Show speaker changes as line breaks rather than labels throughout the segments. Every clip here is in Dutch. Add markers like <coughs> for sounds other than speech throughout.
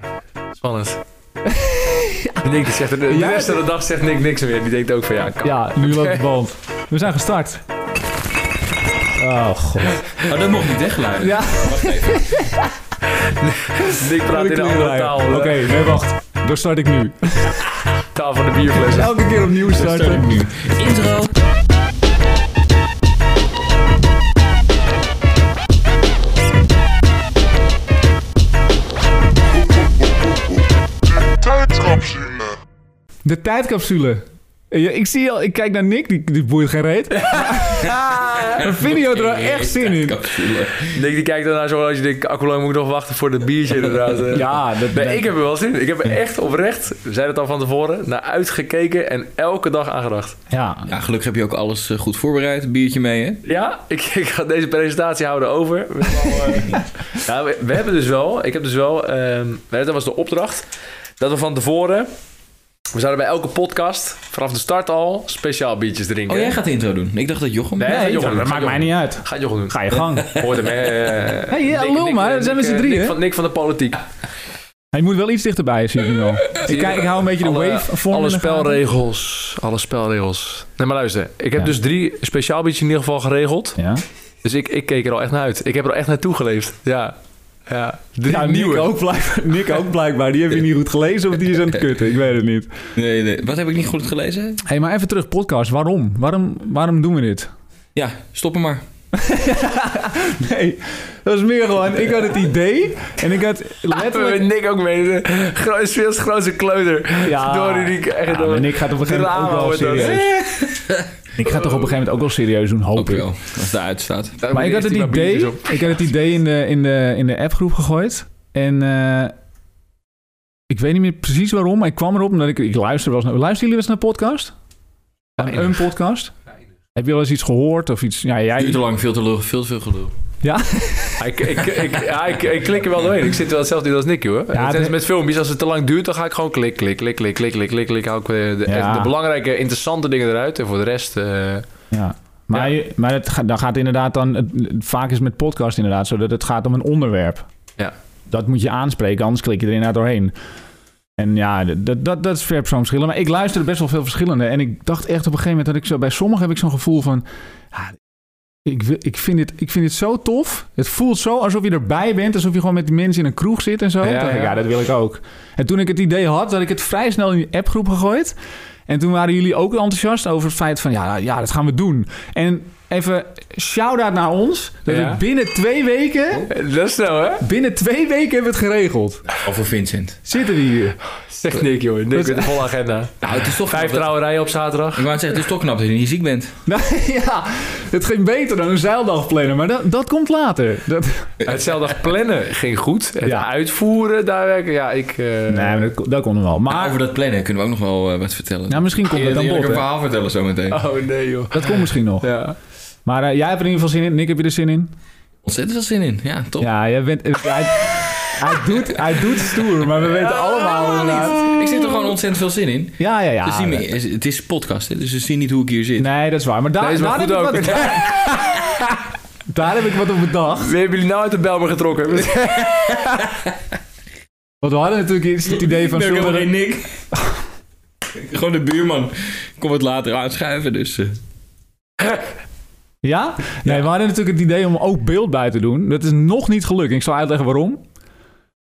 <laughs>
Spannend. Nick, die zegt, er- de
Ja,
rest van de
de-
dag zegt Nick niks meer. Die denkt ook van ja, kan.
Ja, nu loopt de band. We zijn gestart. Oh god.
Oh, dat mocht niet wegluiden.
Ja,
Wacht even.
<laughs> Nick praat in een andere taal.
Oké,
eh,
nee wacht. Dan start ik nu.
Taal van de bierfles.
Elke keer opnieuw
Start ik nu. Intro.
tijdcapsule.
De tijdcapsule. Ja, ik zie al, ik kijk naar Nick, die, die boeit geen
<laughs>
reet. Maar Vinnie had er wel echt zin in.
Capsule.
Nick die kijkt daarna zo als je denkt, ah, hoe lang moet ik nog wachten voor dat biertje inderdaad. eh.
<laughs> Ja, dat
Nee, ik heb er wel zin in. Ik heb er echt oprecht, we zeiden het al van tevoren, naar uitgekeken en elke dag aan gedacht.
Ja.
Ja, gelukkig heb je ook alles eh, goed voorbereid. Een biertje mee, hè?
Ja, ik, <laughs> ik ga deze presentatie houden over. We, hebben al,
<laughs>
eh, ja, we, we hebben dus wel, ik heb dus wel, ehm, dat was de opdracht, dat we van tevoren, we zouden bij elke podcast, vanaf de start al, speciaal biertjes drinken.
Oh, jij gaat de intro doen. Ik dacht dat Jochem...
Nee,
Nee,
joh,
dat,
dat
maakt
gaat
mij niet uit.
Ga Jochem doen.
Ga je
<laughs>
gang.
Hoor
<laughs>
hem, eh,
Hey, ja,
Nick-
lul,
Nick-
maar,
eh,
dan zijn we
Nick,
z'n
eh,
drieën,
Nick
hè?
van, Nick van de politiek.
Hij moet wel iets dichterbij, zie ik nu al. Ik, kijk, ik hou een beetje de
alle,
wave vorm
Alle
in de gaten.
spelregels. Alle spelregels. Nee, maar luister. Ik heb
Ja.
dus drie speciaal biertjes in ieder geval geregeld.
Ja.
Dus ik, ik keek er al echt naar uit. Ik heb er al echt naartoe geleefd. Ja. Ja. Drie
Ja,
nieuwe.
Nick ook, blijkbaar, <laughs> Nick ook blijkbaar. Die heb je niet goed gelezen of die is aan het kutten. Ik weet het niet.
Nee, nee. Wat heb ik niet goed gelezen?
Hé, hey, maar even terug, podcast. Waarom? Waarom, waarom doen we dit?
Ja, stop hem maar.
Nee, dat is meer gewoon... Ik had het idee en ik <laughs> had
Letterlijk.
letterlijk...
Nick ook mee. Gro is veel te grote kleuter.
Ja.
Door die Nick. Echt
Ja,
door.
maar Nick gaat op een gegeven moment ook
Drama
wel
wordt dat.
serieus. Ik ga toch op een gegeven moment ook wel serieus doen, hoop
Ook
ik.
wel. Als het eruit staat.
Daarom
Maar ik had
eerst
het
die
idee,
biertjes op.
ik had het idee in, de, in, de, in de appgroep gegooid. En eh, ik weet niet meer precies waarom, maar ik kwam erop omdat ik, ik luister wel eens naar... Luisteren jullie wel eens naar podcast? Naar een podcast? Heb je wel eens iets gehoord of iets? Ja, jij...
Duurt te lang, veel te lul, veel te veel gelul.
Ik, ik, ik, ja, ik, ik klik er wel doorheen. Ik zit wel hetzelfde als Nicky hoor.
Ja,
Dat is
de-
Met filmpjes, als het te lang duurt, dan ga ik gewoon klik, klik, klik, klik, klik, klik, klik, klik. Hou ik eh, de,
Ja.
echt de belangrijke, interessante dingen eruit. En voor de rest... eh,
Ja. Maar, je- maar het, ga- dan gaat inderdaad dan... Het, het- vaak is het met podcast inderdaad zo dat het gaat om een onderwerp.
Ja.
Dat moet je aanspreken, anders klik je er inderdaad doorheen. En ja, d- dat, dat, dat is per persoon verschillen. Maar ik luisterde best wel veel verschillende. En ik dacht echt op een gegeven moment dat ik zo... Bij sommigen heb ik zo'n gevoel van... ja, ik, wil- ik, vind dit, ik vind dit zo tof. Het voelt zo alsof je erbij bent. Alsof je gewoon met die mensen in een kroeg zit en zo.
Ja,
Toen dacht ik,
ja.
ja, dat wil ik ook. En toen ik het idee had, had ik het vrij snel in die appgroep gegooid. En toen waren jullie ook enthousiast over het feit van... ja, ja dat gaan we doen. En even shout-out naar ons. Dat
Ja.
we binnen twee weken...
Dat is snel, hè?
Binnen twee weken hebben we het geregeld.
Over Vincent.
Zitten die hier. <laughs>
Zegt Nick, joh. Nick met een volle agenda.
Nou, het is toch
Vijf
knap dat-
trouwerijen op zaterdag.
Ik wou net zeggen, het is toch knap dat je niet ziek bent.
Nou ja, het ging beter dan een zeildag plannen. Maar dat, dat komt later. Dat,
<laughs> Hetzelfde plannen ging goed. Het
Ja.
uitvoeren, daar werken... Ja, ik... eh,
nee, maar dat, dat kon wel.
Maar
Maar
over dat plannen kunnen we ook nog wel eh, wat vertellen.
nou, misschien komt
je
dat dan
eerlijk
bod.
een
hè.
verhaal vertellen zometeen.
Oh, nee, joh.
Dat komt misschien nog.
Ja.
Maar eh, jij hebt er in ieder geval zin in. Nick, heb je er zin in?
Ontzettend veel zin in. Ja, top.
Ja, jij bent... eh, Hij, hij, doet, hij doet stoer, maar we weten allemaal inderdaad.
Ik zit er gewoon ontzettend veel zin in.
Ja, ja, ja.
Ze zien me- het is een podcast, hè, dus ze zien niet hoe ik hier zit.
Nee, dat is waar. Maar daar,
Nee, is wel
daar, heb,
goed
ik
ook.
wat, daar, daar heb ik wat op bedacht.
We hebben jullie nou uit de Belmer <laughs> getrokken.
Want we hadden natuurlijk eerst het idee van...
Ik ben ook
zullen we-
helemaal geen Nick. <laughs> Gewoon de buurman. Ik kom het later aanschuiven, dus... eh.
Ja? Nee, we hadden natuurlijk het idee om ook beeld bij te doen. Dat is nog niet gelukt. Ik zal uitleggen waarom.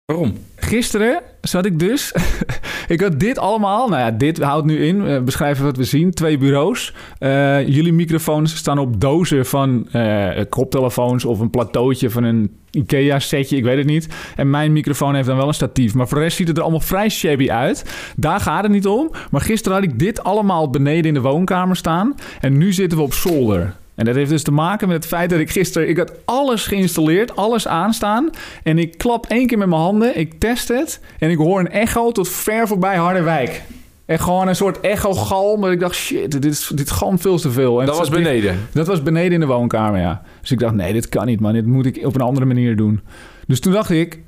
Waarom?
Gisteren zat ik dus... <laughs> ik had dit allemaal... Nou ja, dit houdt nu in. eh, beschrijven wat we zien. Twee bureaus. Eh, jullie microfoons staan op dozen van eh, koptelefoons... of een plateautje van een IKEA-setje. Ik weet het niet. En mijn microfoon heeft dan wel een statief. Maar voor de rest ziet het er allemaal vrij shabby uit. Daar gaat het niet om. Maar gisteren had ik dit allemaal beneden in de woonkamer staan. En nu zitten we op zolder. En dat heeft dus te maken met het feit dat ik gisteren... Ik had alles geïnstalleerd, alles aanstaan. En ik klap één keer met mijn handen, ik test het... en ik hoor een echo tot ver voorbij Harderwijk. En gewoon een soort echo-galm. Dat ik dacht, shit, dit, is, dit galmt veel te veel. En
Dat was
het-
beneden.
dat was beneden in de woonkamer, ja. Dus ik dacht, nee, dit kan niet, man. Dit moet ik op een andere manier doen. Dus toen dacht ik,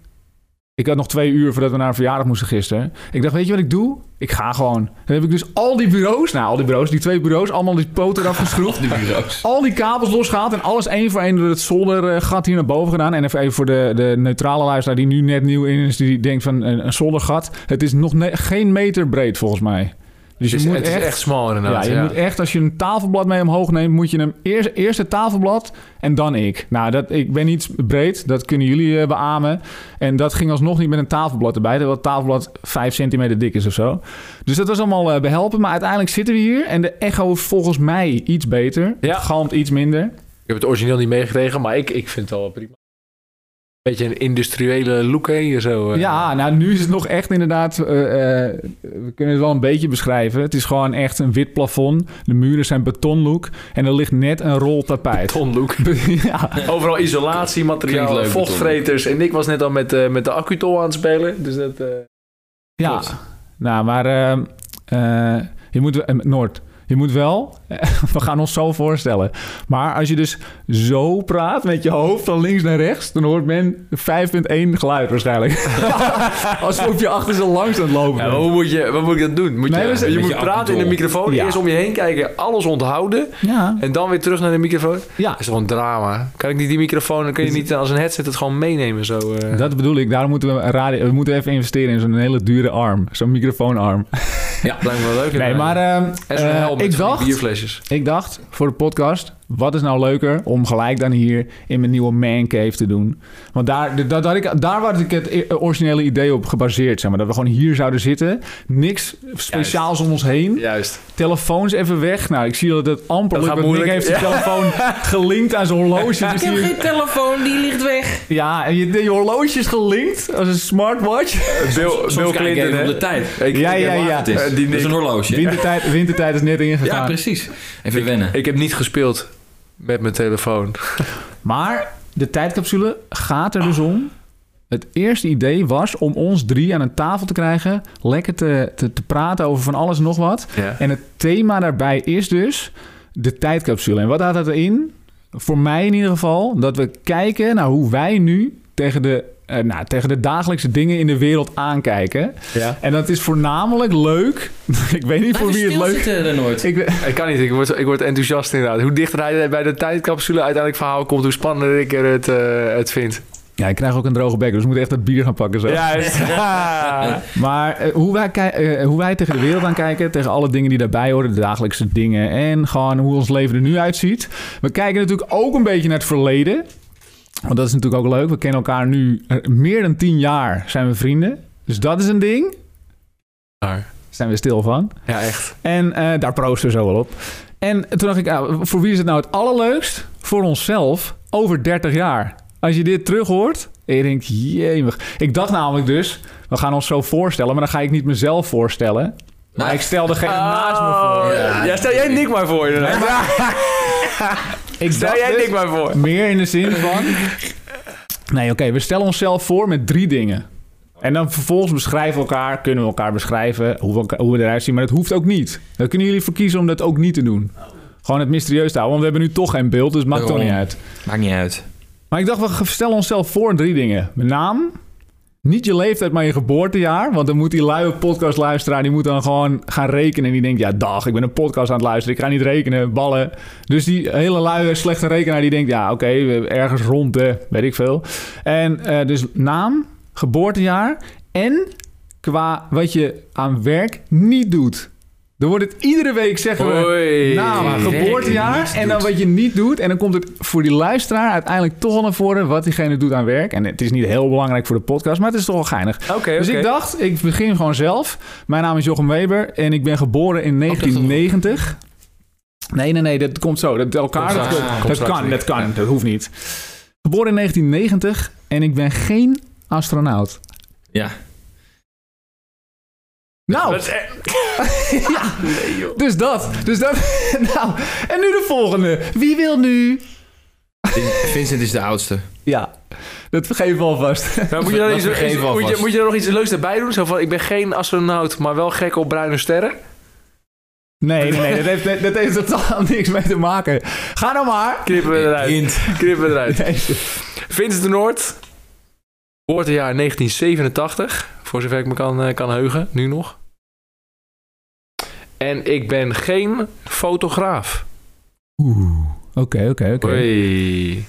Ik had nog twee uur voordat we naar een verjaardag moesten gisteren. Ik dacht, weet je wat ik doe? Ik ga gewoon. Dan heb ik dus al die bureaus, nou al die bureaus, die twee bureaus, allemaal die poten eraf
<laughs>
geschroefd.
Die bureaus.
Al die kabels losgehaald en alles één voor één door het zoldergat hier naar boven gedaan. En even even voor de, de neutrale luisteraar die nu net nieuw in is, die denkt van eh, een, een zoldergat. Het is nog ne- geen meter breed volgens mij. Dus
Het
je
is,
moet
het
echt,
is echt smal
ja,
inderdaad.
je
ja.
moet echt, als je een tafelblad mee omhoog neemt, moet je hem eerst, eerst het tafelblad en dan ik. Nou, dat, ik ben niet breed, dat kunnen jullie eh, beamen. En dat ging alsnog niet met een tafelblad erbij, terwijl het tafelblad 5 centimeter dik is of zo. Dus dat was allemaal eh, behelpen, maar uiteindelijk zitten we hier en de echo is volgens mij iets beter.
Ja.
Het galmt iets minder.
Ik heb het origineel niet meegekregen, maar ik, ik vind het al wel prima. Beetje een industriële look hè, hier zo. eh.
Ja, nou nu is het nog echt inderdaad, eh, eh, we kunnen het wel een beetje beschrijven. Het is gewoon echt een wit plafond, de muren zijn betonlook en er ligt net een rol tapijt.
Ton look.
<laughs> ja.
Overal isolatiemateriaal,
Klinkt leuk,
vochtvreters. En ik was net al met, eh, met de accutol aan het spelen. Dus dat... eh,
Ja,
Klopt.
nou, maar eh, eh, je moet, eh, Noord, je moet wel, <laughs> we gaan ons zo voorstellen. Maar als je dus zo praat met je hoofd van links naar rechts, dan hoort men 5.1 geluid waarschijnlijk. Alsof je achter ze langs aan het lopen
Ja, maar
bent.
hoe moet, je, wat moet ik dat doen? Moet
Nee,
je
we zijn-
je
Met
moet
je
praten in de
accutol.
microfoon,
Ja.
eerst om je heen kijken, alles onthouden
Ja,
en dan weer terug naar de microfoon. Dat
ja.
is toch een drama. Kan ik niet die microfoon, dan kun je niet als een headset het gewoon meenemen zo. eh.
<laughs> Dat bedoel ik, daarom moeten we, een radio, we moeten even investeren in zo'n hele dure arm. Zo'n microfoonarm.
Ja, lijkt me wel leuk.
Nee,
inderdaad.
maar ehm,
en zo'n
eh,
helm met
ik
van die
dacht,
bierflesjes.
Ik dacht voor de podcast, wat is nou leuker om gelijk dan hier in mijn nieuwe man cave te doen? Want daar, da- daar, had ik, daar had ik het e-, originele idee op gebaseerd, zeg maar. Dat we gewoon hier zouden zitten, niks speciaals om ons heen,
Juist.
telefoons even weg. Nou, ik zie dat het amper
Dat
lukt,
gaat
want Nick heeft
moeilijk. <laughs>
zijn telefoon gelinkt aan zijn horloge. Dus hier-
telefoon, die ligt weg.
ja, en je, je horloge is gelinkt als een smartwatch.
Bill, Bill
Soms kijk ik
Clinton,
even
hè?
op de tijd.
Ik-
Ja,
ik
ja,
heb-
ja.
Het is,
Eh, die
dat is
niks.
een horloge.
Wintertijd, wintertijd is net ingegaan.
Ja, precies. Even wennen.
Ik heb niet gespeeld met mijn telefoon.
Maar de tijdcapsule gaat er dus om. Het eerste idee was om ons drie aan een tafel te krijgen. Lekker te, te, te praten over van alles en nog wat.
Ja.
En het thema daarbij is dus de tijdcapsule. En wat houdt dat erin? Voor mij in ieder geval, dat we kijken naar hoe wij nu tegen de, eh, nou, tegen de dagelijkse dingen in de wereld aankijken.
Ja.
En dat is voornamelijk leuk. <laughs> Ik weet niet voor wie het leuk is.
er nooit.
Ik, we-
Ik kan niet, ik word, ik word enthousiast inderdaad. Hoe dichter hij bij de tijdcapsule uiteindelijk verhaal komt, hoe spannender ik er het, eh, het vind.
ja, ik krijg ook een droge bek, dus we moeten echt dat bier gaan pakken zo. <laughs>
Juist.
Maar eh, hoe, wij kijk- eh, hoe wij tegen de wereld aankijken, tegen alle dingen die daarbij horen, de dagelijkse dingen en gewoon hoe ons leven er nu uitziet. We kijken natuurlijk ook een beetje naar het verleden. Want dat is natuurlijk ook leuk. We kennen elkaar nu eh, meer dan tien jaar, zijn we vrienden. Dus dat is een ding.
Maar-
Zijn we stil van.
ja, echt.
En eh, daar proosten we zo wel op. En toen dacht ik, ah, voor wie is het nou het allerleukst? Voor onszelf, over 30 jaar. Als je dit terug hoort, en je denkt, jemig. Ik dacht namelijk dus, we gaan ons zo voorstellen, maar dan ga ik niet mezelf voorstellen. Maar ik stel degene
Ah.
naast me voor.
Ja. stel jij Nick maar voor. inderdaad.
Ik
Stel
dacht
jij
dus-
Nick maar voor.
Meer in de zin van. Nee, oké, we stellen onszelf voor met drie dingen. En dan vervolgens beschrijven we elkaar, kunnen we elkaar beschrijven hoe we, elkaar- hoe we eruit zien. Maar dat hoeft ook niet. Dan kunnen jullie voor kiezen om dat ook niet te doen. Gewoon het mysterieus te houden, want we hebben nu toch geen beeld, dus het maakt toch
Daarom.
niet uit.
Maakt niet uit.
Maar ik dacht, we ge- stellen onszelf voor drie dingen. Mijn naam, niet je leeftijd, maar je geboortejaar. Want dan moet die luie podcastluisteraar, die moet dan gewoon gaan rekenen. En die denkt, ja dag, ik ben een podcast aan het luisteren. Ik ga niet rekenen, ballen. Dus die hele luie, slechte rekenaar, die denkt, ja oké, we- ergens rond de, weet ik veel. En eh, dus naam, geboortejaar en qua wat je aan werk niet doet. Dan wordt het iedere week, zeggen we...
Hoi.
Naam, geboortejaar en dan Nou, wat je niet doet. En dan komt het voor die luisteraar uiteindelijk toch al naar voren wat diegene doet aan werk. En het is niet heel belangrijk voor de podcast, maar het is toch wel geinig.
Oké,
Dus
oké.
ik dacht, ik begin gewoon zelf. Mijn naam is Jochem Weber en ik ben geboren in 1990. Nee, nee, nee, dat komt zo. Dat bij elkaar.
Komt
Dat,
straks.
dat
Komt straks
kan,
weer.
dat kan, dat hoeft niet. Geboren in 1990 en ik ben geen astronaut.
Ja.
Nou,
Dat is echt-
<laughs> dus dat. Dus dat. <laughs> Nou, en nu de volgende. Wie wil nu?
Vincent is de oudste.
Ja, dat geven we alvast.
Maar moet, je daar
Dat
iets,
vergeven
iets-
we
moet, je,
alvast.
moet je daar nog iets leuks erbij doen? Zo van, ik ben geen astronaut, maar wel gek op bruine sterren.
<laughs> Nee, nee, nee, dat heeft, dat heeft totaal <laughs> niks mee te maken. Ga <laughs> nou maar. <laughs>
Knippen we eruit. Knippen we eruit.
Nee.
Vincent de Noord. Geboortejaar 1987, voor zover ik me kan, eh, kan heugen, nu nog. En ik ben geen fotograaf.
Oeh, oké, oké, oké.
Hoi.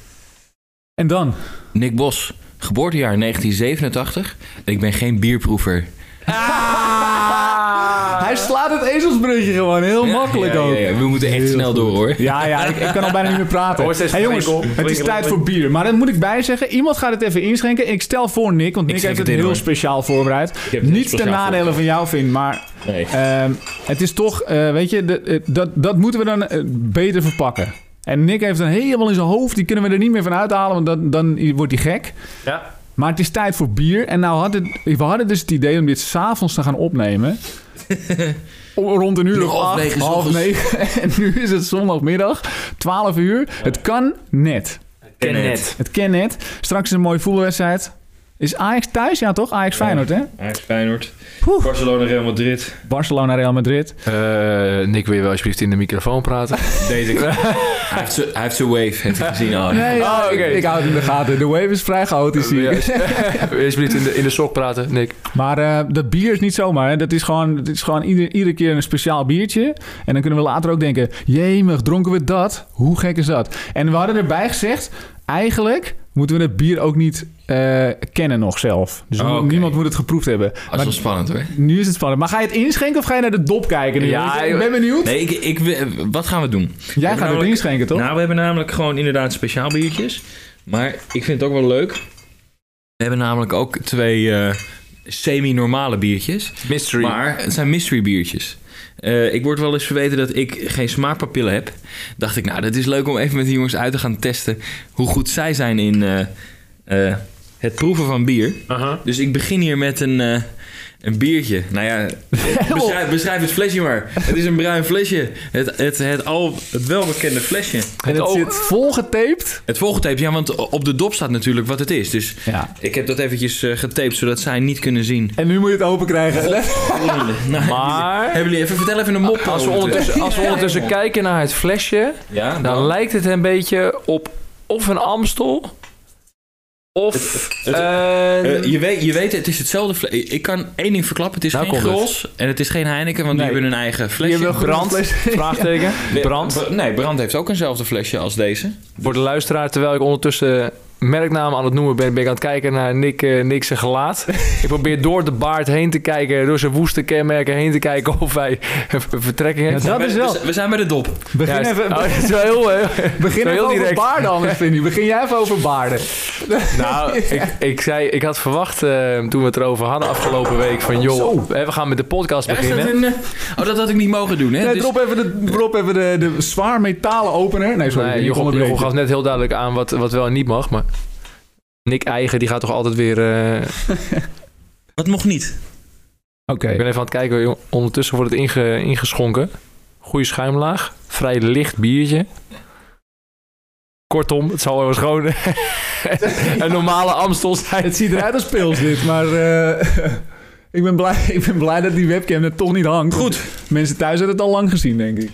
En dan?
Nick Bos, geboortejaar 1987. Ik ben geen bierproever.
Hij slaat het ezelsbruggetje gewoon heel
Ja,
makkelijk
ja, ja,
ook.
ja. We moeten echt
Heel
snel
goed.
door, hoor.
Ja, ja, ik, ik kan al bijna niet meer praten.
Hoor, steeds
hey, jongens,
flink op,
het is
flink
tijd
op.
voor bier. Maar dat moet ik bijzeggen. Iemand gaat het even inschenken. Ik stel voor Nick, want Nick
schenk
heeft het
het in,
heel
hoor.
speciaal voorbereid.
heb het heel
Niet ten
speciaal
nadele van jou, Vin, maar
Nee.
ehm, het is toch, eh, weet je, de- eh, dat, dat moeten we dan eh, beter verpakken. En Nick heeft dan helemaal in zijn hoofd, die kunnen we er niet meer van uithalen, want dan, dan wordt hij gek.
Ja.
Maar het is tijd voor bier. En nou had het, we hadden dus het idee om dit s'avonds te gaan
<laughs>
opnemen. Om- Rond een uur
Nog
of
half
acht,
negen 's
half
ochtends.
negen. <laughs> En nu is het zondagmiddag, 12 uur. Het kan net.
Ken
Ken
net.
Het kan net. Straks is een mooie voetbalwedstrijd. Is Ajax thuis? Ja toch? Ajax Feyenoord hè?
Ajax Feyenoord.
Poeh.
Barcelona, Real Madrid.
Barcelona, Real Madrid.
Eh, Nick, wil je wel alsjeblieft in de microfoon praten?
Deze. hij heeft z'n- hij heeft zijn wave, heeft hij gezien al.
Nee, ja,
Oh, oké.
Ah, ik, ik hou het in de gaten. De wave is vrij chaotisch hier.
Wil je alsjeblieft in de, in de sok praten, Nick?
<laughs> Maar eh, dat bier is niet zomaar. Hè. Dat is gewoon, dat is gewoon ieder, iedere keer een speciaal biertje. En dan kunnen we later ook denken... Jemig, dronken we dat? Hoe gek is dat? En we hadden erbij gezegd... Eigenlijk moeten we het bier ook niet eh, kennen nog zelf. Dus
Oh, oké.
niemand moet het geproefd hebben.
Dat is
Maar
wel spannend hoor.
nu is het spannend. Maar ga je het inschenken of ga je naar de dop kijken? nu?
Ja,
Want ik ben benieuwd.
Nee, ik, ik, wil- wat gaan we doen?
Jij gaat het
namelijk-
inschenken, toch?
Nou, we hebben namelijk gewoon inderdaad speciaal biertjes. Maar ik vind het ook wel leuk. We hebben namelijk ook twee eh, semi-normale biertjes.
Mystery.
Maar het zijn mystery biertjes. Eh, ik word wel eens verweten dat ik geen smaakpapillen heb. Dacht ik, nou, dat is leuk om even met die jongens uit te gaan testen hoe goed zij zijn in eh, eh, het proeven van bier.
Aha.
Dus ik begin hier met een, eh, een biertje. Nou ja, beschrijf, beschrijf het flesje maar. Het is een bruin flesje. Het, het, het, al, het welbekende flesje.
en het
oh.
zit volgetaped.
Het volgetape, ja, want op de dop staat natuurlijk wat het is. Dus
Ja.
ik heb dat eventjes eh, getaped, zodat zij niet kunnen zien.
En nu moet je het open krijgen.
Nou,
Maar...
hebben jullie even, vertel even een mop.
Als we
over het-
ondertussen, als we ondertussen kijken naar het flesje,
Ja,
dan lijkt het een beetje op of een Amstel, of
het-
eh,
Eh, je, weet, je weet, het is hetzelfde flesje. Ik kan één ding verklappen, het is
Nou
geen
komt het.
Gros en het is geen Heineken, want
Nee.
die hebben hun eigen
Die
flesje.
hebben wel <laughs>
brand.
genoeg vlees.
vraagteken, brand.
Br- Nee, Brand heeft ook eenzelfde flesje als deze.
Voor de luisteraar, terwijl ik ondertussen merknaam aan het noemen ben, ben ik aan het kijken naar Nick, eh, Nick zijn gelaat. ik probeer door de baard heen te kijken, door zijn woeste kenmerken heen te kijken of hij een ver- vertrekking heeft.
Ja, Dat
We-
is wel-
We, we zijn bij de dop.
Begin
Juist.
even,
Oh, dat is wel heel, eh,
begin
Zo
even
heel
over
direct.
baarden anders, Vinnie. Begin jij even over baarden.
Nou, ik, ik, zei, ik had verwacht eh, toen we het erover hadden afgelopen week van joh, hè, we gaan met de podcast
Ja, is dat
beginnen.
een, eh, oh, dat had ik niet mogen doen, hè?
Nee,
Dus-
drop even, de, drop even de, de zwaar metalen opener. Nee, sorry.
Nee,
ik
Jochem,
onderbreek
Jochem gaf
je.
net heel duidelijk aan wat, wat wel en niet mag, maar Nick Eigen die gaat toch altijd weer... eh,
Wat mocht niet?
Oké.
Ik ben even aan het kijken, jong. ondertussen wordt het inge- ingeschonken. Goede schuimlaag, vrij licht biertje. Kortom, het zal wel eens gewoon <laughs> een normale Amstel zijn.
Het ziet eruit als pils dit, maar eh, <laughs> ik, ben blij, ik ben blij dat die webcam er toch niet hangt.
Goed.
Mensen thuis hebben het al lang gezien, denk ik.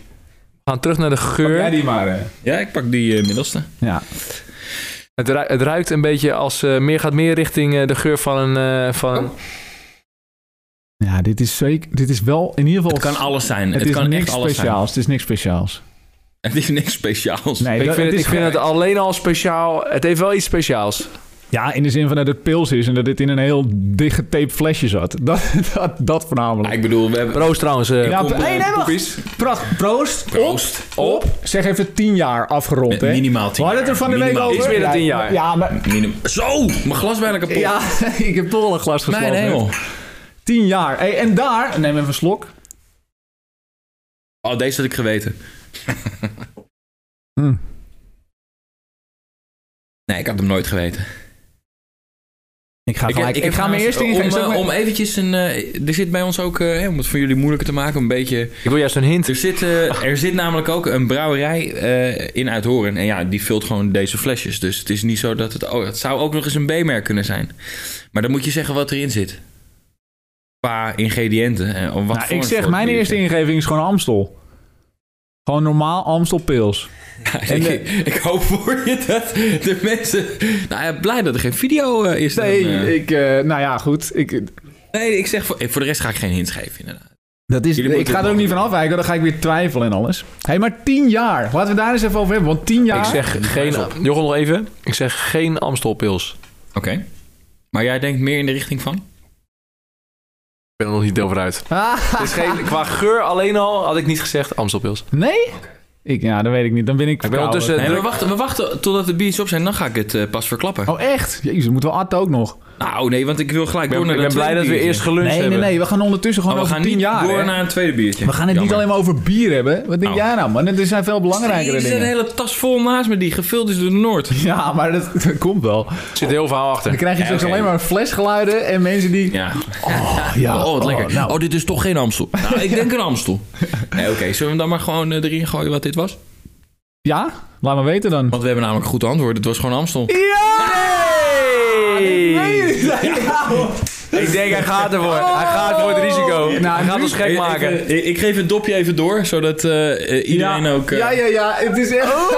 We gaan terug naar de
Pak jij
geur.
die maar. hè.
Ja, ik pak die eh, middelste.
Ja.
Het, ru- het ruikt een beetje als eh, meer gaat meer richting eh, de geur van een. eh,
Oh.
van...
ja, dit is zeker. Dit is wel in ieder geval.
Het kan alles zijn. Het,
het is
kan
niks
echt alles
speciaals. Het is niks speciaals.
zijn. <laughs> Het is niks speciaals.
Nee,
ik
dat-
vind, het,
is
ik vind het alleen al speciaal. Het heeft wel iets speciaals.
Ja, in de zin van dat het pils is en dat dit in een heel dichtgetaped flesje zat. <laughs> Dat, dat, dat
Maar
voornamelijk.
ik bedoel, we hebben...
Proost trouwens. eh,
Ja,
kom,
hey, nee, wacht.
eh, poepies.
Proost. Proost.
Proost.
Op. Zeg even tien jaar afgerond, hè?
Minimaal tien
We hadden het er van
jaar.
de week
Minimaal.
over.
Iets meer dan tien jaar.
Ja, maar...
Minim- Zo! Mijn glas bijna kapot.
Ja, <laughs> ik heb toch al een glas geslagen.
Mijn hemel.
Tien jaar. Hey, en daar... Neem even een slok.
Oh, deze had ik geweten.
<laughs> Hmm.
Nee, ik had hem nooit geweten.
Ik ga gelijk... Ik,
heb
ga me
trouwens,
eerst in...
Om,
zeg
eh,
maar-
om eventjes een... eh, er zit bij ons ook, eh, om het voor jullie moeilijker te maken, een beetje...
Ik wil juist een hint.
Er zit, eh, er zit namelijk ook een brouwerij eh, in Uithoren. En ja, die vult gewoon deze flesjes. Dus het is niet zo dat het... Oh, het zou ook nog eens een B-merk kunnen zijn. Maar dan moet je zeggen wat erin zit. Qua ingrediënten. eh, of wat
Nou,
voor
ik
een
zeg,
soort
mijn
biertje.
eerste ingeving is gewoon Amstel. Gewoon normaal Amstel pils.
<laughs> En, ik, ik hoop voor je dat de mensen... Nou ja, blij dat er geen video eh, is. dan,
Nee,
eh.
ik, eh, nou ja, goed. Ik,
nee, ik zeg voor, eh, voor de rest ga ik geen hints geven inderdaad.
dat is,
Jullie moeten
ik ga
het
er ook
nog
niet van afwijken, want dan ga ik weer twijfelen en alles. Hé, hey, maar tien jaar. Laten we daar eens even over hebben, want tien jaar...
Ik zeg geen... Jochem nog even. Ik zeg geen Amstelpils.
Oké. Maar jij denkt meer in de richting van?
Ik ben er nog niet over uit.
Ah.
Het is geen, qua geur alleen al had ik niet gezegd Amstelpils.
Nee? Ik, ja, dat weet ik niet. Dan ben ik
ben
verkouden.
ondertussen-
Nee,
druk-
we wachten, we wachten totdat de biertjes op zijn. Dan ga ik het eh, pas verklappen.
Oh, echt? Jezus, moeten we Atte ook nog?
Nou, nee, want ik wil gelijk
Ik ben,
door naar
ik ben
dat
blij dat
tweede
we
biertje.
eerst geluncht
Nee, nee,
hebben.
nee. We gaan ondertussen gewoon
Maar Oh, we
over
gaan
tien
niet
jaar.
door
hè?
naar een tweede biertje.
We gaan het niet alleen maar over bier hebben. Wat denk
Oh.
jij nou, man? Er zijn veel belangrijkere
Er is een
dingen.
hele tas vol naast me die gevuld is door Noord.
Ja, maar dat, dat komt wel.
Er zit een heel verhaal achter.
Dan krijg je
Ja,
straks
oké.
alleen maar flesgeluiden en mensen die...
Ja.
Oh, ja.
Oh, wat lekker. Oh,
nou.
dit is toch geen Amstel.
<laughs>
Nou, ik denk een Amstel. Nee, Oké, zullen we hem dan maar gewoon eh, erin gooien wat dit was?
Ja? Laat me weten dan. <laughs>
Want we hebben namelijk een goed antwoord. Het was gewoon Amstel.
Ja! Ah,
Hey! Ik denk, hij gaat ervoor. Hij gaat voor het risico. hij gaat
Nou, nu-
ons gek maken.
Even- ik- ik geef het dopje even door, zodat eh, eh, iedereen ook... eh,
Ja, ja, ja. Het is echt... Nou.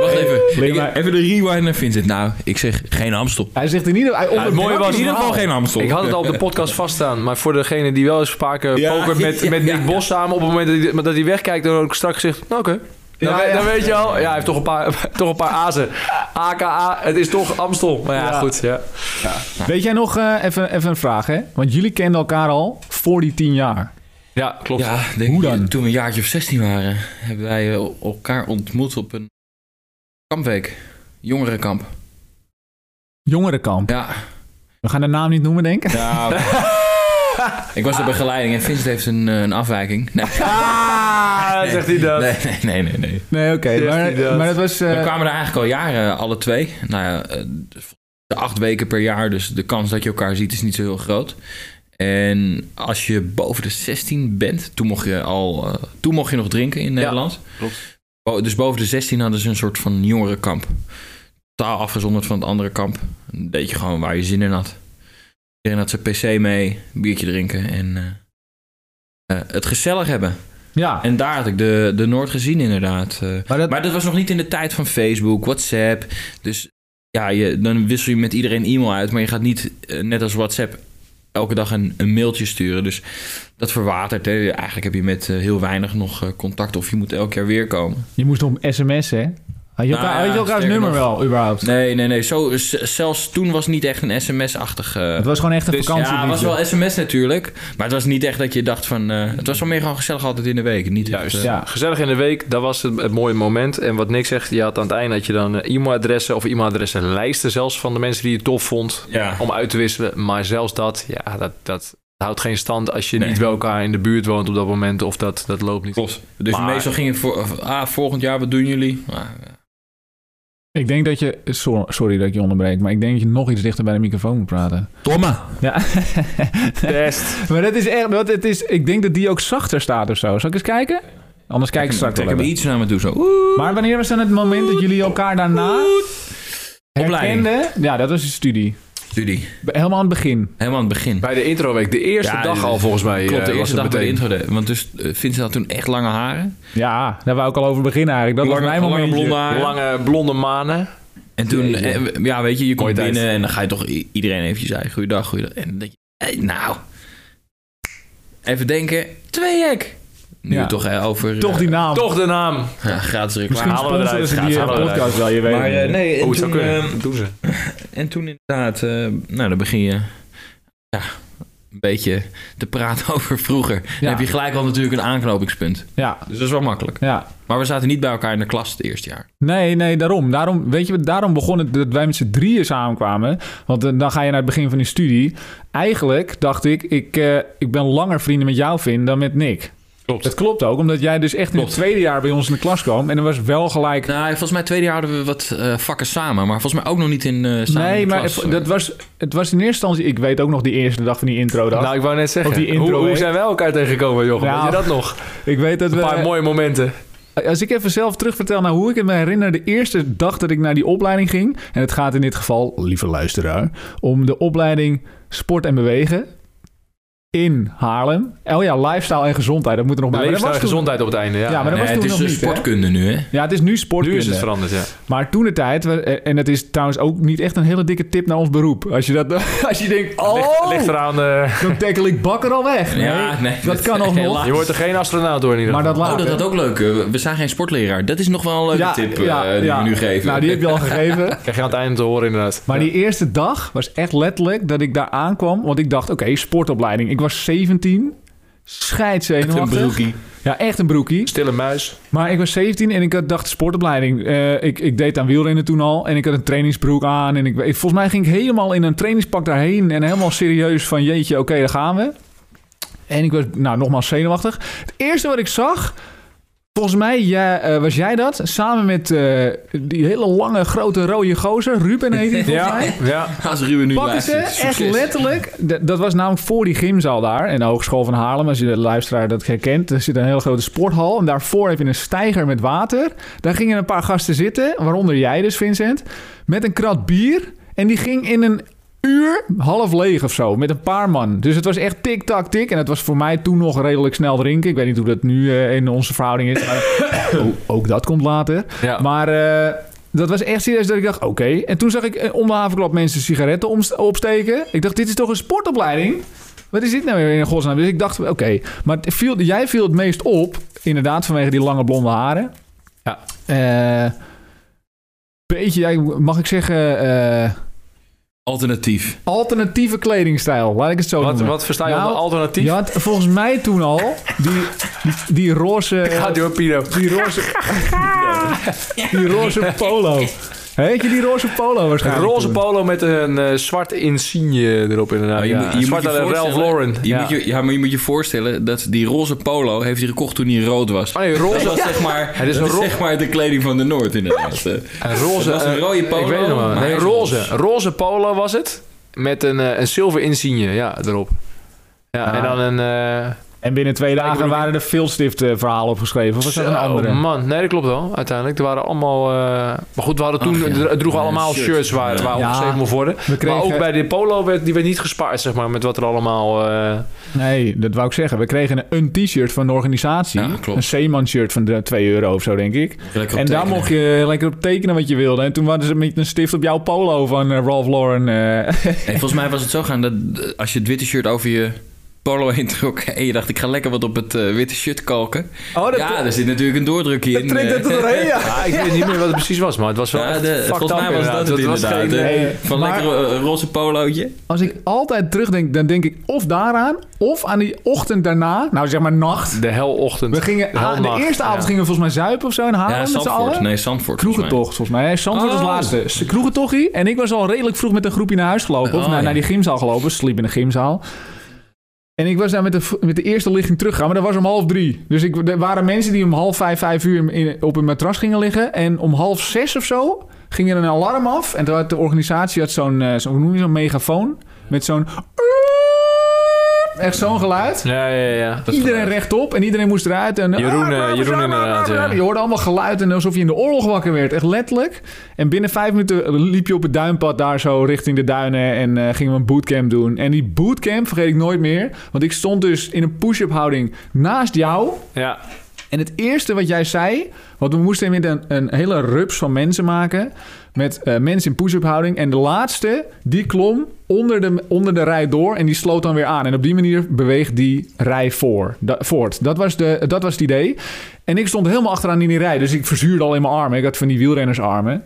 Wacht even.
Leg
Ik-
maar.
even de rewind naar Vincent. Nou, ik zeg geen Amstel.
<laughs> Hij zegt in ieder geval...
het mooie was-
In ieder geval geen Amstel.
Ik had het al op de podcast vaststaan. Maar voor degene die wel eens vaker
Ja,
poker <laughs> met,
ja,
met
ja.
Nick Bos samen... op het moment dat hij, dat hij wegkijkt en ook straks zegt... nou, oké. Dan,
Ja,
we-
ja.
dan weet je al, ja, hij heeft toch een paar, <laughs> toch een paar azen. AKA, het is toch Amstel. Maar ja,
Ja.
goed. Ja.
Weet jij nog... eh, even, even een vraag, hè? Want jullie kenden elkaar al voor die tien jaar.
ja, klopt.
Ja, denk
Hoe
ik,
dan?
toen we een jaartje of 16 waren, hebben wij eh, elkaar ontmoet op een kampweek. Jongerenkamp.
Jongerenkamp.
Ja.
We gaan de naam niet noemen, denk ik.
Nou, <laughs> ik was de begeleiding en Vincent heeft een, eh, een afwijking. Nee,
Ah,
nee,
zegt hij dat.
Nee, nee, nee, nee. nee.
Nee, oké.
Zegt hij
maar,
dat?
maar dat was... eh,
We kwamen er eigenlijk al jaren, alle twee. Nou ja, eh, de acht weken per jaar, dus de kans dat je elkaar ziet is niet zo heel groot. En als je boven de 16 bent, toen mocht je al, eh, toen mocht je nog drinken in Nederland.
klopt.
Bo- Dus boven de 16 hadden ze een soort van jongerenkamp. Totaal afgezonderd van het andere kamp. Dan deed je gewoon waar je zin in had. Iedereen had zijn pc mee, een biertje drinken en eh, eh, het gezellig hebben.
Ja.
En daar had ik de, de Noord gezien inderdaad. eh,
Maar dat,
maar dat was nog niet in de tijd van Facebook, WhatsApp. Dus ja, je, dan wissel je met iedereen e-mail uit. Maar je gaat niet, eh, net als WhatsApp, elke dag een, een mailtje sturen. Dus dat verwatert. Hè. Eigenlijk heb je met eh, heel weinig nog eh, contact. Of je moet elk jaar weer komen.
je moest nog sms, hè? Had je,
Nou
elkaar,
ja,
had je elkaars
sterker
nummer
nog.
wel, überhaupt?
Nee, nee, nee. Zo, z- zelfs toen was het niet echt een sms-achtig... eh,
Het was gewoon echt een
Dus-
vakantie.
ja, het was wel sms natuurlijk. Maar het was niet echt dat je dacht van... eh, het was wel meer gewoon gezellig altijd in de week. Niet echt,
Juist.
eh,
Ja.
Gezellig in de week, dat was het, het mooie moment. En wat Nick zegt, je had aan het eind had je dan eh, e-mailadressen of e-mailadressen lijsten zelfs van de mensen die je tof vond
ja.
om uit te wisselen. Maar zelfs dat, ja, dat, dat houdt geen stand als je
Nee.
niet bij elkaar in de buurt woont op dat moment of dat, dat loopt niet.
Klopt. Dus
Maar-
meestal ging het voor... Ah, volgend jaar, wat doen jullie? Ah,
Ik denk dat je... so- Sorry dat ik je onderbreek, maar ik denk dat je nog iets dichter bij de microfoon moet praten.
Domme.
Ja.
<laughs> Best.
maar dat is echt... Dat, het is, ik denk dat die ook zachter staat of zo. Zal ik eens kijken? Anders kijk ik straks wel
Trek hem
even.
iets naar me toe zo.
Maar wanneer was dan het moment dat jullie elkaar daarna
Opleiding.
herkenden? Ja, dat was je studie.
Studie.
Be- Helemaal aan het begin.
Helemaal aan het begin.
Bij de introweek, de eerste
Ja,
dag
dus-
al volgens mij.
Klopt, de
eh,
eerste
was
dag
het
bij de
meteen.
intro. deed. Want dus eh, Vincent had toen echt lange haren.
Ja, daar wou ik al over beginnen eigenlijk. Dat
lange,
was mijn
lange
momentje.
blonde haren.
Lange blonde manen.
En toen,
Jeetje.
eh, ja weet je, je komt
Mooie tijd.
binnen en dan ga je toch i- iedereen eventjes zeggen, goeiedag, goeiedag. En dan denk je, hey, nou, even denken, twee hek. Nu
Ja.
toch eh, over...
Toch die
eh,
naam.
Toch de naam.
ja, gratis reclame.
Misschien
halen we eruit,
sponsoren ze
gaat,
die eh,
halen we eruit.
podcast wel, je weet
Maar
het
eh,
niet.
nee, en,
Oh, het zou
toen,
kunnen.
eh,
Ehm,
Dat doen ze.
en toen inderdaad, eh, nou dan begin je ja, een beetje te praten <laughs> over vroeger. Dan
Ja.
heb je gelijk al natuurlijk een aanknopingspunt.
Ja,
Dus dat is wel makkelijk.
ja.
Maar we zaten niet bij elkaar in de klas het eerste jaar.
Nee, nee, daarom. daarom weet je, wat, daarom begon het dat wij met z'n drieën samenkwamen. Want eh, dan ga je naar het begin van die studie. Eigenlijk dacht ik, ik, eh, ik ben langer vrienden met jou, Vin, dan met Nick.
Klopt.
Dat klopt ook, omdat jij dus echt in
Klopt.
het tweede jaar bij ons in de klas kwam. En er was wel gelijk...
Nou, volgens mij tweede jaar hadden we wat eh, vakken samen. Maar volgens mij ook nog niet in eh samen in
nee,
de
maar
klas.
het, dat was, het was in eerste instantie... Ik weet ook nog die eerste dag van die intro dag.
Nou, ik wou net zeggen,
Ook die
hoe,
introweek.
hoe zijn wij elkaar tegengekomen, Jochem?
Nou,
Weet je dat nog?
ik weet dat
Een
we... Nou,
paar mooie momenten.
Eh, Als ik even zelf terugvertel naar hoe ik het me herinner, de eerste dag dat ik naar die opleiding ging, en het gaat in dit geval, lieve luisteraar, om de opleiding Sport en Bewegen. in Haarlem. Oh ja, lifestyle en gezondheid, dat moet er nog bij.
Maar
Maar dat
leefstijl en
was toen-
gezondheid op het einde, ja.
Ja, maar dat
Nee,
was
het
toen
is
nog
dus
niet, hè?
sportkunde nu, hè?
Ja, het is nu
nu
sportkunde.
is het veranderd, ja.
Maar toen de tijd, eh, en het is trouwens ook niet echt een hele dikke tip naar ons beroep. Als je, dat, <laughs> als je denkt, oh,
Ligt, ligt eraan, eh,
dan tackle ik bakker al weg. Nee,
Ja, nee,
dat
dat-
kan nog
helaas.
nog.
je wordt er geen astronaut door in ieder
Maar
geval.
dat laat.
Oh, dat
hè?
had ook leuk. eh, We zijn geen sportleraar. Dat is nog wel een leuke tip eh, die
ja.
we nu geven.
Nou, die heb je al
<laughs>
gegeven.
Krijg je aan het einde te horen, inderdaad.
Maar die eerste dag was echt letterlijk dat ik daar aankwam. Want ik dacht, oké, sportopleiding. Ik was 17.
een
Scheidzenuwachtig.
broekie.
Ja, echt een broekie.
Stille muis.
Maar ik was 17 en ik had, dacht sportopleiding. Eh, ik, ik deed aan wielrennen toen al. En ik had een trainingsbroek aan. En ik, ik- volgens mij ging ik helemaal in een trainingspak daarheen. En helemaal serieus van jeetje, oké, daar gaan we. En ik was nou, nogmaals zenuwachtig. Het eerste wat ik zag... Volgens mij jij- eh, was jij dat. Samen met eh, die hele lange, grote, rode gozer. Ruben heet hij volgens mij.
ja.
Als Ruben nu
Pakken ze
luistert.
echt
succes.
letterlijk. D- dat was namelijk voor die gymzaal daar. In de Hogeschool van Haarlem, als je de luisteraar dat herkent. Er zit een hele grote sporthal. En daarvoor heb je een steiger met water. Daar gingen een paar gasten zitten. Waaronder jij dus, Vincent. Met een krat bier. En die ging in een uur half leeg of zo. Met een paar man. Dus het was echt tik, tak, tik. En het was voor mij toen nog redelijk snel drinken. Ik weet niet hoe dat nu eh, in onze verhouding is.
<coughs>
Maar <coughs> o- ook dat komt later.
Ja.
Maar eh, dat was echt serieus dat ik dacht, oké. En toen zag ik eh, om de havenklap mensen sigaretten omst- opsteken. Ik dacht, dit is toch een sportopleiding? Wat is dit nou weer in godsnaam? Dus ik dacht, oké. Maar het viel, jij viel het meest op, inderdaad, vanwege die lange blonde haren.
Ja.
Eh, beetje, ja, mag ik zeggen, eh,
Alternatief.
alternatieve kledingstijl. Laat ik het zo
Wat,
noemen.
wat versta je
Nou,
onder alternatief?
Je had volgens mij toen al die, die, die
<laughs>
roze...
Ga door, Pino.
Die roze... die roze polo. Heet je die roze polo
Een
waarschijnlijk?
roze
toen?
polo met een eh, zwart insigne erop inderdaad.
Maar Oh, je
ja.
moet- je moet
zwart
je
aan de Ralph
voorstellen-
Lauren.
Je
Ja.
Moet je, ja, maar je moet je voorstellen dat die roze polo heeft hij gekocht toen hij rood was.
Oh nee,
Dat
roze.
was zeg maar,
Het is
dat
een ro-
zeg maar de kleding van de Noord inderdaad. Eh,
Een roze.
Het was een
eh,
rode polo,
Ik weet het nog wel.
maar hij
Nee,
is
roze.
roze.
Roze polo was het. Met een, eh, een zilver insigne, ja, erop. Ja,
Ah.
en dan een... eh,
En binnen twee dagen waren er filstift eh, verhalen opgeschreven. Of was dat een
zo, oh,
andere?
man. Nee, dat klopt wel, uiteindelijk. Er waren allemaal... eh, Maar goed, we hadden toen...
Ach, Ah, ja.
Het droegen
Ja,
allemaal
shirts.
shirts waar,
Ja.
waar opgeschreven moest worden.
We kregen,
Maar ook bij de polo werd die werd niet gespaard, zeg maar, met wat er allemaal... eh,
Nee, dat wou ik zeggen. We kregen een, een t-shirt van de organisatie.
Ja, klopt.
Een Zeeman-shirt van de 2 euro of zo, denk ik.
lekker op
En daar
tekenen.
mocht je lekker op tekenen wat je wilde. En toen waren ze met een stift op jouw polo van eh, Ralph Lauren. eh.
Nee, volgens mij was het zo gaan dat eh, als je het witte shirt over je polo heen trok... <laughs> en je dacht ik ga lekker wat op het eh, witte shirt kalken...
Oh, dat,
Ja, er zit natuurlijk een doordrukje
dat
in.
trekt het
eh.
er doorheen, ja.
Ah, ik weet niet meer wat het precies was, maar het was wel
Ja,
echt
de-
fucked
volgens
up
mij was dat
inderdaad.
het
was
inderdaad.
geen-
hè.
nee,
Van
maar- Ah,
lekker eh, roze polootje.
<laughs> Als ik altijd terugdenk, dan denk ik of daaraan, of aan die ochtend daarna. Nou, zeg maar nacht.
De helochtend.
We gingen,
De
ah, de
helnacht,
eerste avond
ja.
gingen we volgens mij zuipen of zo in Haarlem
Ja,
met z'n
Zandvoort.
allen.
Nee, Zandvoort. volgens mij.
Kroegentocht volgens mij. Hij Zandvoort als
Oh.
laatste. S- Kroegentochtie. En ik was al redelijk vroeg met een groepje naar huis gelopen. of
Oh,
naar,
ja.
naar die gymzaal gelopen. Sliep in de gymzaal. En ik was daar met de, v- met de eerste ligging teruggegaan. Maar dat was om half drie. Dus ik, er waren mensen die om half vijf, vijf uur in- op een matras gingen liggen. En om half zes of zo ging er een alarm af. En toen had de organisatie had zo'n, eh, zo'n, hoe noem je zo'n megafoon. Met zo'n... Echt zo'n geluid.
Ja, ja, ja.
Dat is
Iedereen
geluid.
rechtop en iedereen moest eruit. En,
Jeroen, eh, Jeroen inderdaad, ja.
Je hoorde allemaal geluiden alsof je in de oorlog wakker werd. Echt letterlijk. En binnen vijf minuten eh, liep je op het duinpad daar zo richting de duinen. En eh, gingen we een bootcamp doen. En die bootcamp vergeet ik nooit meer. Want ik stond dus in een push-up houding naast jou.
Ja,
En het eerste wat jij zei, want we moesten met een, een hele rups van mensen maken. Met eh, mensen in push-up houding. En de laatste, die klom onder de, onder de rij door en die sloot dan weer aan. En op die manier beweegt die rij voor, da- voort. Dat was, de, dat was het idee. En ik stond helemaal achteraan in die rij. Dus ik verzuurde al in mijn armen. Ik had van die wielrennersarmen.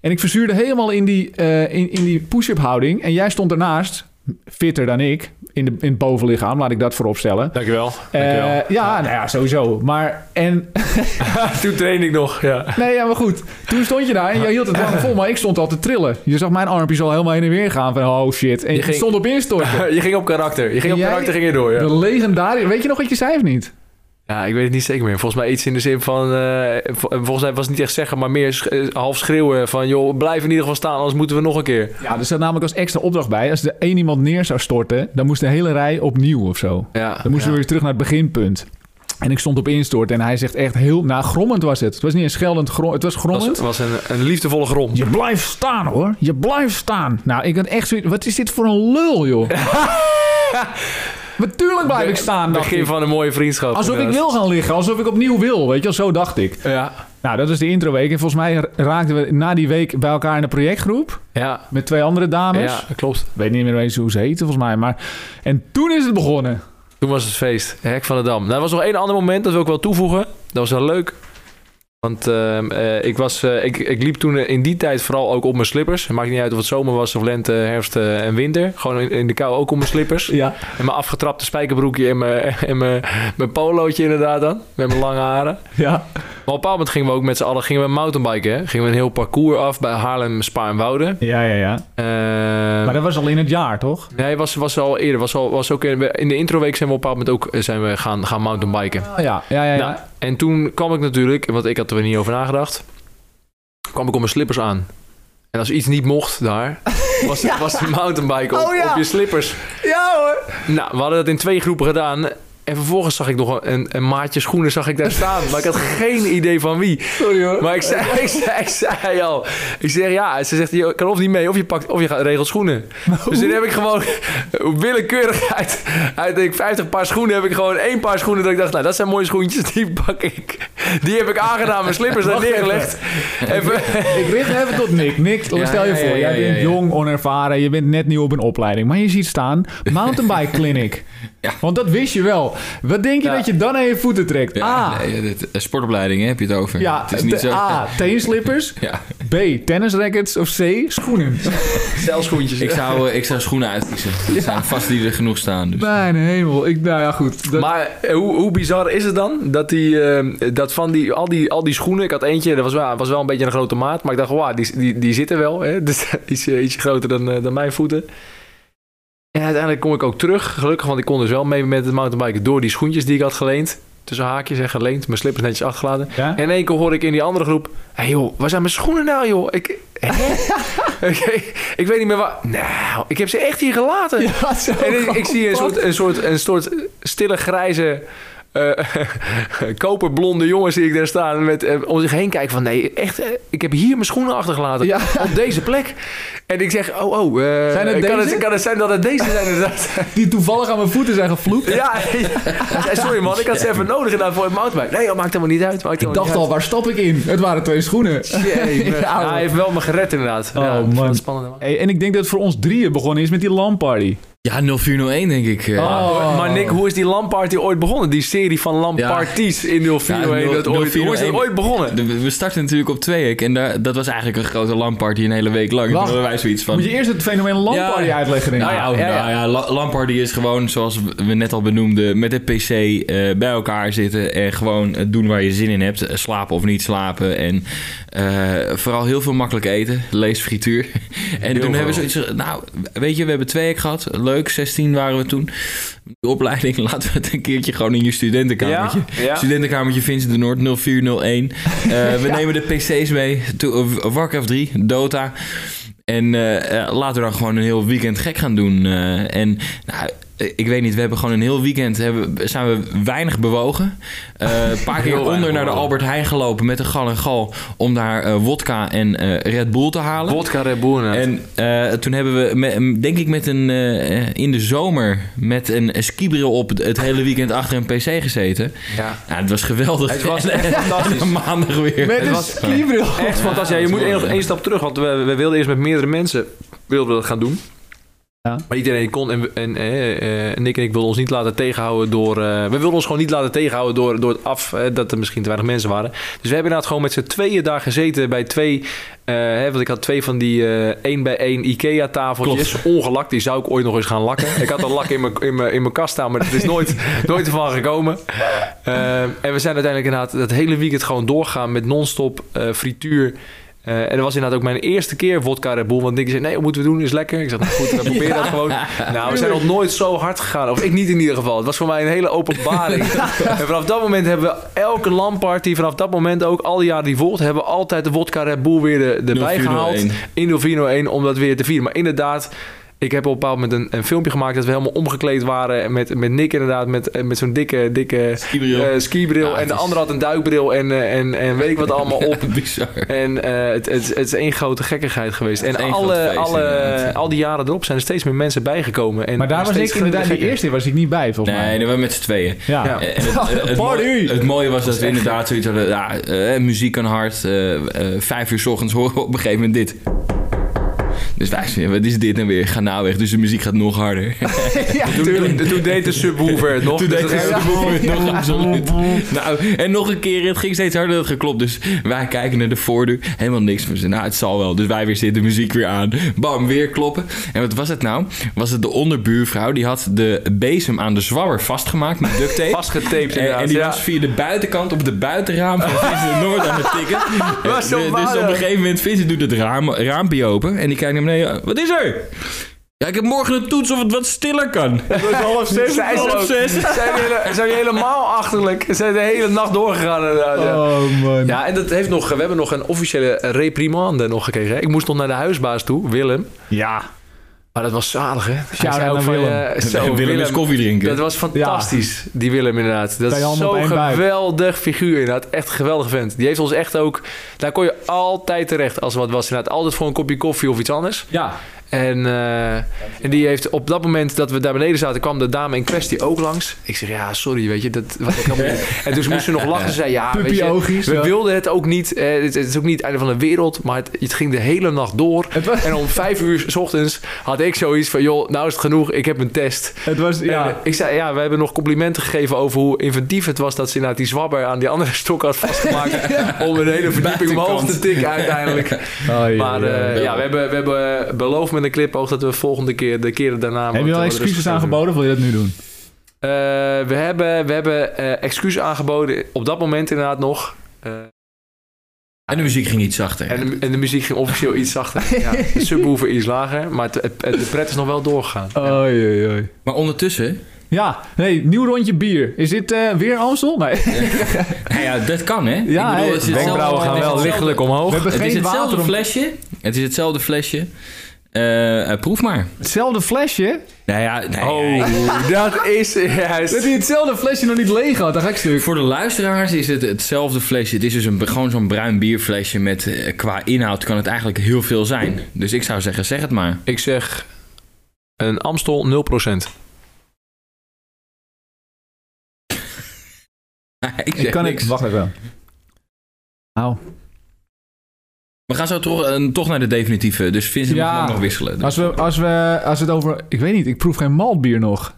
En ik verzuurde helemaal in die, eh, in, in die push-up houding. En jij stond ernaast, fitter dan ik, in, de, in het bovenlichaam. Laat ik dat vooropstellen.
dankjewel.
Eh,
dankjewel.
ja, nou ja, sowieso. Maar, en,
<laughs>
<laughs>
Toen train ik nog, ja. <laughs>
nee, ja, maar goed. Toen stond je daar en jij hield het lang vol, maar ik stond al te trillen. Je zag mijn armpjes al helemaal heen en weer gaan van, oh shit. En
Je
je
ging-
stond op instorten. <laughs>
Je ging op karakter. Je ging op
Jij-
karakter, ging je door, ja.
De legendarische... Weet je nog wat je zei of niet?
Ja, ik weet het niet zeker meer. Volgens mij iets in de zin van... eh, vol- volgens mij was het niet echt zeggen, maar meer sch- eh, half schreeuwen van... joh, blijf in ieder geval staan, anders moeten we nog een keer.
Ja, er staat namelijk als extra opdracht bij. Als er één iemand neer zou storten, dan moest de hele rij opnieuw of zo.
Ja,
Dan moesten we weer terug naar het beginpunt. En ik stond op instorten en hij zegt echt heel... Nou, grommend was het. Het was niet een scheldend grom, Het was
was,
grommend.
was een, een liefdevolle grond.
Je blijft <laughs> staan hoor. Je blijft staan. Nou, ik had echt zoiets. Wat is dit voor een lul, joh? Natuurlijk blijf ik staan. dacht
Begin
ik.
van een mooie vriendschap.
Alsof ik
inderdaad.
wil gaan liggen, alsof ik opnieuw wil. Weet je wel, zo dacht ik.
Ja.
Nou, dat is de introweek. En volgens mij raakten we na die week bij elkaar in een projectgroep.
Ja.
Met twee andere dames.
Ja, klopt.
Ik weet niet meer eens hoe ze heten, volgens mij. Maar... En toen is het begonnen.
Toen was het feest. Hek van de Dam. Nou, er was nog één ander moment, dat wil ik wel toevoegen. Dat was wel leuk. Want ehm, eh, ik, was, eh, ik, ik liep toen eh, in die tijd vooral ook op mijn slippers. Het maakt niet uit of het zomer was of lente, herfst eh, en winter. Gewoon in, in de kou ook op mijn slippers.
Ja.
En mijn afgetrapte spijkerbroekje en mijn, <laughs> en mijn, mijn polootje inderdaad dan. Met mijn lange haren.
Ja.
Maar op een bepaald moment gingen we ook met z'n allen gingen we mountainbiken. Hè? Gingen we een heel parcours af bij Haarlem, Spa en Wouden.
Ja, ja, ja.
Eh,
Maar dat was al in het jaar, toch?
Nee, was, was al eerder. Was al, was ook in, in de introweek zijn we op een bepaald moment ook eh, zijn we gaan, gaan mountainbiken.
Oh, ja, ja, ja. ja.
Nou, en toen kwam ik natuurlijk, want ik had er niet over nagedacht, kwam ik op mijn slippers aan. En als iets niet mocht daar, was, was de mountainbike op,
Oh ja.
op je slippers.
ja hoor.
Nou, we hadden dat in twee groepen gedaan. En vervolgens zag ik nog een, een maatje schoenen zag ik daar staan. Maar ik
<laughs>
had geen idee van wie.
Sorry hoor.
Maar ik
<laughs>
zei, ik zei, ik zei al. Ik zeg ja. Ze zegt, je kan of niet mee, of je, pakt, of je gaat regelt schoenen. Dus toen heb ik gewoon <laughs> willekeurig uit, uit denk ik, 50 paar schoenen... heb ik gewoon één paar schoenen dat ik dacht... nou, dat zijn mooie schoentjes, <laughs> die pak ik. Die heb ik aangedaan, mijn slippers daar
<laughs> Wacht even.
neergelegd. Even,
Ik richt even tot Nick. Nick,
Ja,
stel je
ja, ja,
voor,
ja,
jij
ja,
bent
ja.
jong, onervaren, je bent net nieuw op een opleiding. Maar je ziet staan, mountainbike clinic.
<laughs> Ja.
Want dat wist je wel. Wat denk je
Ja.
dat je dan aan je voeten trekt?
Ja,
A,
nee, dit- eh, sportopleiding hè, heb je het over.
Ah. ja, ah.
het is niet
te-
zo.
A, teenslippers.
<laughs> Ja.
B, tennisrackets. Of C,
<laughs>
schoenen.
<laughs> zelfschoentjes.
Ik, zou, eh, ik zou schoenen uitkiezen. Er zijn vast die er genoeg staan. Dus.
Mijn hemel. Ik, nou ja, goed. <laughs> Dat-
Maar eh, hoe, hoe bizar is het dan dat, die, eh, dat van die, al, die, al die schoenen... Ik had eentje, dat was wel, was wel een beetje een grote maat. Maar ik dacht, wauw, die, die, die zitten wel. Hè? <laughs> Dus iets, eh, ietsje groter dan, eh, dan mijn voeten. En uiteindelijk kom ik ook terug. Gelukkig, want ik kon dus wel mee met het mountainbiken... door die schoentjes die ik had geleend. Tussen haakjes en geleend. Mijn slippers netjes afgeladen.
ja?
En in één keer hoor ik in die andere groep... Hé joh, waar zijn mijn schoenen nou joh? Ik,
<laughs>
hè? ik, ik weet niet meer waar... Nou, ik heb ze echt hier gelaten.
Ja, zo
En ik, ik zie een
grappig.
soort, een, soort, een soort stille grijze... eh, <laughs> koperblonde jongen zie ik daar staan met eh, om zich heen kijken van nee echt eh, ik heb hier mijn schoenen achtergelaten
Ja.
op deze plek en ik zeg oh oh eh,
Zijn het
kan,
deze?
het, kan het zijn dat het deze zijn
<laughs>
inderdaad
Die toevallig aan mijn voeten zijn gevloekt.
ja, ja. Hij zei, sorry man ik had ze even nodig gedaan voor het mountainbike nee dat maakt helemaal niet uit maakt
Ik dacht al,
helemaal
waar stap ik in? Het waren twee schoenen.
niet uit. Jee,
<laughs> Ja,
ja, hij heeft wel me gered inderdaad
Oh,
ja, ik vond
man.
het spannend
Hey, en ik denk dat het voor ons drieën begonnen is met die LAN-party.
Ja, 0401 denk ik. eh.
Oh.
Maar Nick, hoe is die Lamparty ooit begonnen? Die serie van Lamparties in 0401.
Ja,
dat ooit, hoe is dat
0401.
ooit begonnen?
De- We starten natuurlijk op Tweeëk en daar, dat was eigenlijk een grote lamparty een hele week lang. Toen
Wacht.
hadden wij zoiets van...
Moet je eerst het fenomeen LAN-party
Ja.
uitleggen, denk ik.
Nou ja, nou
ja,
ja,
ja.
la- lamparty is gewoon, zoals we net al benoemden, met de pc eh, bij elkaar zitten en gewoon eh, doen waar je zin in hebt. Eh, Slapen of niet slapen en eh, vooral heel veel makkelijk eten. Lees frituur. <laughs> en
veel.
toen hebben we zoiets ge- nou weet je, we hebben Tweeëk gehad. Leuk, 16 waren we toen. De opleiding, <laughs> laten we het een keertje gewoon in je studentenkamertje.
Ja, ja.
Studentenkamertje Vincent de Noord
<laughs>
0401. Eh, we nemen de PC's mee. To, uh, Warcraft 3, Dota. En eh, eh, laten we dan gewoon een heel weekend gek gaan doen. Eh, en nou, eh, ik weet niet, we hebben gewoon een heel weekend hebben, zijn we weinig bewogen.
<laughs>
Eh, Een paar keer
Heel weinig
onder naar de
bewogen.
Albert Heijn gelopen met de gal en gal. Om daar eh, wodka en eh, Red Bull te halen.
Vodka Red Bull inderdaad.
En eh, toen hebben we, me- denk ik, met een, eh, eh, in de zomer met een skibril op het, het hele weekend achter een pc gezeten.
ja.
Ja, het was geweldig.
Het was
<laughs> En-
echt fantastisch.
en maandag weer.
Met
Het
een
was-
skibril.
Echt fantastisch. Ja, je
dat
moet
is mooi,
één, nog
ja.
één stap terug, want we, we wilden eerst met meerdere mensen wilden we dat gaan doen.
Ja.
Maar iedereen kon en, we- en eh, eh, Nick en ik wilden ons niet laten tegenhouden door... eh, we wilden ons gewoon niet laten tegenhouden door, door het af eh, dat er misschien te weinig mensen waren. Dus we hebben inderdaad gewoon met z'n tweeën daar gezeten bij twee... eh, hè, want ik had twee van die eh, één bij één Ikea tafeltjes. Ongelakt, die zou ik ooit nog eens gaan lakken. ik had al lak in mijn- in mijn in mijn kast staan, maar dat is nooit, nooit ervan gekomen. Eh, en we zijn uiteindelijk inderdaad dat hele weekend gewoon doorgaan met non-stop eh, frituur... Eh, en dat was inderdaad ook mijn eerste keer vodka Red Bull. Want Nick zei, nee, wat moeten we doen? Is lekker. Ik zei, nou goed, dan probeer dat gewoon. Nou, we zijn nog nooit zo hard gegaan. Of ik niet in ieder geval. Het was voor mij een hele openbaring. en vanaf dat moment hebben we elke lamparty... vanaf dat moment ook, al die jaren die volgt... hebben we altijd de vodka Red Bull weer er- erbij
0401.
gehaald. In 0401, om dat weer te vieren. Maar inderdaad... Ik heb op een bepaald moment een, een filmpje gemaakt dat we helemaal omgekleed waren. Met, met Nick inderdaad, met, eh, met zo'n dikke, dikke
Skibril.
eh, skibril.
Ja,
en
het
de
is-
ander had een duikbril en, eh, en, en weet ik wat allemaal <laughs> op.
<laughs> Bizar.
En eh, het, het, het is één grote gekkigheid geweest.
Het is
En
één groot
alle,
feest,
alle,
inderdaad.
al die jaren erop zijn er steeds meer mensen bijgekomen. En
Maar daar
nog
was
steeds
ik inderdaad, die
gekker.
eerste was ik niet bij, volgens
Nee,
mij.
we waren met z'n tweeën.
<laughs> Ja.
Ja.
Eh, en het, het, het
Party!
mooie, het mooie was dat
is
we
echt
inderdaad zoiets hadden. Ja, eh, muziek aan hart. eh, eh, vijf uur s ochtends horen we op een gegeven moment dit. Dus wij zeggen, wat is dit en weer? Ga nou weg. Dus de muziek gaat nog harder.
Ja,
Toen, toen, toen deed de subwoofer
<laughs>
het nog.
Toen
Dus
deed
dat-
het subwoofer het nog, absoluut. <laughs> Nou, en nog een keer, het ging steeds harder, dat geklopt. Dus wij kijken naar de voordeur, helemaal niks. We zeiden, nou, het zal wel. Dus wij weer zitten, muziek weer aan. Bam, weer kloppen. En wat was het nou? Was het de onderbuurvrouw, die had de bezem aan de zwabber vastgemaakt met
<laughs>
duct tape.
Vastgetaped
En,
inderdaad.
en die
ja.
was via de buitenkant op de buitenraam van Vincent Noord aan het
<laughs>
tikken.
Was zo
dus
waardig.
op een gegeven moment, Vincent doet het raam, raampje open en die kijkt naar beneden. Wat is er? Ja, ik heb morgen een toets of het wat stiller kan.
Het was half zes.
Zij is ook-
Zijn jullie, zijn jullie helemaal achterlijk? Ze zijn de hele nacht doorgegaan inderdaad. Ja.
Oh, man.
Ja, en dat heeft nog, we hebben nog een officiële reprimande nog gekregen. hè. Ik moest nog naar de huisbaas toe, Willem.
Ja.
Maar dat was zalig, hè? Hij
Shout-out
zei ook
naar
van,
Willem.
eh,
<laughs>
zo,
Willem, is koffie drinken.
Dat was fantastisch, die Willem inderdaad. Dat
Kan
is
je allemaal
zo'n
op één buik.
geweldig figuur inderdaad. Echt een geweldige vent. Die heeft ons echt ook... Daar kon je altijd terecht als er wat was inderdaad. Altijd voor een kopje koffie of iets anders.
Ja.
En, eh, en die heeft op dat moment dat we daar beneden zaten... kwam de dame in kwestie ook langs. Ik zeg, ja, sorry, weet je. Dat, wat ik allemaal niet. En toen moest ze nog lachen. Ze zei, ja, weet je...
Puppy-oogjes.
We wilden het ook niet. eh, het, het is ook niet het einde van de wereld. Maar het, het ging de hele nacht door.
Het was,
En om vijf uur s ochtends had ik zoiets van... joh, nou is het genoeg. Ik heb een test.
het was,
En
ja.
ik zei, ja, we hebben nog complimenten gegeven over hoe inventief het was dat ze inderdaad die zwabber aan die andere stok had
<laughs>
vastgemaakt. Om een hele verdieping
Buitenkant.
omhoog te tikken uiteindelijk. Maar eh, ja,
ja.
we hebben, we hebben beloofd met een clipoog dat we volgende keer, de keren daarna...
Heb je
wat- dus
al
wat
excuses
rustiger doen.
aangeboden of wil je dat nu doen?
Eh, we hebben, we hebben eh, excuses aangeboden, op dat moment inderdaad nog. Eh,
En de muziek ging iets zachter.
en, de, en de muziek ging officieel iets zachter. Ja, de subwoofer iets lager, maar het, het- de pret is nog wel doorgegaan.
Oei, oei, oei.
Maar ondertussen,
Ja, nee, nieuw rondje bier. Is dit eh, weer Amstel? Nee.
nou ja, dat kan hè.
Ja, hè,
het is hetzelfde-
Wenkbrauwen gaan
het is
wel
hetzelfde-
lichtelijk omhoog.
We hebben
Het is
geen
hetzelfde
water om...
flesje. Het is hetzelfde flesje. Eh, eh, proef maar.
Hetzelfde flesje?
Nou ja, nee, ja,
Oh, dat is
Dat
juist...
hij hetzelfde flesje nog niet leeg had, dan ga ik stuk.
Voor de luisteraars is het hetzelfde flesje. Het is dus een, gewoon zo'n bruin bierflesje met eh, qua inhoud kan het eigenlijk heel veel zijn. Dus ik zou zeggen, zeg het maar. <laughs>
Ik zeg een Amstel 0%.
ik zeg
Ik kan
niks.
niks. Wacht even. Nou,
We gaan zo toch, eh, toch naar de definitieve. Dus Vincent
Ja. Nou,
mag ook nog wisselen.
als we, als we als het over... Ik weet niet, ik proef geen maltbier nog.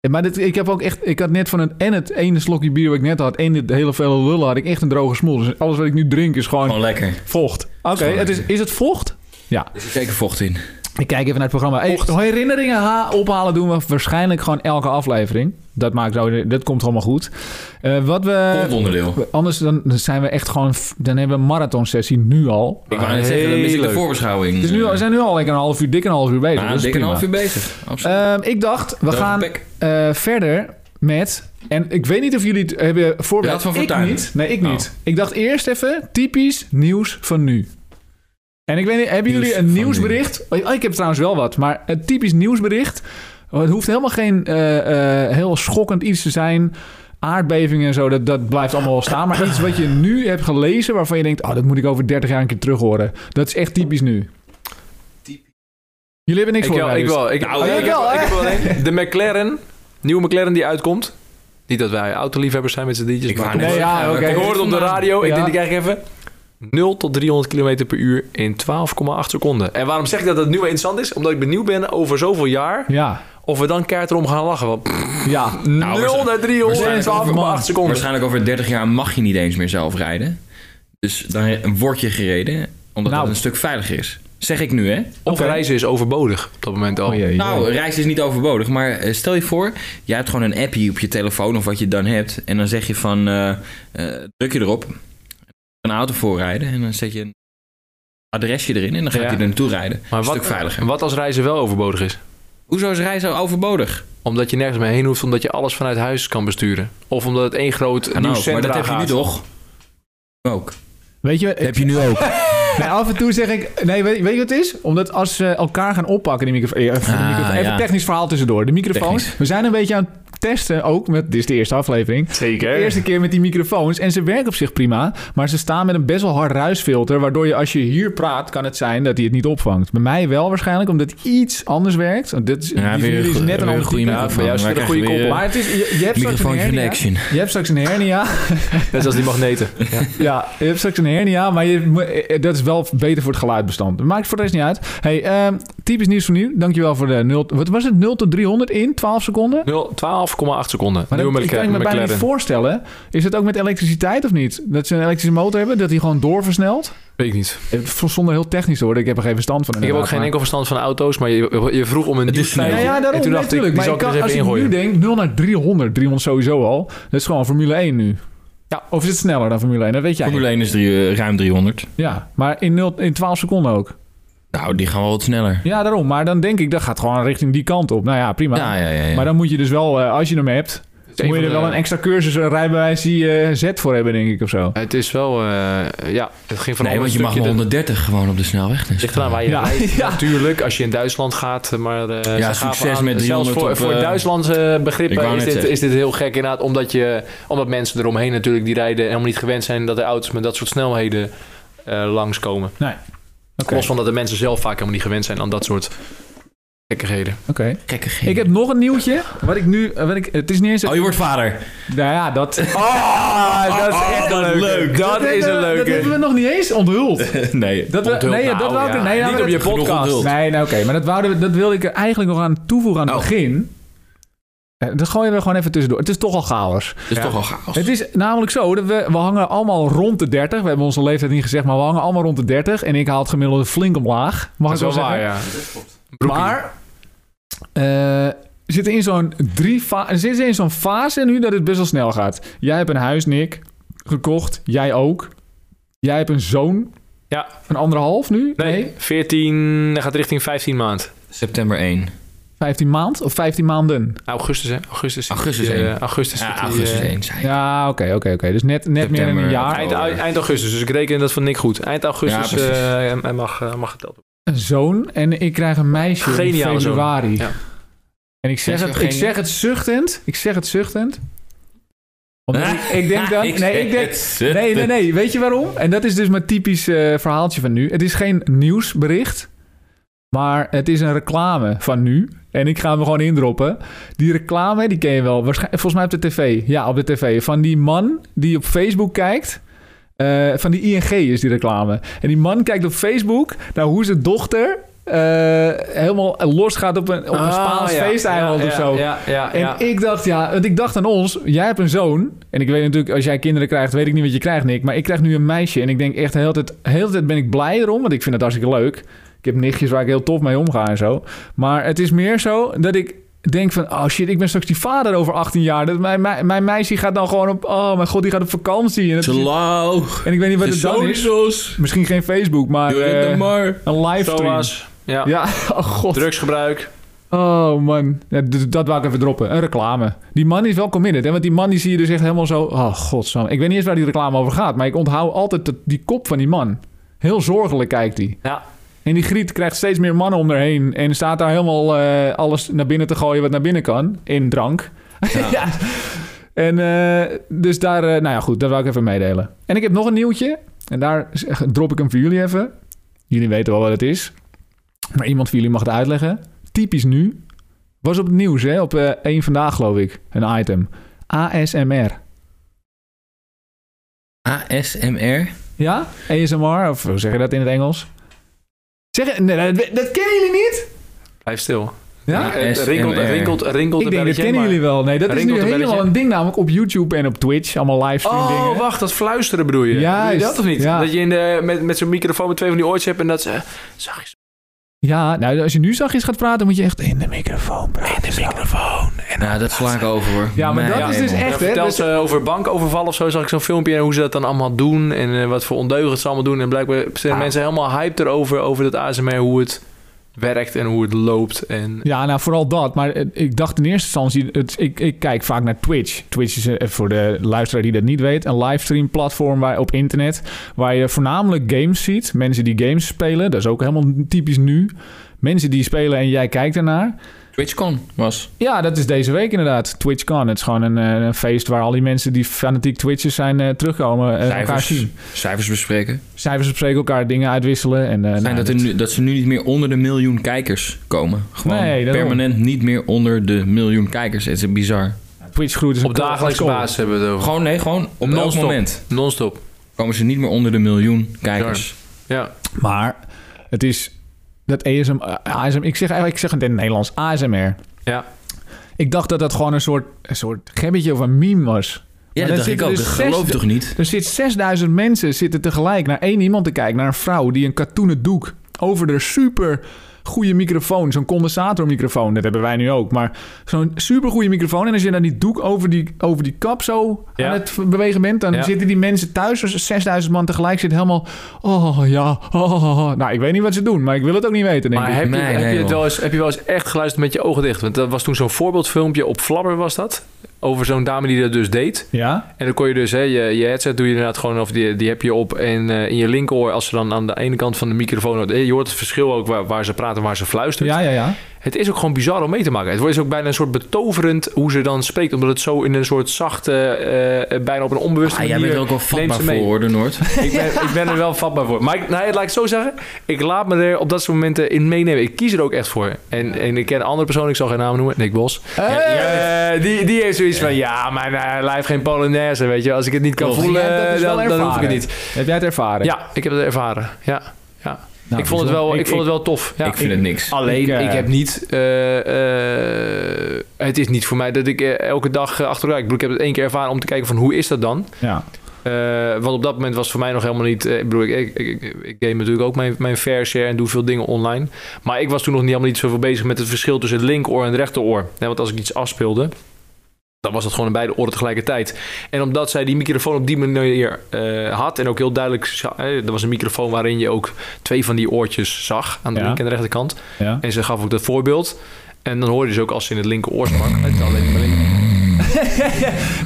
Eh, Maar dit, ik heb ook echt... Ik had net van een en het ene slokje bier wat ik net had... en dit hele vele lullen had ik echt een droge smoel. Dus alles wat ik nu drink is gewoon
Gewoon lekker.
vocht. Oké,
Gewoon
het is, is het vocht?
Er zit zeker vocht in.
Ik kijk even naar het programma. Hey, herinneringen ha- ophalen doen we waarschijnlijk gewoon elke aflevering. Dat maakt zo... Dat komt allemaal goed. Eh, wat we...
Komt onderdeel.
Anders dan zijn we echt gewoon... Dan hebben we een marathonsessie nu al.
Ik wou net zeggen, dan mis ik
Heel
de
leuk.
voorbeschouwing.
Dus nu, al- we zijn nu al lekker een half uur, dik een half uur bezig.
Ah,
dat is
dik een
prima.
half uur bezig. Absoluut.
Ehm, ik dacht, we
Droge
gaan
pek.
eh, verder met... En ik weet niet of jullie het hebben voorbereid.
Rad van
ik
Fortuin.
niet. Nee, ik
Oh.
niet. Ik dacht eerst even typisch nieuws van nu. En ik weet niet, hebben
Nieuws
jullie een
van
nieuwsbericht? Oh, ik heb trouwens wel wat, maar een typisch nieuwsbericht. Oh, Het hoeft helemaal geen eh, eh, heel schokkend iets te zijn. Aardbevingen en zo, dat, dat blijft allemaal wel staan. Maar iets wat je nu hebt gelezen waarvan je denkt... oh, dat moet ik over 30 jaar een keer terug horen. Dat is echt typisch nu. Jullie hebben niks
Ik wel,
voorbereid,
ik
dus-
wel. Ik,
Nou,
ik,
ik wel,
heb,
hè?
ik heb wel een. De McLaren, nieuwe McLaren die uitkomt. Niet dat wij autoliefhebbers zijn met z'n dientjes,
Ik
maar
wou net
Nee, ja,
zeggen, we
oké.
ik
kunnen-
hoorde het op de radio, ik
nou, Ja.
denk ik eigenlijk even... 0 tot 300 km per uur in 12,8 seconden. En waarom zeg ik dat dat nu wel interessant is? Omdat ik benieuwd ben over zoveel jaar
Ja,
of we dan keihard erom gaan lachen. Want pff,
ja.
Nou.
Nou,
0 naar 300 in
waarschijnlijk over-
12,8 seconden.
Waarschijnlijk over 30 jaar mag je niet eens meer zelf rijden. Dus dan word je gereden, omdat
Nou.
het een stuk veiliger is. Zeg ik nu, hè?
Of
Oké.
reizen is overbodig op dat moment al.
Oh, jee,
Nou,
jee.
reis is niet overbodig, maar eh, stel je voor, jij hebt gewoon een appje op je telefoon of wat je dan hebt. En dan zeg je van, eh, eh, druk je erop, een auto voorrijden en dan zet je een adresje erin en dan gaat
Ja.
hij er naartoe rijden.
Maar
een
wat,
stuk veiliger.
wat als reizen wel overbodig is?
Hoezo is reizen overbodig?
Omdat je nergens mee heen hoeft, omdat je alles vanuit huis kan besturen. Of omdat het één groot
Ah, nou, maar
nieuwscentra
dat heb je nu
gaat.
toch? Ook.
Weet je,
heb je nu ook.
<laughs> Nee, af en toe zeg ik... Nee, weet, weet je wat het is? Omdat als ze elkaar gaan oppakken, die microfoon... eh, Even, de
Ah,
microfoon- even
ja.
technisch verhaal tussendoor. De microfoons.
Technisch.
We zijn een beetje aan het testen ook. Met, dit is de eerste aflevering.
Zeker.
De eerste keer met die microfoons. En ze werken op zich prima. Maar ze staan met een best wel hard ruisfilter. Waardoor je als je hier praat, kan het zijn dat hij het niet opvangt. Bij mij wel waarschijnlijk, omdat het iets anders werkt. Want Dit is, die
Ja,
van
weer
jullie is
een
net een ander
goede
type.
Ja, voor
microfoon.
jou is
Wij
weer een goede
krijgen weer,
Maar het is, je, je hebt straks een
Microfoontje in
hernia.
action.
Je hebt straks een hernia. <laughs>
Net als die magneten.
Ja, je hebt straks een hernia, maar je, mo- eh, dat is wel beter voor het geluidbestand. Maakt voor de rest niet uit. Hey, ehm, typisch nieuws van nu. Dankjewel voor de 0... Wat was het? 0 tot 300 in 12 seconden?
0, 12,8 seconden.
Maar
Nieuwe
dat, ik
McLaren.
kan me bijna niet voorstellen. Is het ook met elektriciteit of niet? Dat ze een elektrische motor hebben, dat die gewoon doorversnelt?
Weet ik niet.
Eh, Zonder heel technisch te worden, ik heb er geen verstand van.
Ik heb ook
inderdaad,
geen
maar-
enkel verstand van auto's, maar je, je vroeg om een
Het
nieuw
is snel.
feitje.
Ja, ja,
en
daarom
toen dacht ik,
natuurlijk.
die
Maar
zal
ik
ik er
kan,
eens
als
even
ik nu
ingooien.
denk, 0 naar 300, 300 sowieso al. Dat is gewoon Formule 1 nu. Ja, of is het sneller dan Formule 1? Dat weet jij.
Formule 1 is drie, eh, ruim 300.
Ja, maar in, 0, in 12 seconden ook.
Nou, die gaan wel wat sneller.
Ja, daarom. Maar dan denk ik, dat gaat gewoon richting die kant op. Nou ja, prima.
Ja, ja, ja. ja.
Maar dan moet je dus wel, eh, als je hem hebt,
een
moet je er
van
wel
de-
een extra cursus een rijbewijs die eh, Z voor hebben, denk ik, of zo.
Het is wel, eh, ja, het ging van
nee, want je mag maar 130 gewoon op de snelweg. Dus.
Ligt eraan waar je
Ja,
<laughs>
rijdt.
ja.
Natuurlijk, als je in Duitsland gaat. Maar eh, ze gaven
succes
aan-
met
Zelfs
300
voor,
op,
voor
eh,
Duitslandse
ik
begrippen
wou
is
net
dit,
zeggen.
is dit heel gek inderdaad. Omdat, je, omdat mensen eromheen natuurlijk die rijden... helemaal niet gewend zijn dat de auto's met dat soort snelheden eh, langskomen.
Nee. Oké.
Los van dat de mensen zelf vaak helemaal niet gewend zijn aan dat soort gekkigheden.
Oké.
Kijk,
Ik heb nog een nieuwtje. Wat ik nu. eh, Wat ik, het is niet eens.
Oh, je wordt vader.
Nou ja, <laughs> dat.
Ah,
dat is echt een leuke.
Dat is een
hebben we- Oh, Dat
leuke.
hebben we nog niet eens onthuld.
nee.
Dat we,
Onthuld,
<laughs> nee,
nou,
dat wou ik.
ja.
Nee, nou,
Niet
maar
op je
dat-
genoeg
podcast.
onthuld.
Nee, nou, oké. maar dat, wouden we, dat wilde ik er eigenlijk nog aan toevoegen aan het
Oh.
begin. Eh, Dat gooien we gewoon even tussendoor. Het is toch al chaos.
Dat is toch al chaos.
Het is namelijk zo dat we, we hangen allemaal rond de 30. We hebben onze leeftijd niet gezegd, maar we hangen allemaal rond de 30. En ik haal het gemiddelde flink omlaag. Mag
Dat
ik
is
wel
wel
zeggen?
waar, ja.
Maar eh, zit er in zo'n drie fa- er zit in zo'n fase nu dat het best wel snel gaat. Jij hebt een huis, Nick, gekocht. Jij ook. Jij hebt een zoon.
Ja.
Een anderhalf nu?
Nee, 14, dat gaat richting 15 maand.
September 1.
15 maand of 15 maanden?
Augustus, hè? Augustus.
Augustus
Eh,
één.
augustus.
Ja,
wordt die,
augustus
eh,
1 zijn.
Ja, oké, oké, oké. Dus net, net meer dan een
September,
jaar.
Eind,
oktober.
eind- eind augustus, dus ik reken dat van Nick goed. Eind augustus
Ja, precies.
eh, en en mag, eh, mag geteld worden.
Een zoon en ik krijg een meisje
Geniale
in
zoon.
februari.
Ja.
En ik zeg,
Is er
het,
geen-
ik zeg het zuchtend. Ik zeg het zuchtend. Omdat
<laughs>
ik, ik
<laughs>
denk dan... Nee, ik denk... Nee, nee, nee. Weet je waarom? En dat is dus mijn typisch eh, verhaaltje van nu. Het is geen nieuwsbericht, maar het is een reclame van nu. En ik ga hem gewoon indroppen. Die reclame, die ken je wel. Waarschijn- volgens mij op de tv. Ja, op de tv. Van die man die op Facebook kijkt. Eh, van die ING is die reclame. En die man kijkt op Facebook naar hoe zijn dochter eh, helemaal los gaat op een, op een Spaans feesteiland
Ah, ja,
of zo.
Ja, ja,
En
ja.
ik dacht, ja, want ik dacht aan ons. Jij hebt een zoon. En ik weet natuurlijk, als jij kinderen krijgt, weet ik niet wat je krijgt, Nick. Maar ik krijg nu een meisje. En ik denk echt, de hele tijd, de hele tijd ben ik blij erom. Want ik vind het hartstikke leuk. Ik heb nichtjes waar ik heel tof mee omga en zo. Maar het is meer zo dat ik denk van... Oh shit, ik ben straks die vader over 18 jaar. Dat mijn, mijn, mijn meisje gaat dan gewoon op... Oh mijn god, die gaat op vakantie. En, het-
Slow.
en ik weet niet wat
De
het dan
zoon
is.
is ons.
Misschien geen Facebook, maar
Doe het
eh,
dan maar.
een livestream.
Zoals, ja.
Ja, <laughs> oh god.
Drugsgebruik.
Oh man, ja, d- dat wou ik even droppen. Een reclame. Die man is wel committed, hè? want die man die zie je dus echt helemaal zo... Oh godsam, ik weet niet eens waar die reclame over gaat... maar ik onthoud altijd dat- die kop van die man. Heel zorgelijk kijkt hij.
Ja.
En die Griet krijgt steeds meer mannen om haar heen... en staat daar helemaal eh, alles naar binnen te gooien wat naar binnen kan. In drank. <laughs> Ja. En eh, dus daar... eh, nou ja, goed, dat wou ik even meedelen. En ik heb nog een nieuwtje. En daar z- drop ik hem voor jullie even. Jullie weten wel wat het is. Maar iemand van jullie mag het uitleggen. Typisch nu. Was op het nieuws, hè? Op eh, één 1 Vandaag, geloof ik. Een item. ASMR.
ASMR.
Ja? ASMR, of hoe zeg je dat in het Engels? Zeg je... Nee, dat, dat kennen jullie niet?
Blijf stil.
Ja?
Ja,
Eh,
SMR.
rinkelt, rinkelt, rinkelt
Ik
een
denk, dat
belletje,
kennen
maar-
jullie wel. Nee, dat is
Rinkelt
nu
een belletje.
helemaal een ding namelijk op YouTube en op Twitch. Allemaal livestream dingen.
Oh, wacht, dat fluisteren bedoel je?
Juist,
Doe je dat of niet?
ja.
Dat je in de, met, met zo'n microfoon met twee van die oortjes hebt en dat ze... Zachtjes.
Ja, nou, als je nu zachtjes gaat praten, moet je echt in de microfoon praten. In de microfoon.
Nou, dat sla ik over hoor.
Ja, maar
Mijn
dat is dus
hemel.
Ja,
echt, hè?
vertelt
Dus-
ze over bankoverval of zo, zag ik zo'n filmpje en hoe ze dat dan allemaal doen
Ah.
en eh, wat voor ondeugend ze allemaal doen. En blijkbaar zijn mensen helemaal hyped erover, over dat ASMR, hoe het werkt en hoe het loopt. En
Ja, nou vooral dat. Maar eh, ik dacht in eerste instantie, het, ik, ik kijk vaak naar Twitch. Twitch is eh, voor de luisteraar die dat niet weet, een livestream platform waar, op internet. Waar je voornamelijk games ziet. Mensen die games spelen, dat is ook helemaal typisch nu. Mensen die spelen en jij kijkt ernaar.
TwitchCon was.
Ja, dat is deze week inderdaad. TwitchCon. Het is gewoon een, eh, een feest waar al die mensen die fanatiek Twitchers zijn eh, terugkomen. en elkaar
Cijfers,
zien.
cijfers bespreken.
Cijfers bespreken elkaar, dingen uitwisselen. En, eh, nou,
Zijn dat, er nu, dat ze nu niet meer onder de miljoen kijkers komen. Gewoon
Nee, daarom.
permanent niet meer onder de miljoen kijkers. Het is bizar.
Twitch groeit is een
op dagelijkse
kool-
basis hebben we het over.
Gewoon, nee, gewoon op elk
Non-stop.
moment
Non-stop.
komen ze niet meer onder de miljoen kijkers.
Ja.
Maar het is dat ASM, eh, ASM, ik zeg eigenlijk, ik zeg het in het Nederlands, ASMR.
Ja.
Ik dacht dat dat gewoon een soort, een soort gebbetje of een meme was.
Ja,
Maar
dat
dan
dacht ik
zitten
ook.
dus
dat
zes-
geloof toch niet?
Er zit 6000 mensen zitten tegelijk naar één iemand te kijken, naar een vrouw die een katoenen doek over de super goede microfoon, zo'n condensatormicrofoon, dat hebben wij nu ook, maar zo'n super goede microfoon. En als je dan die doek over die, over die kap zo
Ja.
aan het bewegen bent, dan
Ja.
zitten die mensen thuis, als er 6000 man tegelijk zitten helemaal, oh ja, oh, oh, oh. nou ik weet niet wat ze doen, maar ik wil het ook niet weten. Denk
Maar
ik.
heb je,
Nee,
heb, je
nee,
het
man.
wel eens, heb je wel eens echt geluisterd met je ogen dicht? Want dat was toen zo'n voorbeeldfilmpje op Flabber was dat. Over zo'n dame die dat dus deed.
Ja?
En dan kon je dus, hè, je, je headset doe je inderdaad gewoon, of die, die heb je op. En eh, in je linkeroor, als ze dan aan de ene kant van de microfoon... hoort, eh, Je hoort het verschil ook waar, waar ze praten en waar ze fluistert.
Ja, ja, ja.
Het is ook gewoon bizar om mee te maken. Het wordt dus ook bijna een soort betoverend hoe ze dan spreekt. Omdat het zo in een soort zachte, eh, eh, bijna op een onbewuste
Ah, jij
manier...
bent er ook wel
neemt
vatbaar
ze
voor,
mee.
hoor, de Noord.
Ik ben, ik ben er wel vatbaar voor. Maar ik, nou, laat ik het zo zeggen. Ik laat me er op dat soort momenten in meenemen. Ik kies er ook echt voor. En, en ik ken een andere persoon, ik zal geen naam noemen. Nick Bos. Eh, die, die heeft zoiets van, ja, maar eh, hij lijf geen Polonaise, weet je. Als ik het niet kan
Klopt.
voelen, eh,
Ja, dat is wel
dan, dan hoef ik het
ervaren.
niet.
Heb jij het ervaren?
Ja, ik heb het ervaren. Ja, ja. ik vond, het wel, ik, vond het wel tof. Ja.
ik Ah. vind
Nou, ik-
het niks.
Alleen, ik,
Ik, eh,
heb niet... eh, eh, het is niet voor mij dat ik eh, elke dag eh, achteruit... Ik bedoel, ik heb het één keer ervaren om te kijken van hoe is dat dan?
Ja.
Eh, want op dat moment was het voor mij nog helemaal niet. eh, ik bedoel, ik, ik, ik, ik game natuurlijk ook mijn, mijn fair share en doe veel dingen online. Maar ik was toen nog niet helemaal niet zoveel bezig met het verschil tussen het linkeroor en het rechteroor. Nee, want als ik iets afspeelde, dan was dat gewoon in beide oren tegelijkertijd. En omdat zij die microfoon op die manier eh, had en ook heel duidelijk. za- eh, er was een microfoon waarin je ook twee van die oortjes zag aan de
Ja.
linker en de rechterkant.
ja.
En ze gaf ook dat voorbeeld. En dan hoorde je ze ook als ze in het linkeroor sprak. Het alleen maar linker.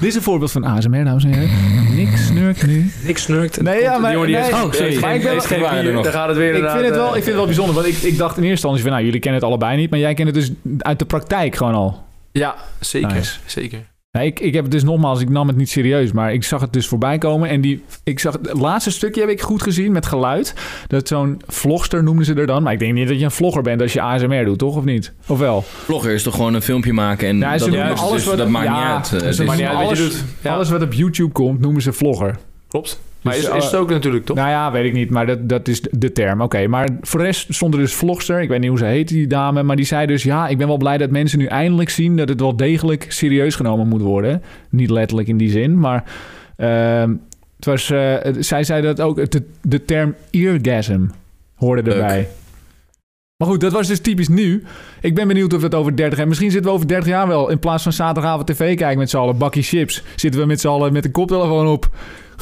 Dit is een voorbeeld van ASMR, dames en heren. Niks snurkt nu.
Niks snurkt.
Nee, ja, maar-
die
nee.
heeft-
Oh, sorry.
heeft
Maar ik ben
geen- heeft
wel-
geen
waren er
bier,
nog.
Dan gaat het weer
Ik vind, het wel, ik
inderdaad, eh,
vind het wel bijzonder, want ik, ik dacht in eerste instantie van... nou, jullie kennen het allebei niet, maar jij kent het dus uit de praktijk gewoon al.
Ja, zeker.
Nice.
Zeker.
Nee, ik, ik heb het dus nogmaals, ik nam het niet serieus, maar ik zag het dus voorbij komen. En die, ik zag, het laatste stukje heb ik goed gezien met geluid. Dat zo'n vlogster noemden ze er dan. Maar ik denk niet dat je een vlogger bent als je ASMR doet, toch? Of niet? Of wel?
Vlogger is toch gewoon een filmpje maken en
Ja, ze
dat,
noemen
juist,
alles
dus
wat-
dat maakt
ja,
niet uit. eh,
ze
dus-
Maar
noemen
niet uit wat je
alles-
doet. Ja,
Alles wat op YouTube komt, noemen ze vlogger.
klopt. Maar
Dus,
is,
eh,
is het ook natuurlijk, toch?
Nou ja, weet ik niet, maar dat, dat is de term. Oké, maar voor de rest stond er dus vlogster. Ik weet niet hoe ze heet, die dame. Maar die zei dus, ja, ik ben wel blij dat mensen nu eindelijk zien... dat het wel degelijk serieus genomen moet worden. Niet letterlijk in die zin, maar... ehm, het was, eh, het- zij zei dat ook, de, de term eargasm hoorde
Leuk.
erbij. Maar goed, dat was dus typisch nu. Ik ben benieuwd of dat over 30 jaar... Misschien zitten we over 30 jaar wel... in plaats van zaterdagavond tv kijken met z'n allen... bakje chips, zitten we met z'n allen met de koptelefoon op...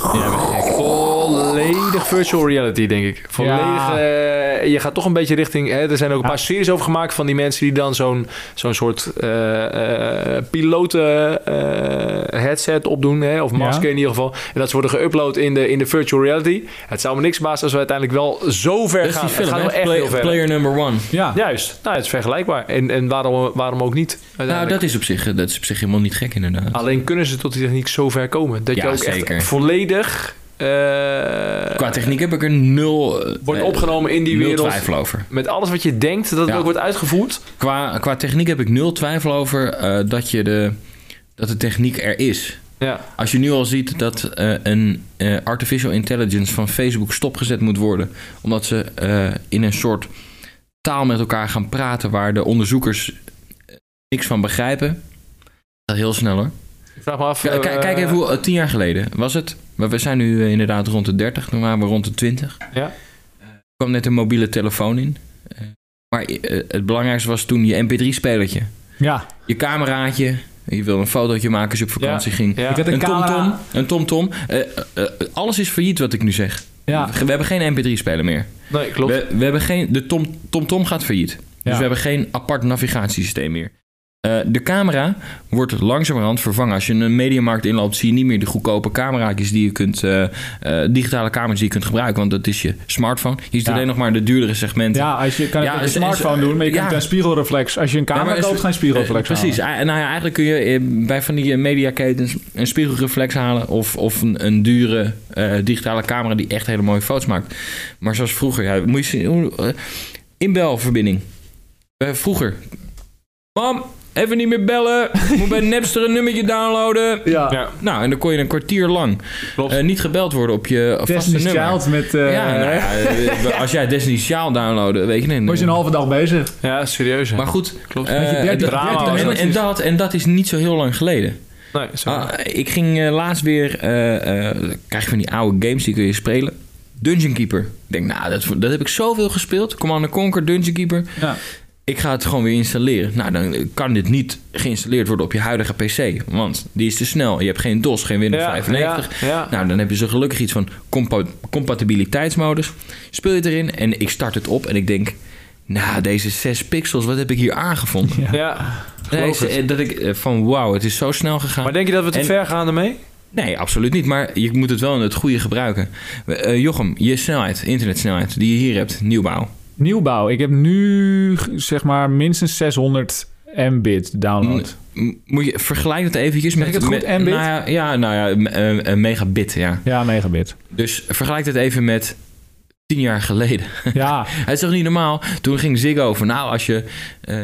nou-
Volledig virtual reality, denk ik. Volledig,
Ja.
eh, je gaat toch een beetje richting... Hè, er zijn ook een
Ja.
paar series over gemaakt van die mensen... die dan zo'n zo'n soort eh, eh, piloten eh, headset opdoen. Hè, of masker
Ja.
in ieder geval. En dat ze worden geüpload in de, in de virtual reality. Het zou me niks baas als we uiteindelijk wel zo ver
Dat is
gaan.
die film,
het gaat
hè?
wel echt
Play-
heel ver.
Player number one.
Ja,
Juist. Nou, het is vergelijkbaar. En, en waarom, waarom ook niet?
Nou,
uiteindelijk?
dat is, op zich, dat is op zich helemaal niet gek inderdaad.
Alleen kunnen ze tot die techniek zo ver komen dat
Ja,
je ook
zeker.
echt volledig eh,
Qua techniek heb ik er nul, eh,
wordt
eh,
opgenomen in die
nul
wereld.
twijfel over.
Met alles wat je denkt, dat het
Ja.
ook wordt uitgevoerd.
Qua, qua techniek heb ik nul twijfel over eh, dat, je de, dat de techniek er is.
Ja,
Als je nu al ziet dat eh, een eh, artificial intelligence van Facebook stopgezet moet worden, omdat ze eh, in een soort taal met elkaar gaan praten waar de onderzoekers eh, niks van begrijpen. Dat heel snel hoor.
ik vraag me af.
K-
eh,
kijk- kijk even hoe, eh, tien jaar geleden was het. Maar we zijn nu eh, inderdaad rond de 30, toen waren we rond de 20.
Ja.
Eh, Er kwam net een mobiele telefoon in. Eh, maar eh, het belangrijkste was toen je mp3-spelertje.
ja.
Je cameraatje. Je wilde een fotootje maken als je op vakantie ging.
ja.
Ik had een,
Een
camera.
tomtom. Een tomtom. Eh, eh, eh, alles is failliet wat ik nu zeg.
Ja.
We hebben geen mp3-speler meer.
Nee, klopt.
We, we hebben geen, de TomTom Tom Tom gaat failliet.
Ja.
Dus we hebben geen apart navigatiesysteem meer. Eh, de camera wordt langzamerhand vervangen. Als je een mediamarkt inloopt, zie je niet meer de goedkope cameraatjes die je kunt, eh, eh, digitale camera's die je kunt gebruiken, want dat is je smartphone. Je ziet
Ja.
alleen nog maar de duurdere segmenten.
Ja, als je kan het
Ja,
met je
is- is-
smartphone doen, maar je
ja.
kunt een spiegelreflex. Als je een camera
Ja, maar is-
koopt, geen spiegelreflex.
Eh, precies.
halen.
Eh, nou ja, eigenlijk kun je eh, bij van die eh, mediaketens een spiegelreflex halen of, of een, een dure eh, digitale camera die echt hele mooie foto's maakt. Maar zoals vroeger, ja, moet je zien, hoe- eh, inbelverbinding. Eh, vroeger. Mam, even niet meer bellen. Moet
<laughs>
bij Napster een nummertje downloaden.
Ja.
Ja,
Nou, en dan kon je een kwartier lang
klopt.
eh, niet gebeld worden op je vaste
Destiny's
nummer.
Child met... eh
Ja, nou
<laughs>
ja, eh, als jij Destiny's Child downloaden, weet je nee,
was je een halve dag bezig.
ja, serieus. hè.
Maar goed,
klopt.
eh,
Met je
het
13
drama
dertien
en, en,
nummertjes.
dat, en dat is niet zo heel lang geleden.
nee, sorry.
Ah, ik ging eh, laatst weer... eh, eh, krijg je van die oude games, die kun je spelen. Dungeon Keeper. Ik denk, nou, dat, dat heb ik zoveel gespeeld. Command Conquer, Dungeon Keeper.
Ja.
Ik ga het gewoon weer installeren. Nou, dan kan dit niet geïnstalleerd worden op je huidige PC. Want die is te snel. Je hebt geen DOS, geen Windows
Ja,
95.
ja, ja.
Nou, dan heb je zo gelukkig iets van compa- compatibiliteitsmodus. Speel je het erin en ik start het op en ik denk... Nou, deze 6 pixels, wat heb ik hier aangevonden?
Ja.
ja.
Nee,
geloof het.
eh, dat ik eh, van wauw, het is zo snel gegaan.
Maar denk je dat we te
En-
ver gaan ermee?
Nee, absoluut niet. Maar je moet het wel in het goede gebruiken. Eh, Jochem, je snelheid, internetsnelheid die je hier hebt, nieuwbouw.
Nieuwbouw. Ik heb nu zeg maar minstens 600 mbit download.
M- Moet je, vergelijk het eventjes met...
ik het goed,
met-
mbit?
Nou ja, ja, nou ja m- eh, eh, megabit, ja.
Ja,
<laughs>
megabit.
Dus vergelijk het even met tien jaar geleden. <laughs>
Ja,
Het is toch niet normaal? Toen ging Ziggo van, nou, als je eh,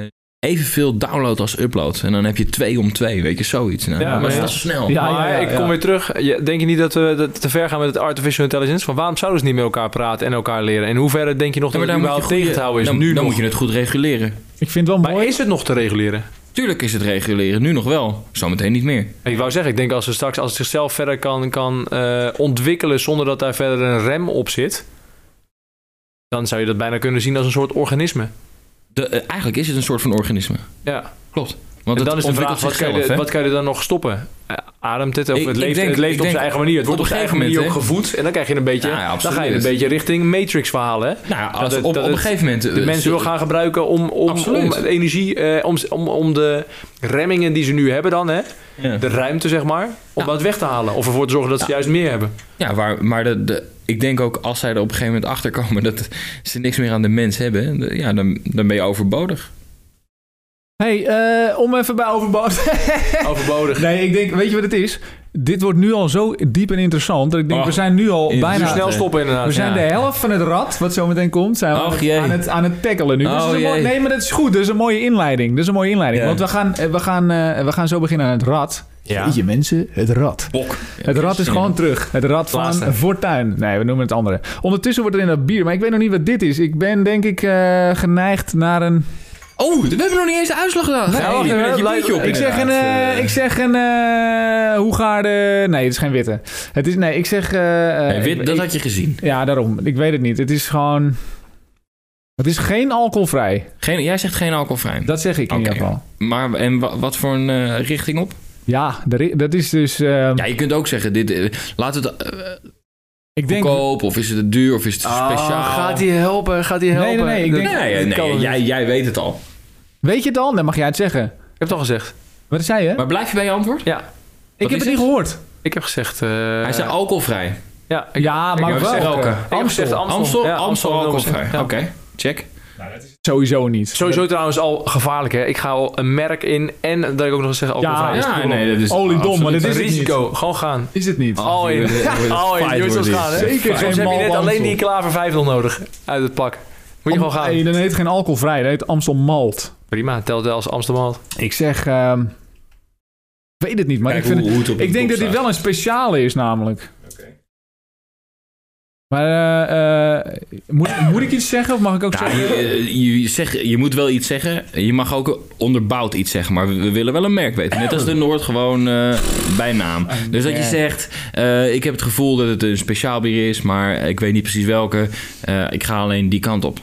evenveel download als upload... en dan heb je twee om twee, weet je, zoiets. Nou,
Ja,
dat was
maar ja.
wel snel.
Ja,
maar
ja, ja,
ik
ja.
kom weer terug. Je- Denk je niet dat we dat te ver gaan met het artificial intelligence? Van waarom zouden ze niet met elkaar praten en elkaar leren? En in hoeverre denk je nog
Ja,
dat
maar
het
dan moet, je
überhaupt tegen te
goede-
houden is?
dan,
nu
dan
nog.
moet je het goed reguleren.
ik vind het wel
Maar
mooi.
is het nog te reguleren?
Tuurlijk is het reguleren, nu nog wel. Zometeen niet meer.
Ik wou zeggen, ik denk als ze straks als het zichzelf verder kan, kan eh, ontwikkelen zonder dat daar verder een rem op zit, dan zou je dat bijna kunnen zien als een soort organisme.
De- eh, eigenlijk is het een soort van organisme.
Ja.
Klopt. Want
en
het
dan is de
ontwikkelt
vraag, wat kan,
zichzelf,
je,
hè?
wat kan je er dan nog stoppen? Eh, Ademt het of
Ik-
het
ik
leeft,
denk-
het leeft
ik
op
denk-
zijn eigen manier? Het wordt op
op een
zijn eigen
gegeven
manier ook
moment,
gevoed en dan krijg je een beetje,
Nou Ja, ja,
dan ga je een
absoluut.
beetje richting Matrix verhalen. Hè?
Nou ja, als-
dat het-
op,
dat
op een
het-
gegeven moment...
de
eh,
mensen wil gaan gebruiken om, om, om
Absoluut.
de energie, eh, om, om, om de remmingen die ze nu hebben dan, hè,
Ja. Nou.
de ruimte zeg maar, om
Ja.
dat weg te halen. Of ervoor te zorgen dat ze juist meer
<laughs>
hebben.
Ja, waar, maar de, de- ik denk ook als zij er op een gegeven moment achter komen dat ze niks meer aan de mens hebben, de- ja, dan, dan ben je overbodig.
hey, eh, om even bij overboord.
Overbodig.
nee, ik denk, weet je wat het is? Dit wordt nu al zo diep en interessant dat ik denk,
Oh,
we zijn nu al
in-
bijna...
Dus snel stoppen inderdaad.
We zijn
Oh, Ja.
de helft van het rad, wat zo meteen komt, zijn we
Och,
aan het-
jee.
aan, het, aan het tackelen nu. Dus
Oh,
dat is een mooi-
jee.
nee, maar dat is goed. Dat is een mooie inleiding. Dat is een mooie inleiding.
Ja.
Want we gaan, eh, we, gaan, eh, we gaan zo beginnen aan het rad.
Ja.
Jeetje mensen, het rad.
Bok.
Het rad is gewoon terug. Het rad van
Laatste.
Fortuin. Nee, we noemen het andere. Ondertussen wordt er in dat bier, maar ik weet nog niet wat dit is. Ik ben denk ik eh, geneigd naar een...
Oh, we hebben nog niet eens de uitslag gedaan.
Nee, wacht
je
even,
bent je
laat-
biertje op
Ik zeg een,
inderdaad.
eh, ik zeg een eh Hoegaarde... Nee, het is geen witte. Het is, nee, ik zeg... eh, eh,
Nee, wit,
ik-
dat
ik-
had je gezien.
Ja, daarom. Ik weet het niet. Het is gewoon... Het is geen alcoholvrij.
Geen, jij zegt geen alcoholvrij.
Dat zeg ik in
Oké.
ieder geval.
Maar en wa- wat voor een eh, richting op?
Ja, de ri- dat is dus... eh,
Ja, je kunt ook zeggen, dit, eh, laat het eh,
ik denk...
goedkoop, of is het te duur, of is het speciaal?
gaat hij helpen? Gaat hij helpen?
nee, nee, ik
Dat-
denk-
Nee, nee,
dat
nee,
kan niet.
jij, jij weet het al.
Weet je het al? Dan mag jij het zeggen.
Ik heb het al gezegd.
Wat zei je?
Maar blijf je bij je antwoord?
Ja,
ik heb
is
het niet
het?
gehoord.
ik heb gezegd... eh,
Hij zei alcoholvrij.
ja, ik,
Ja,
ik
maar
heb
wel.
gezegd-
welke?
eh,
Ik
Ik heb gezegd
Amstel.
Amstel.
Amstel,
Ja,
Amstel alcoholvrij.
Ja.
Oké, check.
Sowieso niet.
Sowieso trouwens al gevaarlijk, hè. Ik ga al een merk in en dat ik ook nog eens zeg alcoholvrij.
Ja,
is.
Ja, nee, dat is
Oliedom,
absoluut-
maar dit
Een
is het niet.
risico, gewoon gaan.
Is het niet?
Oh, je
<laughs>
Hier wordt-
<laughs>
hier wordt
oh,
fight
je
wordt
moet
dit.
gaan, hè?
Zeker geen
Soms heb je net
mal
alleen
Amstel.
die klaver 500 nodig uit het pak. Moet je gewoon gaan.
Nee, dan heet het geen alcoholvrij. Dat heet Amstel Malt.
Prima, telt wel als Amsterdam.
Ik zeg... ehm, weet het niet, maar
Kijk
ik vind...
hoe- hoe het op de
ik denk
top
dat dit
staat.
wel een speciale is namelijk. Maar eh, eh, moet, moet ik iets zeggen of mag ik ook
Ja,
zeggen?
je, eh, je, zeg, je moet wel iets zeggen. Je mag ook onderbouwd iets zeggen, maar we, we willen wel een merk weten. Net als de Noord gewoon eh, bij naam. Dus dat je
merk.
zegt, eh, ik heb het gevoel dat het een speciaal bier is, maar ik weet niet precies welke. Eh, ik ga alleen die kant op.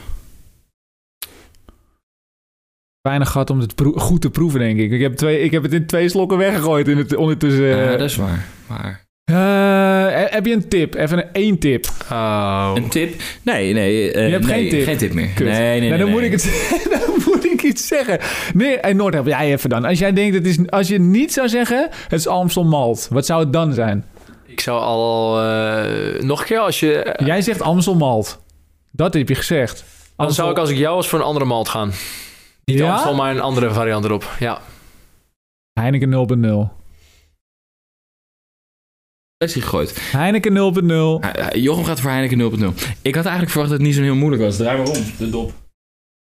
Weinig gehad om het proe- goed te proeven, denk ik. Ik heb, Eh, twee, ik heb het in twee slokken weggegooid in het, ondertussen.
Ja,
eh.
dat is waar. Maar
Eh, en, heb je een tip? Even een één tip.
Oh.
Een tip? Nee, nee. eh,
Je hebt
nee,
geen tip.
meer.
Kut.
Nee, nee, nee.
Nou, dan,
nee.
Moet ik het, <laughs> dan moet ik iets zeggen. Nee, en Noordheb, jij even dan. Als jij denkt, het is, als je niet zou zeggen, het is Amstel Malt. Wat zou het dan zijn?
Ik zou al... eh, nog een keer, als je... Dan
Jij zegt Amstel Malt. Dat heb je gezegd. Amstel-
zou ik als ik jou was voor een andere malt gaan. Niet
Ja?
Amstel, maar een andere variant erop. Ja.
Heineken 0.0.
Fles die gegooid.
Heineken 0.0.
Ah, ah, Jochem gaat voor Heineken 0.0. Ik had eigenlijk verwacht dat het niet zo heel moeilijk was. Draai maar om,
<laughs>
de dop.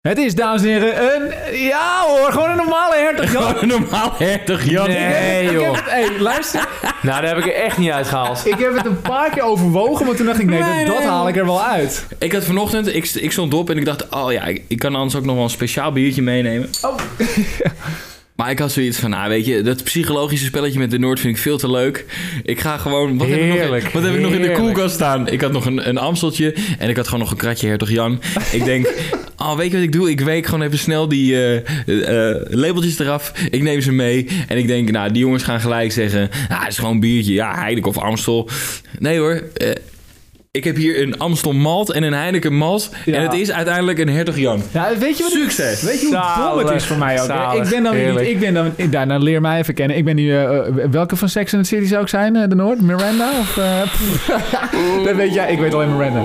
Het is, dames en heren, een... Ja hoor, gewoon een normale hertog Jan.
Gewoon een normaal hertog Jan.
Nee,
Ik heb
joh.
het- hey, luister.
Nou, daar heb ik er echt niet uitgehaald.
Ik heb het een paar keer overwogen, maar toen dacht ik, nee,
Nee,
dat, dat
nee.
haal ik er wel uit.
Ik had vanochtend, ik, st- ik stond op en ik dacht, oh ja, ik, ik kan anders ook nog wel een speciaal biertje meenemen.
Oh.
<laughs> Maar ik had zoiets van, nou weet je, dat psychologische spelletje met de Noord vind ik veel te leuk. Ik ga gewoon, wat heb ik nog,
Heerlijk,
in- wat heb ik nog in de
heerlijk.
koelkast staan? Ik had nog een, een Amsteltje en ik had gewoon nog een kratje Hertog Jan. Ik
<laughs>
denk, oh weet je wat ik doe? Ik week gewoon even snel die eh, eh, eh, labeltjes eraf. Ik neem ze mee en ik denk, nou die jongens gaan gelijk zeggen, nou het is gewoon een biertje, ja Heineken of Amstel. Nee hoor, eh, ik heb hier een Amstel malt en een Heineken malt.
Ja.
En het is uiteindelijk een Hertog Jan.
Ja, weet je wat
Succes.
Weet je hoe dom het
Zalig,
is voor mij ook? hè?
zalig,
ik ben dan weer niet...
heerlijk.
Ik ben dan, ik, nou, nou, leer mij even kennen. Ik ben nu... eh, eh, welke van Sex and the City zou ik zijn? eh, de Noord? Miranda? Of, eh, <laughs> pff. dat weet jij. Ik weet alleen Miranda.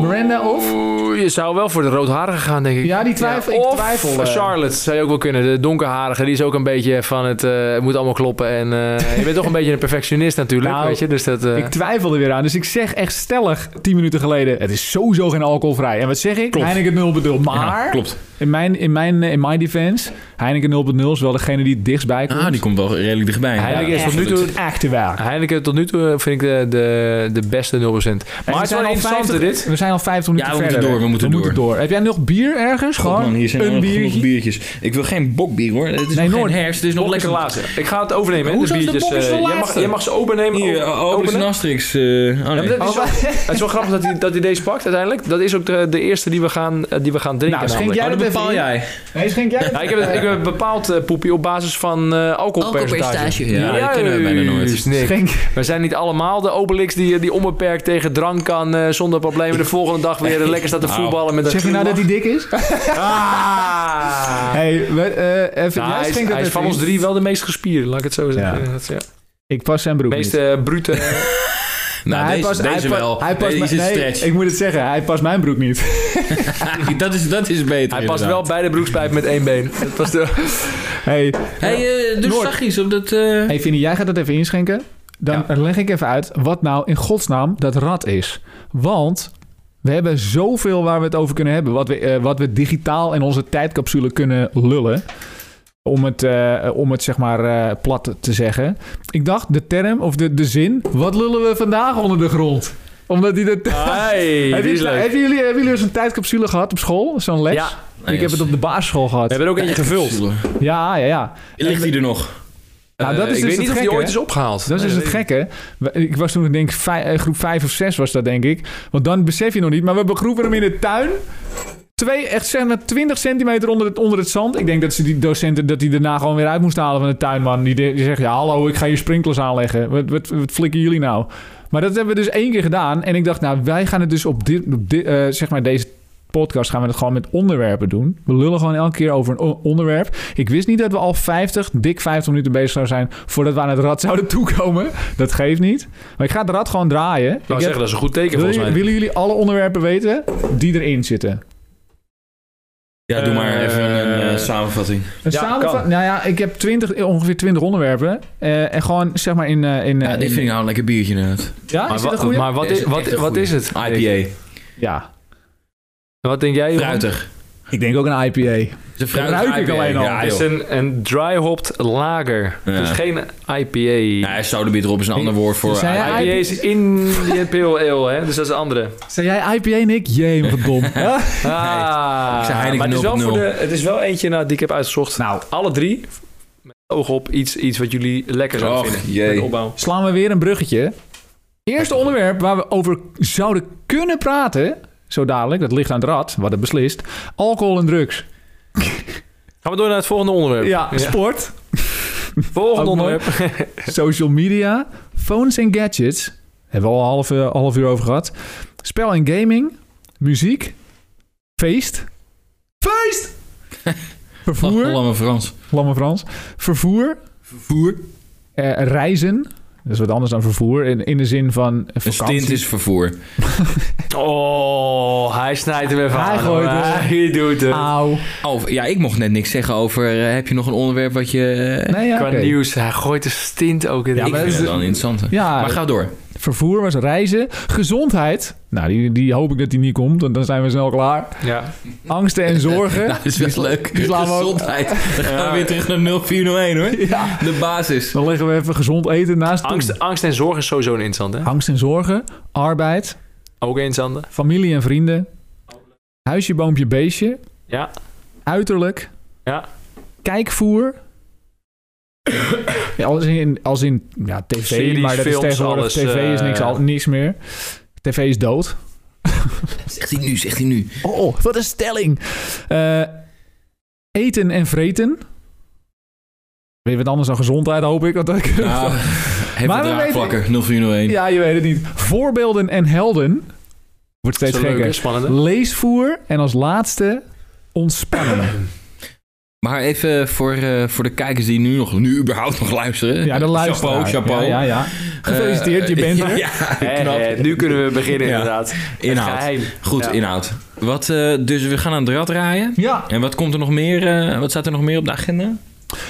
Miranda of...
Oeh, Je zou wel voor de roodharige gaan, denk ik.
Ja, die twijfel. ik
of
twijfel. eh.
Charlotte zou je ook wel kunnen. De donkerharige, die is ook een beetje van het eh, het moet allemaal kloppen. En eh, je bent toch een <laughs> beetje een perfectionist natuurlijk,
Nou,
weet je. Dus dat, eh,
Ik twijfel er weer aan. Dus ik zeg echt stellig tien minuten geleden... Het is sowieso geen alcoholvrij. En wat zeg ik?
Klopt.
Heineken 0 bedoel.
Ja,
Maar...
klopt.
In mijn, in mijn, eh, in my defense, Heineken 0.0 is wel degene die het dichtst bij komt.
Ah, die komt wel redelijk dichtbij.
Heineken
Ja,
is tot nu
absoluut.
toe...
Echte waar.
Heineken tot nu toe eh, vind ik de, de, de beste 0%. Maar het is wel interessant dit.
We zijn al 50 minuten
Ja, we
verder.
moeten door, we moeten
Heb jij nog bier ergens?
God,
Gewoon
man, hier zijn
een
nog genoeg
biertje.
biertjes. Ik wil geen bokbier hoor. Het is
Nee,
nog
Noord.
geen herfst, het is nog
Bok is
lekker
de laatste. Ik ga het overnemen. hè,
Hoezo
de
is de
biertjes.
Bok is de
Eh, jij, mag,
laatste?
jij mag ze overnemen.
Hier,
o-
uh, Obelix en Asterix. eh, oh, nee.
Ja, maar dat is
Oh,
wel- het is wel grappig dat hij, dat hij deze pakt uiteindelijk. Dat is ook de, de eerste die we gaan, eh, die we gaan drinken.
Nou, schenk
namelijk.
jij
Oh, dat
dat even
bepaal
in?
jij.
Nee, schenk jij
Ja, ik, heb het, ik heb het bepaald eh, poepie op basis van eh alcoholpercentage.
Ja, dat kunnen we bijna nooit.
Juist, Nick.
Schenk.
We zijn niet allemaal de Obelix die, die onbeperkt tegen drank kan eh, zonder problemen de volgende dag weer eh, lekker staat te
Nou.
voetballen met een
Zeg je nou dat hij dik is?
glimlach. Ah!
hey, we, eh, even,
Nou, hij
jij
is,
schenkt dat
hij is
even
van ons
in.
drie wel de meest gespierde, laat ik het zo zeggen.
Ja.
Ja. Dat, is, ja.
Ik pas zijn broek
De
niet.
meeste eh,
<laughs>
brute...
Nou,
hij
deze,
past-
deze
hij pa-
wel.
Hij past
deze is
mijn-
een
nee,
stretch.
ik moet het zeggen, hij past mijn broek niet. <laughs>
<laughs> dat, is, dat is beter
hij past wel
inderdaad.
bij de broekspijp met één been. <laughs> Dat was de...
Hey,
Hey, eh, dus
Noord.
zag je iets op dat... eh,
hey Vinnie, jij gaat dat even inschenken. Dan leg ik even uit wat nou in godsnaam dat rad is. Want we hebben zoveel waar we het over kunnen hebben. Wat we, eh, wat we digitaal in onze tijdcapsule kunnen lullen. Om het, eh, om het zeg maar eh, plat te zeggen. Ik dacht de term of de, de zin. Wat lullen we vandaag onder de grond? Omdat die de.
Ah,
Hey,
Hebben
die is
jullie-
leuk.
hebben jullie, hebben jullie eens een tijdcapsule gehad op school? Zo'n les?
Ja,
ik heb het op de basisschool
we
gehad.
hebben er ook eentje gevuld.
Ja, ja, ja.
Ligt hij er nog?
Nou, dat
Eh,
is
ik
dus
weet niet
het
of die
gekke,
ooit
hè?
is opgehaald.
Dat is dus
Nee,
het gekke. We- Ik was toen, denk ik, vij- eh, groep 5 of 6 was dat, denk ik. Want dan besef je nog niet. Maar we begroeven hem in de tuin. Twee, echt zeg maar 20 centimeter onder het, onder het zand. Ik denk dat ze die docenten, dat die daarna gewoon weer uit moest halen van de tuinman. Die, de- die zegt, ja hallo, ik ga hier sprinklers aanleggen. Wat, wat, wat flikken jullie nou? Maar dat hebben we dus één keer gedaan. En ik dacht, nou, wij gaan het dus op dit, op dit eh, zeg maar deze podcast gaan we het gewoon met onderwerpen doen. We lullen gewoon elke keer over een o- onderwerp. Ik wist niet dat we al 50, dik 50 minuten bezig zouden zijn voordat we aan het rad zouden <laughs> toekomen. Dat geeft niet. Maar ik ga het rad gewoon draaien.
Ik wou
Ik heb-
zeggen, dat is een goed teken
wil
volgens
je-
mij.
willen jullie alle onderwerpen weten die erin zitten?
Ja, doe maar
Eh,
even een eh, samenvatting.
Een
Ja,
samenvat-
kan.
Nou ja, ik heb 20, eh, ongeveer 20 onderwerpen. eh, en gewoon zeg maar in. eh, in, eh,
Ja, dit
in-
vind ik nou een lekker biertje inderdaad.
ja,
Maar,
is dit een
wat-
goeie?
maar wat,
Deze
is,
is
wat,
echt een
wat
goeie.
is het?
IPA.
Ja.
Wat denk jij? Johan?
Fruitig.
Ik denk ook een IPA.
Het is een fruitig
ruik ik
IPA.
alleen al. dus-
Ja,
Het is
joh.
een, een dry hopped lager.
Ja.
Het is geen IPA.
Ja, soda op is een ander woord voor...
Zijn jij-
IPA
IPA
is <laughs> Indian Pale Ale, hè? dus dat is een andere.
Zijn jij IPA, Nick? Jee, wat
<laughs> Ah,
dom.
ik zei Heineken
maar het is, wel
0.0.
voor de, het is wel eentje nou, die ik heb uitgezocht.
nou,
Alle drie, met het oog op iets, iets wat jullie lekker zouden
Och,
vinden.
jee.
Met de opbouw.
slaan we weer een bruggetje. Eerste onderwerp waar we over zouden kunnen praten. Zo dadelijk, dat ligt aan het rad, wat het beslist. Alcohol en drugs.
Gaan we door naar het volgende onderwerp.
Ja, <laughs> sport.
Volgende
Ook mooi.
onderwerp.
Social media. Phones en gadgets. Hebben we al een half, eh, half uur over gehad. Spel en gaming, muziek, feest. Feest! <laughs> Vervoer,
Lamme Frans.
lamme Frans. Vervoer,
Vervoer.
eh, reizen. Dat is wat anders dan vervoer. In, in de zin van eh,
Een
vakantie.
stint is vervoer.
Oh, hij Ah, snijdt hem even
Hij
aan.
gooit
hoor.
het.
Hij doet het.
Auw.
Oh, ja, ik mocht net niks zeggen over... eh, heb je nog een onderwerp wat je... eh,
Nee, ja,
Qua
oké.
nieuws, hij gooit de stint ook in.
Ja,
ik
maar
vind
dat is-
het wel een interessante.
Ja,
Maar ga door.
vervoer was reizen. Gezondheid. Nou, die, die hoop ik dat die niet komt, want dan zijn we snel klaar.
ja.
Angsten
<laughs>
en zorgen.
Nou, Dat is wel leuk.
die slaan we ook-
Gezondheid. Dan gaan we weer terug naar 0401 hoor.
Ja.
De basis.
Dan leggen we even gezond eten naast toe.
Angst, angst en zorg is sowieso een interessante. hè?
Angst en zorgen, arbeid,
Ook een interessante.
familie en vrienden, huisje, boompje, beestje,
Ja.
uiterlijk,
Ja.
kijkvoer. Ja, als in, als in ja, tv,
Series,
maar dat
films,
is tegenwoordig,
alles,
tv is
eh,
niks, al, niks meer. TV is dood.
Zegt hij nu, zegt hij nu.
Oh, oh, wat een stelling. Eh, eten en vreten. Weer wat anders dan gezondheid, hoop ik. Want dat <laughs>
Nou, even
Maar we
draagvlakken. 0401.
Ja, je weet het niet. Voorbeelden en helden. Wordt steeds
Zo leuk,
gekker.
hè? Spannend. hè?
Leesvoer en als laatste
<laughs>
ontspannen.
Maar even voor, eh, voor de kijkers die nu, nog, nu überhaupt nog luisteren.
Ja, de luisteraar.
Chapeau, chapeau.
Ja, ja, ja. Gefeliciteerd, je
Eh,
bent er.
<laughs> Ja,
Eh,
knap.
eh, nu kunnen we beginnen
Ja.
<laughs>
inderdaad. Het
Inhoud.
geheim.
Goed,
Ja.
inhoud. Wat, eh, dus we gaan aan het rad draaien.
Ja.
En wat komt er nog meer? eh, wat staat er nog meer op de agenda?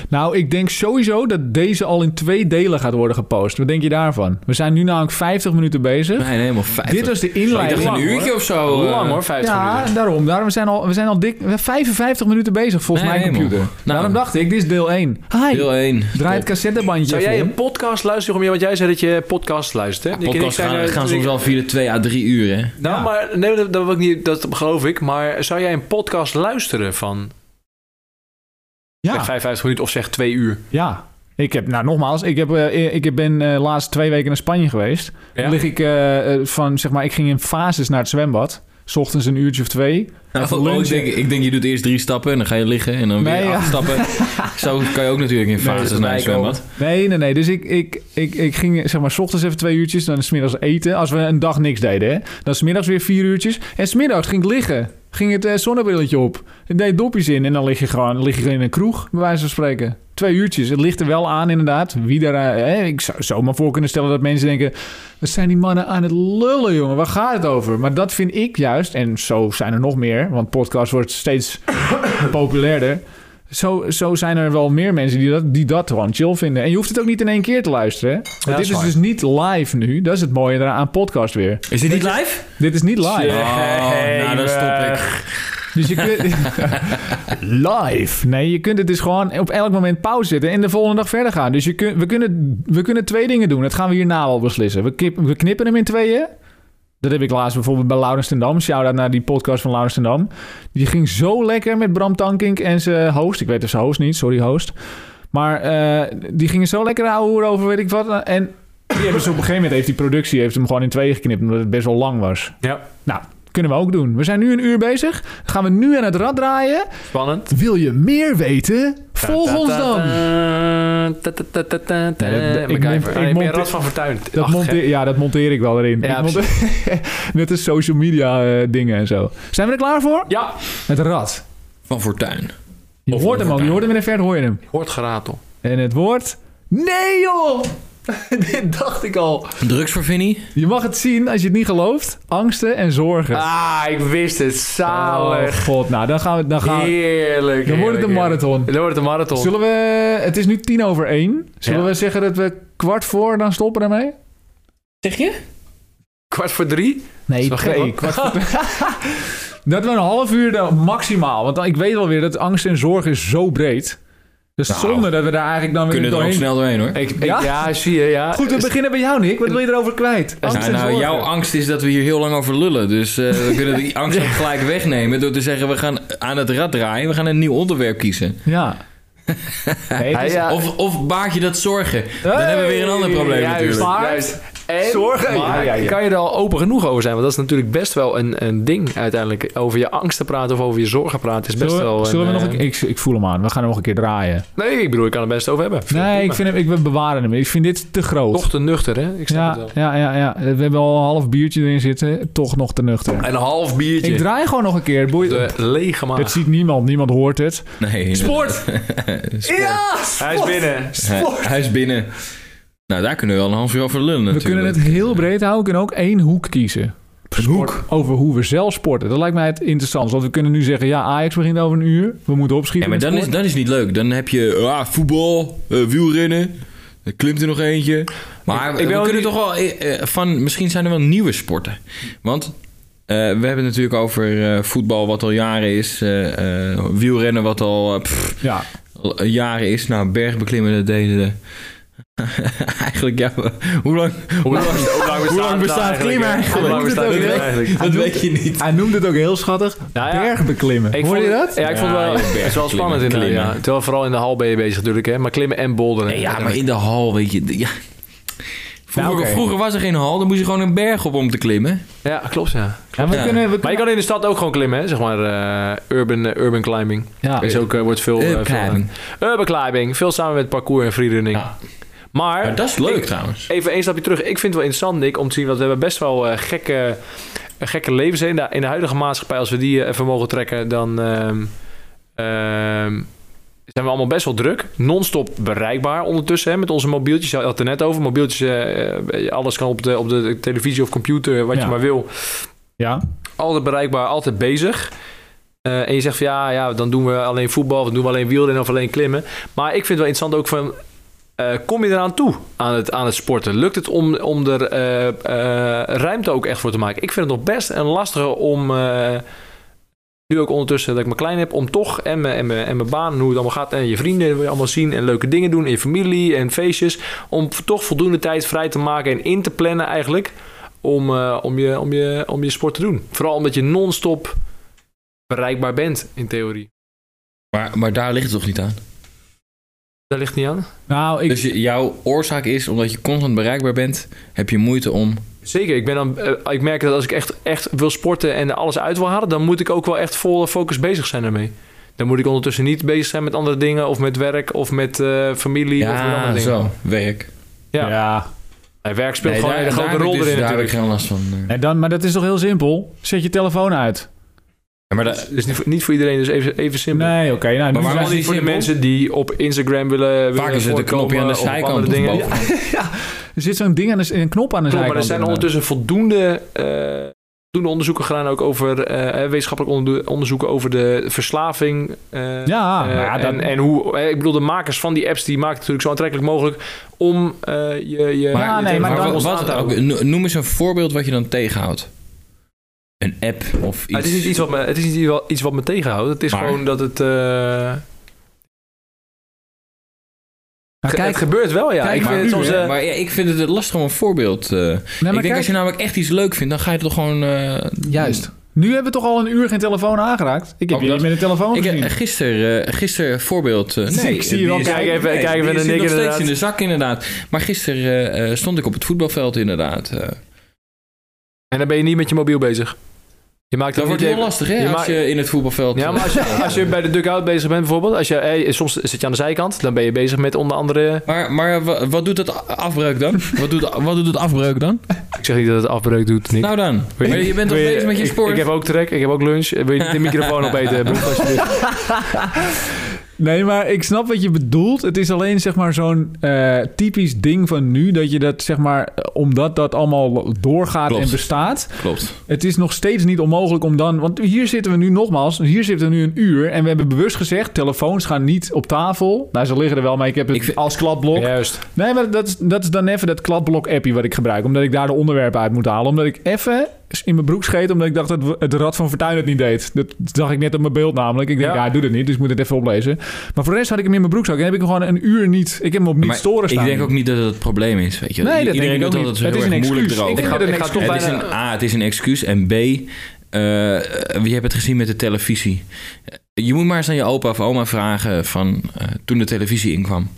Nou, ik denk sowieso dat deze al in twee delen gaat worden gepost. Wat denk je daarvan? We zijn nu namelijk 50 minuten bezig.
Nee, nee helemaal vijf.
Dit was de
ik
inleiding.
dacht een
lang,
uurtje of zo. eh.
Lang hoor, 50
Oh, Ja,
minuten.
daarom. daarom we zijn al, we zijn al dik we zijn 55 minuten bezig volgens
Nee,
mijn
helemaal.
computer.
Nou.
daarom dacht ik, dit is deel 1. Hi,
Deel 1.
draai het cassettebandje
Zou jij
vol.
een podcast luisteren, om je, want jij zei dat je podcast luistert. hè? Je kan
Podcasts
niet
gaan,
zeggen-
gaan soms wel via de 2 à 3 uur, hè?
Nou,
Ja.
maar nee, dat, dat, wil ik niet, dat geloof ik. Maar zou jij een podcast luisteren van zeg
Ja,
55 minuten of zeg 2 uur?
ja. Ik heb, nou nogmaals, ik, heb, eh, ik ben de laatste twee weken naar Spanje geweest. Dan lig ik eh, eh, van, zeg maar, ik ging in fases naar het zwembad. 's ochtends een uurtje of twee.
Nou,
Even
oh, ik,
lunchen.
denk, ik denk, je doet eerst drie stappen en dan ga je liggen en dan weer
Nee, ja.
acht
<laughs>
stappen. Zo kan je ook natuurlijk in fases
dat
naar het
lijkt
zwembad.
Nee, nee, nee. Dus ik, ik, ik, ik ging zeg maar 's ochtends even twee uurtjes. Dan 's middags eten. Als we een dag niks deden, hè. Dan 's middags weer vier uurtjes. En 's middags ging ik liggen. Ging het eh, zonnebrilletje op. En deed dopjes in. En dan lig je gewoon lig je in een kroeg, bij wijze van spreken. Twee uurtjes. Het ligt er wel aan, inderdaad. Wie daar... eh, hè, ik zou zomaar voor kunnen stellen dat mensen denken... Wat zijn die mannen aan het lullen, jongen? Waar gaat het over? Maar dat vind ik juist... En zo zijn er nog meer. Want podcast wordt steeds populairder. Zo, zo zijn er wel meer mensen die dat, die dat gewoon chill vinden. En je hoeft het ook niet in één keer te luisteren. hè? Want
dat
dit
is
is
waar.
dus niet live nu. Dat is het mooie eraan aan podcast weer.
Is dit niet live?
Dit is niet live.
Oh, nou, dan stop ik.
Dus je kunt... live? Nee, je kunt het dus gewoon op elk moment pauze zetten... en de volgende dag verder gaan. Dus je kun, we, kunnen, we kunnen twee dingen doen. Dat gaan we hierna al beslissen. We, kip- we knippen hem in tweeën. Dat heb ik laatst bijvoorbeeld bij Laurens ten Dam. Shout-out naar die podcast van Laurens ten Dam. Die ging zo lekker met Bram Tankink en zijn host. Ik weet dus zijn host niet, sorry host. Maar eh, die gingen zo lekker ouwe over weet ik wat. En die hebben ze op een gegeven moment heeft die productie heeft hem gewoon in tweeën geknipt... omdat het best wel lang was.
Ja.
Nou, kunnen we ook doen. We zijn nu een uur bezig. Gaan we nu aan het rad draaien.
Spannend.
Wil je meer weten? Volg ons dan. Nee, dat- ik
MacGyver.
mond- ik
Ah, Ik ben
mond-
Rad van Fortuin.
Dat
Ach,
monteer, ja, dat monteer ik wel erin.
Ja,
Ik monteer- <laughs> Net als social media eh, dingen en zo. Zijn we er klaar voor?
Ja,
Het rad.
Van Fortuin.
Je
Of
hoort hem
over-
ook. Je hoort hem in de verte, hoor je hem.
hoort geratel.
En het woord... Nee joh! Dit dacht ik al.
Drugs voor Vinnie?
Je mag het zien als je het niet gelooft. Angsten en zorgen.
Ah, ik wist het.
Oh,
Zalig.
god. Nou, dan gaan we... Dan, gaan we,
Heerlijk.
dan wordt het een
heerlijk,
marathon.
heerlijk. Dan wordt het een marathon.
Zullen we... Het is nu tien over één. Zullen
Ja.
we zeggen dat we kwart voor dan stoppen daarmee?
Zeg je?
Kwart voor drie?
Nee,
Dat is wel gek,
twee.
hoor.
Kwart voor
<laughs>
<laughs> dat we een half uur dan maximaal. Want ik weet wel weer dat angst en zorg is zo breed. Dus
Nou,
zonde dat we daar eigenlijk dan weer
Kunnen er ook
doorheen...
snel doorheen hoor.
Ik, ik,
Ja?
ja? zie je. Ja.
Goed, we beginnen bij jou, Nick. Wat wil je erover kwijt? Angst
Nou,
en
nou,
zorgen.
jouw angst is dat we hier heel lang over lullen. Dus eh, we kunnen
<laughs>
die angst ook gelijk wegnemen door te zeggen... we gaan aan het rad draaien, we gaan een nieuw onderwerp kiezen.
<laughs>
Ja. Nee, het
Hij,
is-
ja.
Of, of baart je dat zorgen? Dan
Hey!
hebben we weer een ander probleem
Juist,
natuurlijk.
juist. En,
Zorgen?
maar
Ja, ja, ja.
kan je er al open genoeg over zijn? Want dat is natuurlijk best wel een, een ding uiteindelijk. Over je angsten praten of over je zorgen praten is best
Zullen we,
wel... een,
zullen we nog
eh,
een keer- ik, ik voel hem aan. We gaan hem nog een keer draaien.
Nee, ik bedoel, ik kan het best over hebben.
Nee, ik,
prima.
vind hem, ik, we bewaren hem. Ik vind dit te groot.
Toch te nuchter, hè? Ik snap het
ja,
wel.
ja, ja, ja. We hebben al een half biertje erin zitten. Toch nog te nuchter.
Een half biertje.
Ik draai gewoon nog een keer. Boeit-
de lege maag.
Dat ziet niemand. Niemand hoort het.
Nee.
Sport!
Sport.
Hij is binnen.
Hij, hij is binnen. Nou, daar kunnen we wel een half uur over lullen
We
natuurlijk.
kunnen het heel breed houden. We kunnen ook één hoek kiezen. hoek. Over hoe we zelf sporten. Dat lijkt mij het interessant. Want we kunnen nu zeggen, ja, Ajax begint over een uur. We moeten
Ja,
opschieten
maar
met
dan is,
sport.
dan is niet leuk. Dan heb je ah, voetbal, eh, wielrennen, er klimt er nog eentje. Maar
ben
we
wel
kunnen
niet-
toch wel eh, eh, van... Misschien zijn er wel nieuwe sporten. Want eh, we hebben het natuurlijk over eh, voetbal wat al jaren is. eh, eh, wielrennen wat al eh, pff,
Ja,
al jaren is. Nou, bergbeklimmen dat deden de... <laughs> eigenlijk, ja, hoe lang,
Hoe lang, hoe lang
hoe lang bestaat klimmen eigenlijk?
Hoe lang bestaat
dat
klimmen
weet-
eigenlijk?
<laughs> dat weet je niet.
Hij noemde het ook heel schattig.
Nou ja.
Bergbeklimmen.
Ik
Hoor je
vond-
dat?
Ja, ik vond het
Ja,
wel,
je
het is wel
bergklimmen,
spannend in
klimmen.
ja. Terwijl vooral in de hal ben je bezig natuurlijk, hè. Maar klimmen en boulderen.
Nee, ja, maar in de hal, weet je. d- Ja. Vroeger,
oké.
vroeger was er geen hal, dan moest je gewoon een berg op om te klimmen.
Ja, klopt, ja.
Ja, we
Ja.
kunnen... We
Maar je
kunnen
kan in de stad ook gewoon klimmen, hè. Zeg maar eh, urban, eh, urban climbing.
ja.
is ook, eh, wordt veel... eh,
Urban
veel
climbing.
aan- urban climbing. Veel samen met parcours en freerunning.
Ja.
Maar...
Maar dat is leuk
Ik-
trouwens.
Even één stapje terug. Ik vind het wel interessant, Nick, om te zien... want we hebben best wel eh, gekke, eh, gekke levens in de, in de huidige maatschappij. Als we die eh, even mogen trekken, dan ehm, ehm, zijn we allemaal best wel druk. Non-stop bereikbaar ondertussen hè, met onze mobieltjes. Je had het er net over. Mobieltjes, eh, eh, alles kan op de, op de televisie of computer, wat
Ja.
je maar wil.
ja.
Altijd bereikbaar, altijd bezig. Eh, en je zegt van ja, ja, dan doen we alleen voetbal, of dan doen we alleen wielrennen of alleen klimmen. Maar ik vind het wel interessant ook van, eh, kom je eraan toe aan het, aan het sporten? Lukt het om, om er eh, eh, ruimte ook echt voor te maken? Ik vind het nog best een lastige om, eh, nu ook ondertussen dat ik me klein heb, om toch en mijn, en, mijn, en mijn baan, en hoe het allemaal gaat, en je vrienden wil je allemaal zien, en leuke dingen doen, en je familie, en feestjes, om toch voldoende tijd vrij te maken en in te plannen eigenlijk, om, eh, om, je, om, je, om je sport te doen. Vooral omdat je non-stop bereikbaar bent, in theorie.
Maar, maar daar ligt het toch niet aan?
Daar ligt het niet aan.
Nou, ik...
Dus je- jouw oorzaak is, omdat je constant bereikbaar bent, heb je moeite om...
Zeker, ik, ben dan, eh, ik merk dat als ik echt, echt wil sporten en alles uit wil halen, dan moet ik ook wel echt vol focus bezig zijn daarmee. Dan moet ik ondertussen niet bezig zijn met andere dingen, of met werk, of met eh, familie, of met andere
Ja,
dingen.
zo, werk.
ja.
ja.
Nee, werk speelt
Nee,
gewoon
daar-
een hele
daar
grote
heb ik
rol
dus-
erin
Daar heb ik
natuurlijk.
geen last van. eh.
En dan, maar dat is toch heel simpel? Zet je telefoon uit.
Ja, maar
Dus
dat-
het is niet voor, niet voor iedereen, dus even, even simpel.
Nee, oké. nou, nu
Maar waarom
Vooral
zijn-
is het
niet voor de
simpel?
mensen die op Instagram willen, willen
vaak is het een
voorkomen
knopje aan de
of op
zijkant
andere
of
dingen. Ja,
bovenkant.
er zit zo'n ding aan de, een knop aan de
klopt, maar er
zijkant.
zijn ondertussen voldoende, eh, voldoende onderzoeken gedaan, ook over eh, wetenschappelijk onder- onderzoeken over de verslaving. eh,
Ja,
Eh,
maar ja,
en,
dat- Nou,
en hoe, eh, ik bedoel, de makers van die apps die maken het natuurlijk zo aantrekkelijk mogelijk om eh, je. je
Ja, nee, maar dan-
wat, wat- oké, no- noem eens een voorbeeld wat je dan tegenhoudt. Een app of iets.
Maar het is niet iets wat me, het is niet iets wat- iets wat me tegenhoudt. Het is
Maar-
gewoon dat het. eh,
maar
ge-
kijk,
het gebeurt wel, ja.
kijk
ik
maar,
vind het soms. eh,
maar ja, ik vind het lastig om een voorbeeld... eh,
nee,
ik
maar
denk
kijk
als je namelijk echt iets leuk vindt, dan ga je het toch gewoon... eh,
juist. Nu hebben we toch al een uur geen telefoon aangeraakt? Ik heb
Oh,
je
dat-
niet met een telefoon
Ik,
gezien.
eh, gister, eh gister voorbeeld. eh,
Zie-
nee,
ik zie je wel
die is-
kijken even-
nee,
kijken
die
even
is
naar Nick
nog steeds
inderdaad.
in de zak inderdaad. Maar gisteren eh, eh, stond ik op het voetbalveld inderdaad. eh.
en dan ben je niet met je mobiel bezig. Je maakt
dat
het
wordt
niet
heel
even-
lastig hè,
je
als
maakt-
je in het voetbalveld... eh,
Ja, maar als je, als je bij de dugout bezig bent bijvoorbeeld, als je, eh, soms zit je aan de zijkant, dan ben je bezig met onder andere...
Maar, maar wa- wat doet dat afbreuk
<laughs>
dan? Wat doet, wat doet het afbreuk dan?
Ik zeg niet dat het afbreuk doet, Nick.
Nou dan,
Wil
Maar je bent toch
wil
bezig met je
ik-
sport?
Ik, heb ook trek, ik heb ook lunch. Wil je niet de
<laughs>
microfoon opeten, broek, alsjeblieft?
Nee, maar ik snap wat je bedoelt. Het is alleen zeg maar zo'n eh, typisch ding van nu dat je dat zeg maar eh, omdat dat allemaal doorgaat
Klopt.
en bestaat.
Klopt.
Het is nog steeds niet onmogelijk om dan, want hier zitten we nu nogmaals, hier zitten we nu een uur en we hebben bewust gezegd telefoons gaan niet op tafel. Nou, ze liggen er wel, maar ik heb het
Ik vind-
als kladblok.
Juist.
Nee, maar dat is, dat is dan even dat kladblok-appie wat ik gebruik. Omdat ik daar de onderwerpen uit moet halen. Omdat ik even in mijn broek scheet. Omdat ik dacht dat het Rad van Fortuin het niet deed. Dat zag ik net op mijn beeld namelijk. Ik denk, ja,
Ja.
hij doet het niet. Dus ik moet het even oplezen. Maar voor de rest had ik hem in mijn broekzak. En heb ik hem gewoon een uur niet... Ik heb hem op niet
Maar
storen staan.
Ik denk ook niet dat het het probleem is, weet je.
Nee, dat denk
Iedereen
ik ook
doet altijd
niet.
zo
Het
heel
is een
erg moeilijk
excuus. Ik
erover.
vind het een excuus.
Het is een, A, het is een excuus. En B, eh je hebt het gezien met de televisie. Je moet maar eens aan je opa of oma vragen van eh, toen de televisie inkwam.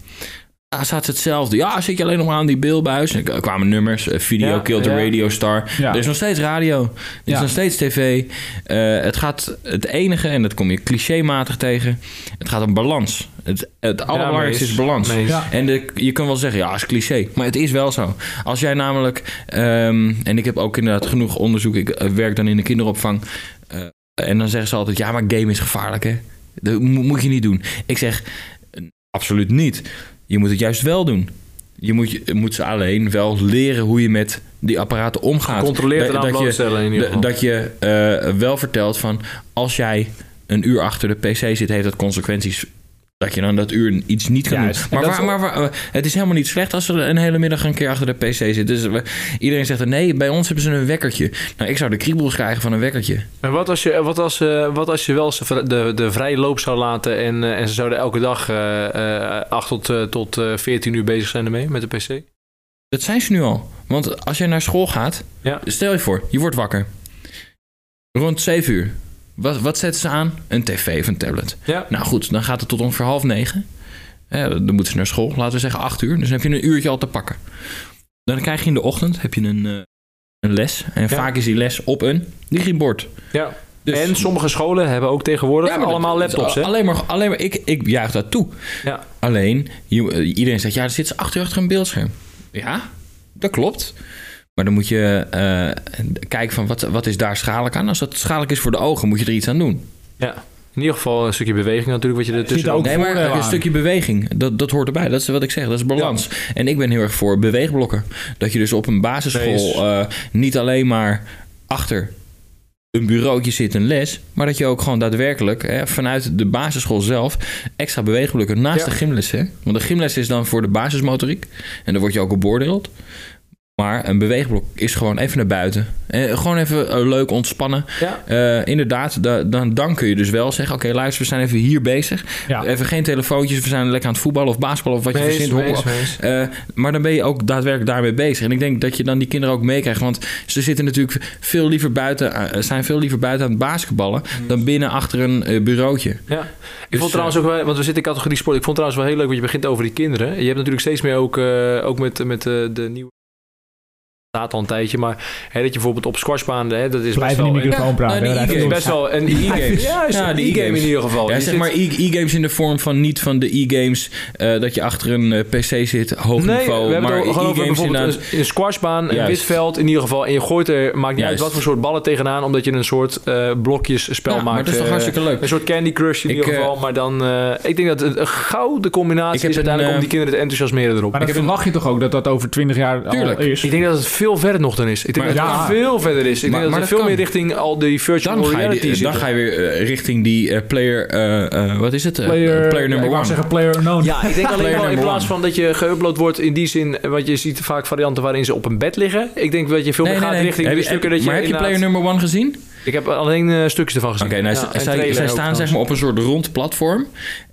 daar staat ze hetzelfde. Ja, zit je alleen nog maar aan die beeldbuis. En er kwamen nummers. eh, video
Ja,
Killed the
ja.
Radio Star.
Ja.
Er is nog steeds radio. Er is
Ja.
nog steeds tv. Eh, het gaat het enige, en dat kom je clichématig tegen... Het gaat om balans. Het, het allerbelangrijkste is balans.
Nee,
Ja.
En de, je kan wel zeggen, ja, is cliché. Maar het is wel zo. Als jij namelijk, ehm, en ik heb ook inderdaad genoeg onderzoek, ik eh, werk dan in de kinderopvang. eh, en dan zeggen ze altijd, ja, maar game is gevaarlijk, hè? Dat mo- moet je niet doen. Ik zeg, eh, absoluut niet. Je moet het juist wel doen. Je moet, je moet ze alleen wel leren hoe je met die apparaten omgaat.
Controleert
Dat-
en aan
dat je-
blootstellen in ieder
de-
geval.
dat je eh, wel vertelt van als jij een uur achter de PC zit, heeft dat consequenties. Dat je dan dat uur iets niet kan
Juist.
doen.
En
Maar,
dat
waar,
is-
maar waar- eh, het is helemaal niet slecht als ze een hele middag een keer achter de PC zitten. Dus we- iedereen zegt dan, nee, bij ons hebben ze een wekkertje. Nou, ik zou de kriebels krijgen van een wekkertje.
Maar wat als je, wat als, eh, wat als je wel ze vri- de, de vrije loop zou laten en, eh, en ze zouden elke dag eh, eh, 8 tot, eh, tot eh, 14 uur bezig zijn ermee met de PC?
Dat zijn ze nu al. Want als jij naar school gaat,
Ja.
stel je voor, je wordt wakker. Rond 7 uur. Wat, wat zetten ze aan? Een tv of een tablet.
Ja.
Nou goed, dan gaat het tot ongeveer half negen. Eh, dan moeten ze naar school, laten we zeggen 8 uur. Dus dan heb je een uurtje al te pakken. Dan krijg je in de ochtend heb je een, eh, een les. En vaak is die les op een digibord.
Ja.
Dus-
En sommige scholen hebben ook tegenwoordig
maar dat-
allemaal
dat-
laptops. Hè?
Alleen maar, alleen maar ik, ik juich dat toe.
Ja.
Alleen, je- eh, iedereen zegt, ja, er zit ze achter achter een beeldscherm. Ja, dat klopt. Maar dan moet je eh, kijken van, wat, wat is daar schadelijk aan? Als dat schadelijk is voor de ogen, moet je er iets aan doen.
ja. In ieder geval een stukje beweging natuurlijk, wat je er tussen
ook-
Nee, maar
voordeel
een
aan.
stukje beweging, dat, dat hoort erbij. Dat is wat ik zeg, dat is balans. En ik ben heel erg voor beweegblokken. Dat je dus op een basisschool eh, niet alleen maar achter een bureautje zit een les, maar dat je ook gewoon daadwerkelijk hè, vanuit de basisschool zelf extra beweegblokken naast
Ja.
de gymles. Hè? Want de gymles is dan voor de basismotoriek en daar word je ook op beoordeeld. Maar een beweegblok is gewoon even naar buiten. Eh, gewoon even eh, leuk ontspannen.
Ja.
Eh, inderdaad, da- dan, dan kun je dus wel zeggen... oké, luister, we zijn even hier bezig.
Ja.
Even geen telefoontjes, we zijn lekker aan het voetballen... of basketballen of wat je
Mees,
verzint.
mees,
hockey-
mees.
Eh, maar dan ben je ook daadwerkelijk daarmee bezig. En ik denk dat je dan die kinderen ook meekrijgt. Want ze zitten natuurlijk veel liever buiten, eh, zijn veel liever buiten aan het basketballen... dan binnen achter een eh, bureautje.
Ja. Mm. Ik
Dus,
vond trouwens ook wel, want we zitten in categorie sport. Ik vond trouwens wel heel leuk, want je begint over die kinderen. Je hebt natuurlijk steeds meer ook, eh, ook met, met eh, de nieuwe. staat al een tijdje, maar hè, dat je bijvoorbeeld op squashbanen, hè, dat is
Blijf
best wel.
in die microfoon praten.
nou, die
we
idee-
rijden
is
door.
best wel een
e-games.
Ja, is
Ja,
een
die
e-game
e-games.
in ieder geval.
Ja,
Je
zeg
zit-
maar e- e-games in de vorm van niet van de e-games... eh, dat je achter een eh, pc zit, hoog
Nee,
niveau.
we hebben
maar
het gewoon over
e-games
bijvoorbeeld
inderdaad...
een, een squashbaan, een
Juist.
wit veld in ieder geval. En je gooit er, maakt niet uit
Juist.
wat voor soort ballen tegenaan, omdat je een soort eh blokjes spel
Ja,
maakt.
maar dat is toch
eh,
hartstikke leuk?
Een soort Candy Crush in
Ik,
ieder
eh,
geval. Maar dan, eh, ik denk dat het een gouden
Ik
combinatie
heb
is uiteindelijk om
een, eh,
die kinderen te enthousiasmeren erop.
Maar dan verwacht je toch ook dat dat over 20 jaar
Tuurlijk.
al is?
Ik denk dat het veel verder nog dan is. Ik denk
Maar-
dat het
Ja.
veel verder is. Ik
Maar-
denk
maar
dat het
dat
veel meer
kan.
richting al die virtual
Dan ga, je,
reality
die- dan
zit.
ga je weer eh, richting die eh, player, eh, eh, wat is het? Eh,
ja,
number
ik wou
one.
zeggen <laughs> player no.
Ja, ik
<laughs>
denk alleen
Player
wel in
number
plaats
one.
van dat je geüpload wordt in die zin, want je ziet vaak varianten waarin ze op een bed liggen. Ik denk dat je veel meer gaat richting
Heb
de
je-
stukken dat je
maar heb je
inderdaad-
player number one gezien?
Ik heb alleen eh, stukjes ervan
Oké,
gezien.
nou,
Ja,
zij-
en
zij,
trailer
zij
ook
staan
trouwens.
zeg maar op een soort rond platform.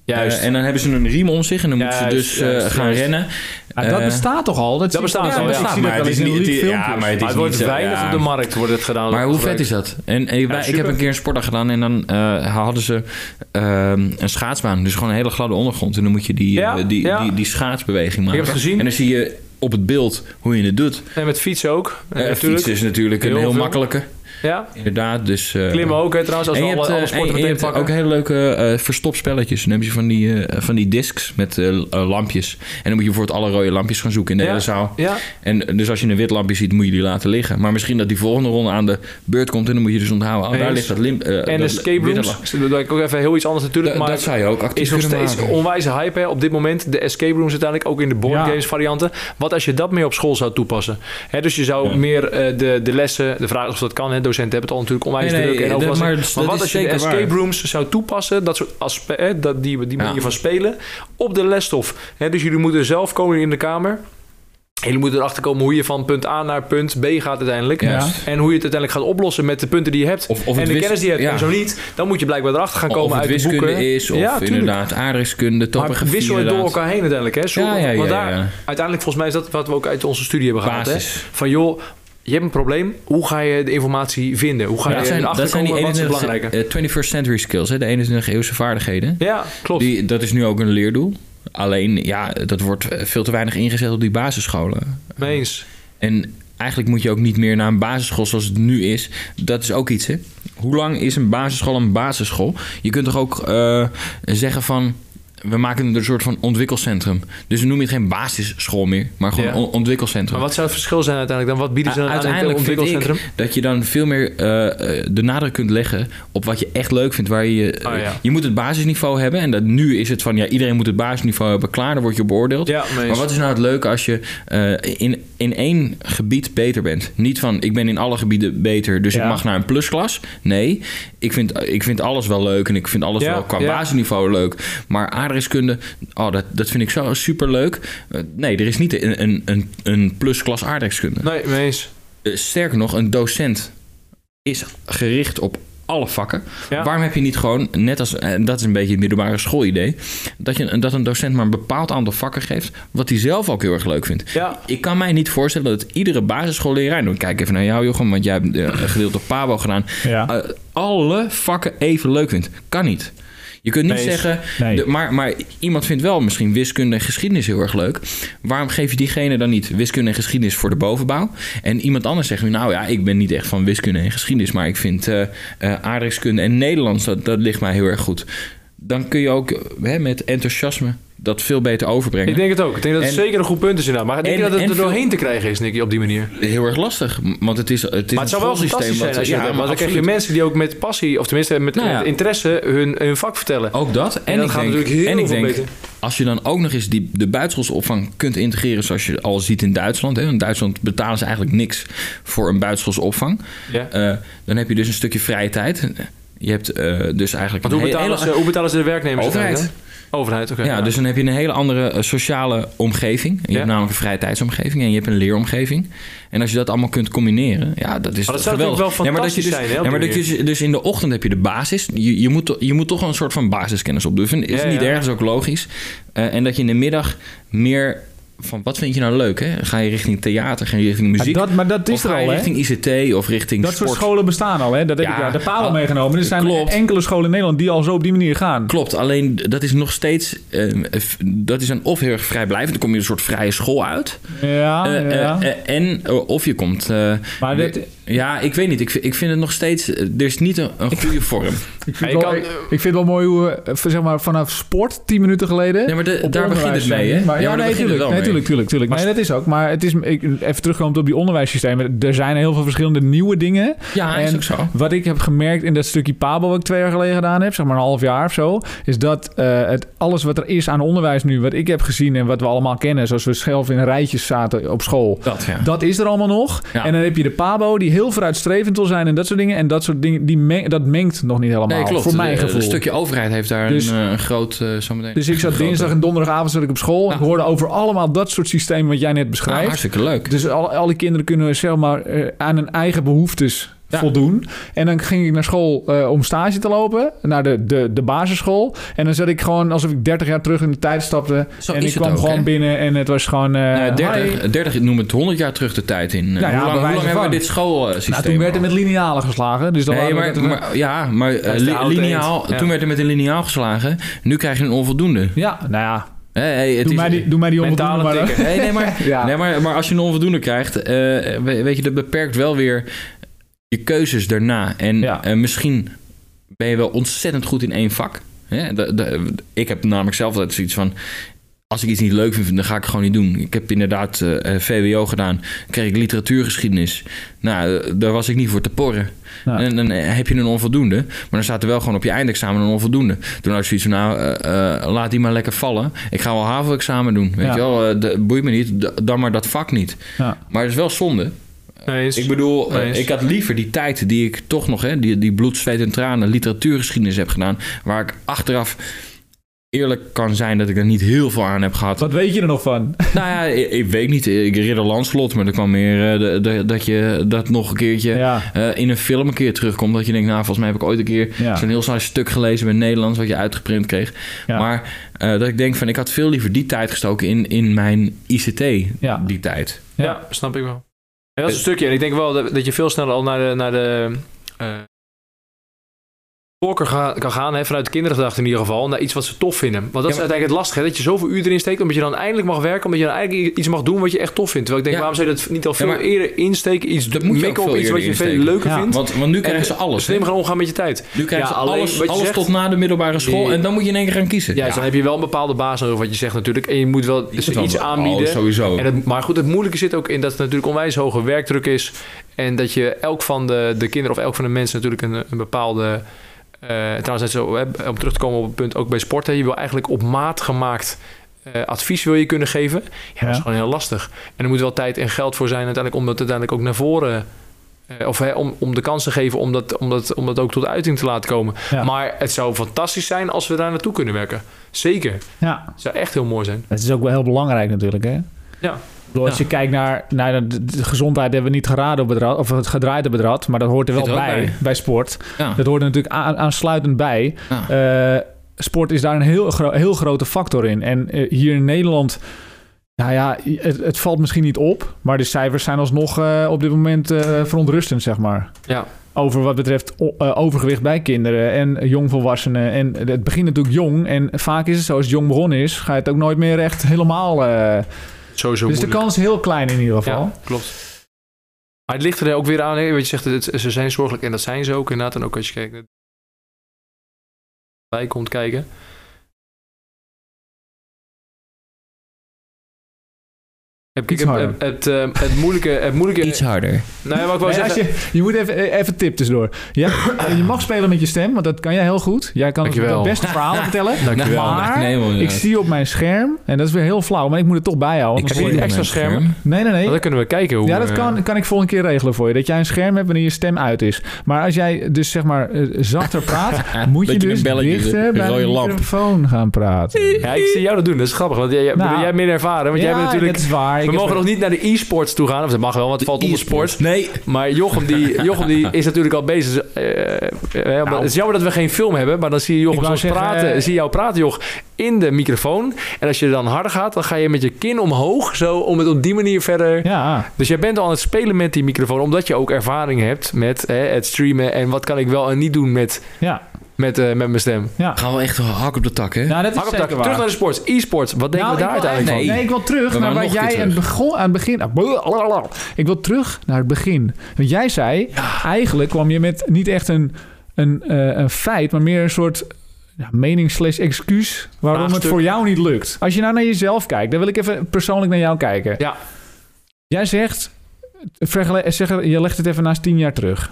Juist.
Eh, en dan hebben ze een riem om zich en dan moeten ze
Juist,
dus
juist,
eh, gaan
juist. Nou,
rennen.
Maar Ah, dat
Eh,
bestaat toch al? Dat, zie ik
bestaat
toch
al,
Ik
ja.
zie
Maar
dat wel eens in elite
ja,
filmpjes.
maar het is
maar het wordt
niet zo-
weinig
ja.
op de markt wordt het gedaan.
Maar hoe vet
gebruikt.
is dat? En, en wij- ik
super.
heb een keer een sportdag gedaan en dan eh, hadden ze ehm, een schaatsbaan. Dus gewoon een hele gladde ondergrond. En dan moet je die,
Ja,
eh, die,
ja.
Die, die schaatsbeweging maken.
heb het gezien.
En dan zie je op het beeld hoe je het doet.
En met fietsen ook.
Eh,
eh, natuurlijk.
fietsen is natuurlijk een
Heel
heel,
veel.
makkelijke.
Ja.
Inderdaad, dus... eh,
Klimmen ook, hè, trouwens. Als
en
we
je
alle,
hebt, eh,
alle
en-
sporten
en je
meteen
hebt
pakken.
ook hele leuke eh verstopspelletjes. Dan heb je van die, eh, van die discs met eh, l- eh, lampjes. En dan moet je bijvoorbeeld alle rode lampjes gaan zoeken in de
Ja.
hele zaal.
Ja.
En eh, dus als je een wit lampje ziet, moet je die laten liggen. Maar misschien dat die volgende ronde aan de beurt komt. En dan moet je dus onthouden, oh, daar
Eens.
ligt dat limp. eh,
En
dat
escape
witte
rooms.
lamp.
Dat doe ik ook even heel iets anders natuurlijk.
Da-
maar
dat zou je ook actief
is nog
kunnen
steeds
maken.
onwijze hype hè, op dit moment. De escape rooms uiteindelijk, ook in de board
Ja.
games varianten. Wat als je dat meer op school zou toepassen? Hè, dus je zou meer eh, de, de lessen, de vraag is of dat kan, hè, docenten hebben het al natuurlijk onwijs
Nee, nee,
druk. En
dat-
overal-
maar
maar
dat
wat
is
als je de
zeker waar.
escape rooms zou toepassen, dat soort aspe- hè, dat, die, die manier
Ja.
van spelen, op de lesstof. Hè, dus jullie moeten zelf komen in de kamer. En jullie moeten erachter komen hoe je van punt A naar punt B gaat uiteindelijk.
Ja.
En hoe je het uiteindelijk gaat oplossen met de punten die je hebt.
Of- of het
en de
wis-
kennis die je hebt.
ja.
En zo niet, dan moet je blijkbaar erachter gaan
Of
komen
het
uit de
wiskunde
boeken.
is, of
ja, tuurlijk.
inderdaad aardrijkskunde,
Maar
topografie.
wisselen door
inderdaad.
elkaar heen uiteindelijk. Hè? Zo,
Ja, ja,
want
ja,
daar,
ja.
Uiteindelijk volgens mij is dat wat we ook uit onze studie hebben gehaald. Hè?
Basis.
Van joh, je hebt een probleem. Hoe ga je de informatie vinden? Hoe ga
Ja,
je
dat, zijn,
erachter
dat zijn die
komen wat is
21,
dus belangrijker?
eh, 21st century skills, hè, de 21 e eeuwse vaardigheden.
Ja, klopt.
Die, dat is nu ook een leerdoel. Alleen, ja, dat wordt eh, veel te weinig ingezet op die basisscholen.
Mee eens.
En eigenlijk moet je ook niet meer naar een basisschool zoals het nu is. Dat is ook iets, hè? Hoe lang is een basisschool een basisschool? Je kunt toch ook eh, zeggen van... We maken er een soort van ontwikkelcentrum. Dus dan noem je het geen basisschool meer, maar gewoon
Ja.
on- ontwikkelcentrum.
Maar wat zou het verschil zijn uiteindelijk dan? Wat bieden ze dan aan het
Uiteindelijk vind
ontwikkelcentrum?
ik dat je dan veel meer eh, eh, de nadruk kunt leggen op wat je echt leuk vindt. Waar je,
Oh, ja.
je moet het basisniveau hebben. En dat, nu is het van ja, iedereen moet het basisniveau hebben. Klaar, dan word je beoordeeld.
Ja, mee
Maar
eens.
wat is nou het leuke als je eh, in, in één gebied beter bent? Niet van ik ben in alle gebieden beter, dus
Ja.
ik mag naar een plusklas. Nee, ik vind, ik vind alles wel leuk en ik vind alles
Ja,
wel qua
ja.
basisniveau leuk. Maar aardrijkskunde, oh, dat, dat vind ik zo super leuk. nee, er is niet een, een, een, een plusklas aardrijkskunde.
Nee, mee eens.
Eh, sterker nog, een docent is gericht op alle vakken.
Ja.
Waarom heb je niet gewoon, net als, en dat is een beetje het middelbare schoolidee, dat, je, dat een docent maar een bepaald aantal vakken geeft, wat hij zelf ook heel erg leuk vindt.
Ja.
Ik kan mij niet voorstellen dat iedere basisschoolleraar, nou, ik kijk even naar jou Jochem, want jij hebt eh, een gedeelte op Pabo gedaan,
Ja.
eh, alle vakken even leuk vindt. Kan niet. Je kunt niet
Nee,
zeggen,
nee.
de- maar, maar iemand vindt wel misschien wiskunde en geschiedenis heel erg leuk. Waarom geef je diegene dan niet wiskunde en geschiedenis voor de bovenbouw? En iemand anders zegt nu, nou ja, ik ben niet echt van wiskunde en geschiedenis, maar ik vind eh eh, aardrijkskunde en Nederlands, dat, dat ligt mij heel erg goed. Dan kun je ook eh, hè, met enthousiasme dat veel beter overbrengen.
Ik denk het ook. Ik denk dat het
En-
zeker een goed punt is inderdaad. Maar ik denk
en-
dat het
en
er doorheen
veel-
te krijgen is, Nicky, op die manier.
Heel erg lastig, want het is, het is
Maar het zou wel fantastisch zijn als je dat hebt. Want dan krijg je mensen die ook met passie, of tenminste met
Nou ja. Oh.
met interesse, hun, hun vak vertellen.
Ook dat. En,
dat
ik
gaat
denk,
natuurlijk heel
en ik
veel
denk,
beter.
Als je dan ook nog eens die, de buitenschoolsopvang kunt integreren, zoals je al ziet in Duitsland. Hè, in Duitsland betalen ze eigenlijk niks voor een buitenschoolsopvang.
Ja.
Eh, dan heb je dus een stukje vrije tijd. Je hebt eh, dus eigenlijk
Want hoe
een he-
betalen, ze, hoe betalen ze de werknemers?
Overheid.
uiteindelijk dan? Overheid, oké.
ja, dus dan heb je een hele andere eh, sociale omgeving. Je
Ja.
hebt namelijk een vrije tijdsomgeving en je hebt een leeromgeving. En als je dat allemaal kunt combineren, ja, dat
Maar Oh, dat zou
is geweldig.
natuurlijk wel
Nee, maar dat je
fantastisch
dus,
zijn, hè, op
nee, maar
die
dat je dus- dus in de ochtend heb je de basis. Je, je, moet, to- je moet toch een soort van basiskennis opdoen. Vind- Is
Ja,
niet
ja.
ergens ook logisch. Eh, en dat je in de middag meer van wat vind je nou leuk, hè? Ga je richting theater, ga je richting
Maar
muziek?
Ah, dat, maar dat
of
is
ga
er
je
al, hè?
richting ICT of richting
Dat soort
sport?
scholen bestaan al, hè? Dat heb
Ja,
ik ja, de palen
al-
meegenomen. Er zijn
klopt.
enkele scholen in Nederland die al zo op die manier gaan.
Klopt, alleen dat is nog steeds... eh, f- dat is dan of heel erg vrijblijvend, dan kom je een soort vrije school uit.
Ja,
Eh, eh,
Ah, ja.
eh, en eh, of je komt. eh,
maar dit,
weer- ja, ik weet niet. Ik, vind- ik vind het nog steeds. eh, Er is niet een, een goede
<laughs>
vorm.
ik, vind
je
wel,
kan-
ik, ik vind het wel mooi hoe we, eh, zeg maar, vanaf sport, tien minuten geleden...
Nee, maar de-
op
daar begint
onderwijs
het mee,
zijn.
hè?
Maar, ja,
Ja,
nee,
maar daar begint het
tuurlijk,
wel
nee,
mee.
tuurlijk, tuurlijk, tuurlijk. Nee, dat is ook. Maar het is, ik, even terugkomend op die onderwijssystemen. Er zijn heel veel verschillende nieuwe dingen.
Ja,
En
Ah, is ook zo.
Wat ik heb gemerkt in dat stukje Pabo wat ik twee jaar geleden gedaan heb, zeg maar een half jaar of zo, is dat eh, het, alles wat er is aan onderwijs nu, wat ik heb gezien en wat we allemaal kennen, zoals we zelf in rijtjes zaten op school,
Dat, ja.
dat is er allemaal nog.
Ja.
En dan heb je de Pabo, die heel vooruitstrevend wil zijn en dat soort dingen. En dat soort dingen, die meng- dat mengt nog niet helemaal.
Nee, klopt.
Voor mijn
Eh,
gevoel.
Een stukje overheid heeft daar
Dus-
een, eh, een groot. eh zometeen.
Dus ik zat
een grote-
dinsdag en donderdagavond zat ik op school. En
Ja.
ik hoorde over allemaal dat soort systemen wat jij net
Ah,
beschrijft.
hartstikke leuk.
Dus alle, alle kinderen kunnen zeg maar eh, aan hun eigen behoeftes
Ja.
voldoen. En dan ging ik naar school eh, om stage te lopen, naar de, de, de basisschool. En dan zat ik gewoon alsof ik 30 jaar terug in de tijd stapte.
Zo
en
is
ik
het
kwam
ook,
gewoon
hè?
binnen en het was gewoon... eh,
Nou,
hi.
30, 30, noem het 100 jaar terug de tijd in. Eh,
ja, bij
hoe lang,
wijze
hoe lang hebben
van.
we dit schoolsysteem?
Nou, toen werd er met linealen geslagen. Dus dan
Nee,
waren we
maar,
dat-
maar- ja, maar eh,
Dat is de
li-
oude
lineaal,
eend. Ja.
toen werd er met een lineaal geslagen. Nu krijg je een onvoldoende.
Ja, nou ja.
Hé, hé, het
Doe
is-
mij die, doe mij die
Mentale
onvoldoende maar.
tikken.
Nee, nee, maar,
<laughs> Ja.
nee maar, maar als je een onvoldoende krijgt, eh, we- weet je, dat beperkt wel weer je keuzes daarna. En
Ja.
eh, misschien ben je wel ontzettend goed in één vak. Hè? De- de- ik heb namelijk zelf altijd zoiets van. Als ik iets niet leuk vind, dan ga ik het gewoon niet doen. Ik heb inderdaad eh, eh, VWO gedaan. kreeg ik literatuurgeschiedenis. Nou, eh, daar was ik niet voor te porren.
Ja.
En dan eh, heb je een onvoldoende. Maar dan staat er wel gewoon op je eindexamen een onvoldoende. Toen had ik zoiets van, nou, eh, eh, laat die maar lekker vallen. Ik ga wel HAVO-examen doen. Weet
Ja.
je wel, eh, de- boeit me niet. D- dan maar dat vak niet.
Ja.
Maar het is wel zonde.
Mee eens.
Ik bedoel, eh,
Eens.
ik had liever die tijd die ik toch nog... Hè, die, die bloed, zweet en tranen literatuurgeschiedenis heb gedaan... waar ik achteraf eerlijk kan zijn dat ik er niet heel veel aan heb gehad.
Wat weet je er nog van?
Nou ja, ik, ik weet niet. Ik ridder Lanslot, maar er kwam meer eh, de- de- dat je dat nog een keertje...
Ja.
eh, in een film een keer terugkomt. Dat je denkt, nou, volgens mij heb ik ooit een keer
Ja.
zo'n heel saai stuk gelezen bij Nederlands, wat je uitgeprint kreeg.
Ja.
Maar eh, dat ik denk van, ik had veel liever die tijd gestoken in, in mijn ICT,
Ja.
die tijd.
Ja,
Ja.
snap ik wel. En dat is een stukje. En ik denk wel dat, dat je veel sneller al naar de, naar de eh,
voorkeur ga- kan gaan, hè, vanuit de kindergedachte in ieder geval, naar iets wat ze tof vinden. Want dat is
maar-
uiteindelijk het lastige, hè, dat je zoveel uur erin steekt, omdat je dan eindelijk mag werken, omdat je dan eigenlijk i- iets mag doen wat je echt tof vindt. Terwijl ik denk,
Ja.
waarom zou je dat niet al veel
maar-
eerder insteken, iets
Dat moet je ook
mikken op
veel
iets wat je
eerder
veel
insteken.
leuker
Ja.
vindt?
Want, want nu krijgen ze alles. hè?
Slim gaan omgaan met je tijd.
Nu krijgen
Ja,
ze
alleen
alles,
wat je
alles
zegt-
tot na de middelbare school.
Die-
en dan moet je in één keer gaan kiezen.
Juist, dan heb je wel een bepaalde baas nodig, wat je zegt natuurlijk. En je moet wel
Je moet dan-
iets
Oh,
aanbieden.
sowieso.
En het, maar goed, het moeilijke zit ook in dat het natuurlijk onwijs hoge werkdruk is. En dat je elk van de, de kinderen of elk van de mensen natuurlijk een, een bepaalde. eh, trouwens, net zo, hè, om terug te komen op het punt ook bij sport. Hè, je wil eigenlijk op maat gemaakt eh, advies wil je kunnen geven. Ja, dat is
Ja.
gewoon heel lastig. En er moet wel tijd en geld voor zijn uiteindelijk om dat uiteindelijk ook naar voren. eh, Of hè, om, om de kans te geven om dat, om, dat, om dat ook tot uiting te laten komen.
Ja.
Maar het zou fantastisch zijn als we daar naartoe kunnen werken. Zeker.
Ja,
Het zou echt heel mooi zijn.
dat is ook wel heel belangrijk natuurlijk, hè?
Ja.
Ik bedoel, Als je kijkt naar, naar de, de gezondheid, hebben we niet geraden op het rad, of het gedraaide bedrag, maar dat hoort er wel
Zit er ook
bij,
bij.
bij, sport.
Ja.
Dat hoort er natuurlijk aan- aansluitend bij.
Ja.
Eh, sport is daar een heel, gro- heel grote factor in. En eh, hier in Nederland, nou ja, het, het valt misschien niet op, maar de cijfers zijn alsnog eh, op dit moment eh, verontrustend, zeg maar.
Ja.
Over wat betreft o- eh, overgewicht bij kinderen en jongvolwassenen. En het begint natuurlijk jong. En vaak is het zo, als het jong begonnen is, ga je het ook nooit meer echt helemaal. eh,
Sowieso
dus de
moeilijk.
kans is heel klein in ieder geval.
Ja, klopt. Maar het ligt er ook weer aan. Hè? Weet je zegt, het, ze zijn zorgelijk en dat zijn ze ook inderdaad. En ook als je kijkt naar bij komt kijken. Heb ik
Iets
heb-
harder.
heb- het, ehm, het moeilijke... Het moeilijke
Iets harder.
nou ja, wat ik wou
Nee, als
zeggen...
je, je moet even, eh, even tip tussendoor. Je, hebt- je mag spelen met je stem, want dat kan jij heel goed. Jij kan
Dankjewel.
het beste verhalen vertellen. Maar
Nee, man,
ik zie op mijn scherm, en dat is weer heel flauw, maar ik moet het toch bijhouden.
Ik
want
zie
hoor
dan
die
je
word
extra
mijn
schermen.
scherm.
ik- Nee, nee,
Dan
nee.
kunnen we kijken hoe...
Ja, dat
eh,
kan, kan ik volgende keer regelen voor je. Dat jij een scherm hebt wanneer je stem uit is. Maar als jij dus zeg maar eh, zachter praat, moet je
Beetje
dus
een belletje,
dichter
een
bij
rode
de
lamp.
microfoon gaan praten.
Ja, ik zie jou dat doen. Dat is grappig. Want jij, jij-
Nou.
jij bent meer ervaren. Want jij
Ja,
bent natuurlijk...
dat is waar. Ik
We
heb-
mogen nog niet naar de e-sports toe gaan. Of dat mag wel, want het valt onder sport.
Nee.
Maar Jochem,
<laughs>
die, Jochem die is natuurlijk al bezig. Eh, eh, maar
Nou.
Het is jammer dat we geen film hebben, maar dan zie je Jochem
Ik wou
soms
zeggen,
praten.
eh,
zie je jou praten, Joch, in de microfoon. En als je dan harder gaat, dan ga je met je kin omhoog. Zo om het op die manier verder.
Ja,
Dus jij bent al aan het spelen met die microfoon, omdat je ook ervaring hebt met hè, het streamen. En wat kan ik wel en niet doen met,
ja,
met, eh, met mijn stem.
ja.
Gaan we echt hak op de tak, hè?
Nou, dat is
Hak op dak.
zeker waar.
Terug naar de sports. E-sports. Wat denken
Nou,
we daar
ik wil
uiteindelijk van?
eigenlijk-
van?
Nee, ik wil terug
We
naar
waren
wat
nog een
jij
keer
aan het,
terug.
begon, aan het begin... ah, blablabla. Ik wil terug naar het begin. Want jij zei, eigenlijk kwam je met niet echt een, een, eh, een feit... maar meer een soort ja, mening slash excuus... waarom het
Vraagstuk.
voor jou niet lukt. Als je nou naar jezelf kijkt, dan wil ik even persoonlijk naar jou kijken.
Ja.
Jij zegt, vergele- eh, zeg, je legt het even naast tien jaar terug.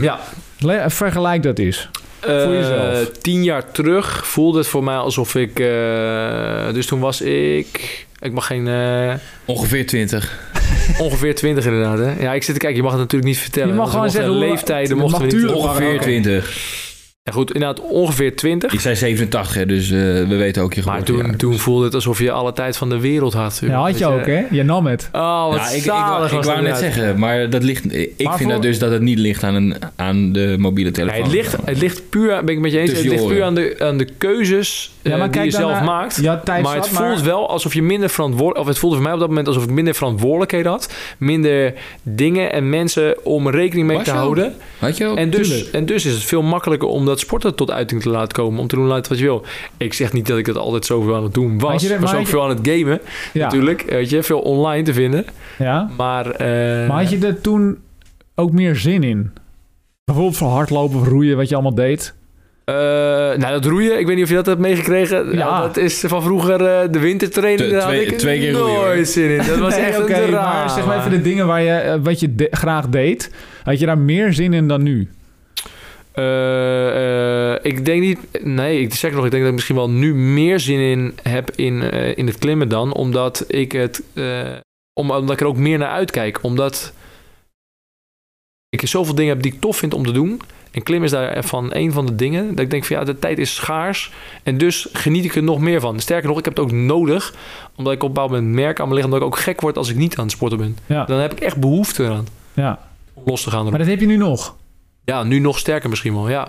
Ja.
Le- vergelijk dat eens. Voor
Eh,
jezelf.
Tien jaar terug voelde het voor mij alsof ik... eh, dus toen was ik... Ik mag geen... eh,
Ongeveer 20.
ongeveer 20 inderdaad, hè? Ja, ik zit te kijken. Je mag het natuurlijk niet vertellen.
Je mag
want we
gewoon
mochten
zeggen hoe-
leeftijden
het
mochten we
mag
niet...
duren.
Ongeveer 20.
Ja, goed, inderdaad ongeveer 20.
Ik zei 87, hè, dus eh, we weten ook je
Maar
geboortejaar.
toen, toen voelde het alsof je alle tijd van de wereld had.
Ja, had je
Weet
ook, hè? Je nam het.
Oh, wat
Ja, ik, ik, wou-
zalig
ik
was
wou
dat
net
inderdaad.
zeggen, maar dat ligt, ik
Maar
vind
voor-
dat dus dat het niet ligt aan, een, aan de mobiele
Nee,
telefoon.
het, ligt, het ligt puur, ben ik het met je eens,
Tussen
het ligt
je
puur
oren.
aan de, aan de keuzes eh,
maar
die
kijk
je
dan
zelf
naar-
maakt.
Je had tijd
maar het
zat,
voelt wel alsof je minder verantwoordelijk... Of het voelde voor mij op dat moment alsof ik minder verantwoordelijkheden had. Minder dingen en mensen om rekening mee
Was
te
je ook? Oh,
houden.
Had je ook?
En dus,
tuurlijk.
en dus is het veel makkelijker om dat sporten tot uiting te laten komen. Om te doen laten wat je wil. Ik zeg niet dat ik dat altijd zoveel aan het doen
Maar
was.
je-
Ik was
maar
ook
je-
veel aan het gamen
Ja.
natuurlijk. eh, Weet je, veel online te vinden.
Ja.
Maar, eh,
Maar had je er toen ook meer zin in? Bijvoorbeeld voor hardlopen of roeien, wat je allemaal deed.
eh, nou, dat roeien, ik weet niet of je dat hebt meegekregen.
Ja.
Nou, dat is van vroeger eh, de wintertraining.
Te-
daar had
twee-
ik
twee keer
nooit
roeien, hoor.
zin in. Dat was
<laughs> Nee,
echt
oké,
een drama.
maar zeg maar even de dingen waar je, eh, wat je de- graag deed. Had je daar meer zin in dan nu?
Eh, eh, ik denk niet. Nee, ik zeg nog, ik denk dat ik misschien wel nu meer zin in heb in, eh, in het klimmen dan. Omdat ik het. eh, om, omdat ik er ook meer naar uitkijk. Omdat ik zoveel dingen heb die ik tof vind om te doen. En klimmen is daarvan een van de dingen. Dat ik denk van ja, de tijd is schaars. En dus geniet ik er nog meer van. Sterker nog, ik heb het ook nodig. Omdat ik op een bepaald moment merk aan mijn lichaam dat ik ook gek word als ik niet aan het sporten ben.
Ja.
Dan heb ik echt behoefte eraan.
Ja.
Om los te gaan. erop.
Maar dat heb je nu nog.
Ja, nu nog sterker misschien wel, ja.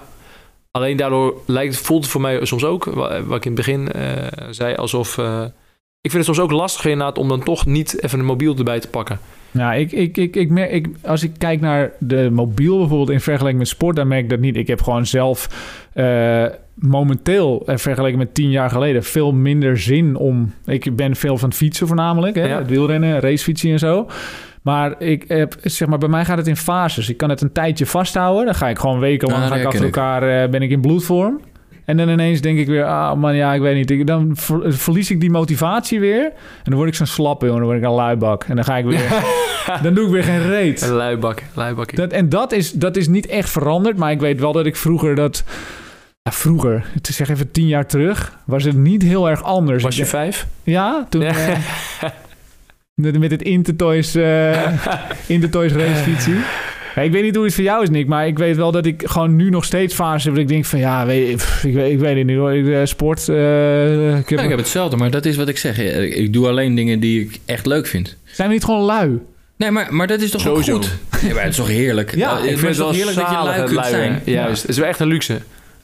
Alleen daardoor lijkt, voelt het voor mij soms ook, wa- wat ik in het begin eh, zei, alsof eh,
Ik vind het soms ook lastig inderdaad om dan toch niet even een mobiel erbij te pakken.
Nou, ik, ik, ik, ik merk, ik, als ik kijk naar de mobiel bijvoorbeeld in vergelijking met sport, dan merk ik dat niet. Ik heb gewoon zelf eh, momenteel, eh, vergeleken met tien jaar geleden, veel minder zin om. Ik ben veel van het fietsen voornamelijk, hè,
Ja.
het wielrennen, racefietsen en zo. Maar ik heb, zeg maar, bij mij gaat het in fases. Ik kan het een tijdje vasthouden. Dan ga ik gewoon wekenlang
Nou,
ga ik
dat
achter
herken
elkaar, eh, ben ik in bloedvorm. En dan ineens denk ik weer, ah man, ja, ik weet niet. Ik- dan ver- verlies ik die motivatie weer. En dan word ik zo'n slappe, jongen. Dan word ik een luibak. En dan ga ik weer... <laughs> dan doe ik weer geen reet.
Een luibak, luibak.
Dat, en dat is, dat is niet echt veranderd. Maar ik weet wel dat ik vroeger dat... Ja, vroeger, het is echt even tien jaar terug... was het niet heel erg anders.
Was je
Ik-
vijf?
ja, toen...
Ja.
eh, met, met het Intertoys, eh
<laughs>
Intertoys racefietsie. Ja, ik weet niet hoe het voor jou is, Nick. Maar ik weet wel dat ik gewoon nu nog steeds fases heb... dat ik denk van, ja, weet, pff, ik, weet, ik weet het niet hoor. Ik, eh, sport, eh, ik heb-
Ja, ik heb hetzelfde, maar dat is wat ik zeg. Ik ik doe alleen dingen die ik echt leuk vind.
Zijn we niet gewoon lui?
Nee, maar, maar dat is toch ook
Sowieso.
goed? Ja, maar het is toch heerlijk?
Ja,
Eh,
ik
maar het is toch heerlijk dat je lui
het
kunt zijn?
luien. Juist, het is wel echt een luxe.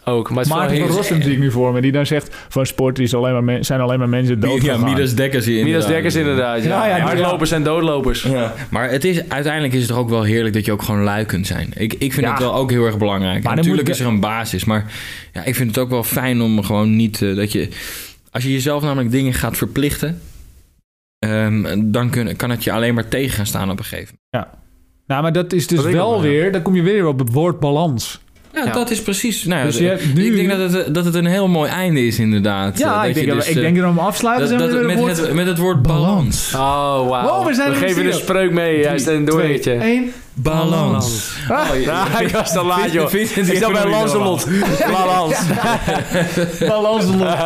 Ook, maar het is wel
Maarten
heel...
van Rossum zie ik nu voor me, die dan zegt... van sport is alleen maar men- zijn alleen maar mensen dood
Ja,
gegaan.
Midas Dekkers hier
Midas Dekkers inderdaad, ja.
Ja, ja, die-
Hardlopers en doodlopers.
Ja. Maar het is, uiteindelijk is het toch ook wel heerlijk dat je ook gewoon lui kunt zijn. Ik, ik vind
Ja.
het wel ook heel erg belangrijk.
Maar
En
dan
Natuurlijk
moet
is
je-
er een basis, maar ja, ik vind het ook wel fijn om gewoon niet eh, dat je. Als je jezelf namelijk dingen gaat verplichten, ehm, dan kun, kan het je alleen maar tegen gaan staan op een gegeven
Nou, maar dat is dus
Dat weet ik
wel
nog wel, ja.
weer... dan kom je weer op het woord balans.
moment. Ja,
Ja.
dat is precies. Nou, ja,
Dus je hebt nu-
Ik denk dat het, dat het een heel mooi einde is, inderdaad. Eh,
Ja,
dat
ik
je
denk, dat
dus,
ik
eh,
denk dat we hem afsluiten.
dat,
zijn Ah, we
dat het
weer op
met,
woord-
het, met het woord balans.
Balans.
Oh, wauw.
Wow, we zijn er
geven
weer.
de spreuk mee. Juist een doorheertje.
Eén.
Balans.
<laughs>
<laughs>
Ja, ik was te laat, joh.
Vincent,
Ik zat bij Lancelot.
<laughs>
Balans.
Balanslot.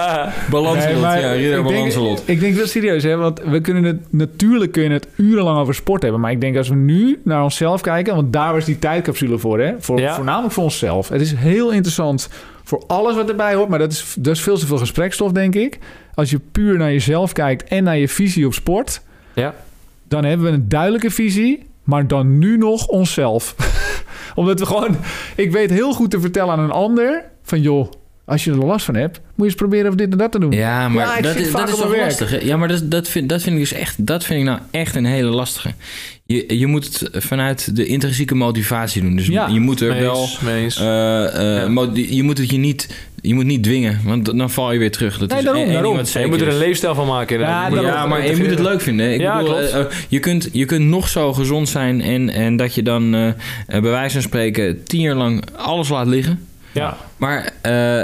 Balanslot, ja, ridder
ik, denk,
Balanslot.
ik denk wel serieus, hè, want we kunnen het, natuurlijk kun je het urenlang over sport hebben. Maar ik denk als we nu naar onszelf kijken, want daar was die tijdcapsule voor, hè? Voor,
Ja.
Voornamelijk voor onszelf. Het is heel interessant voor alles wat erbij hoort, maar dat is, dat is veel te veel gesprekstof, denk ik. Als je puur naar jezelf kijkt en naar je visie op sport,
Ja.
dan hebben we een duidelijke visie, maar dan nu nog onszelf. <laughs> Omdat we gewoon, ik weet heel goed te vertellen aan een ander van joh, als je er last van hebt, moet je eens proberen of dit en dat te doen.
Ja,
Ja,
maar
ik
dat,
zit
is,
vaak
dat is
op
toch
mijn werk.
lastig. hè? Ja, maar dat, dat, vind, dat vind ik dus echt, dat vind ik nou echt een hele lastige. Je, je moet het vanuit de intrinsieke motivatie doen. Dus
Ja,
je moet er wel.
mees.
eh, eh, mo- je moet het je niet, je moet niet dwingen, want dan- dan val je weer terug. Dat
Nee,
is
daarom,
één ding
daarom.
wat
Ja, je
zeker
moet er een
is.
leefstijl van maken.
Ja,
inderdaad. Je moet
daarom.
er
Ja,
ook
maar je moet
integreren.
het leuk vinden. hè? Ik
Ja,
bedoel,
klopt.
eh, eh, je, kunt, je kunt nog zo gezond zijn en, en dat je dan eh, eh, bij wijze van spreken tien jaar lang alles laat liggen.
Ja.
Maar eh,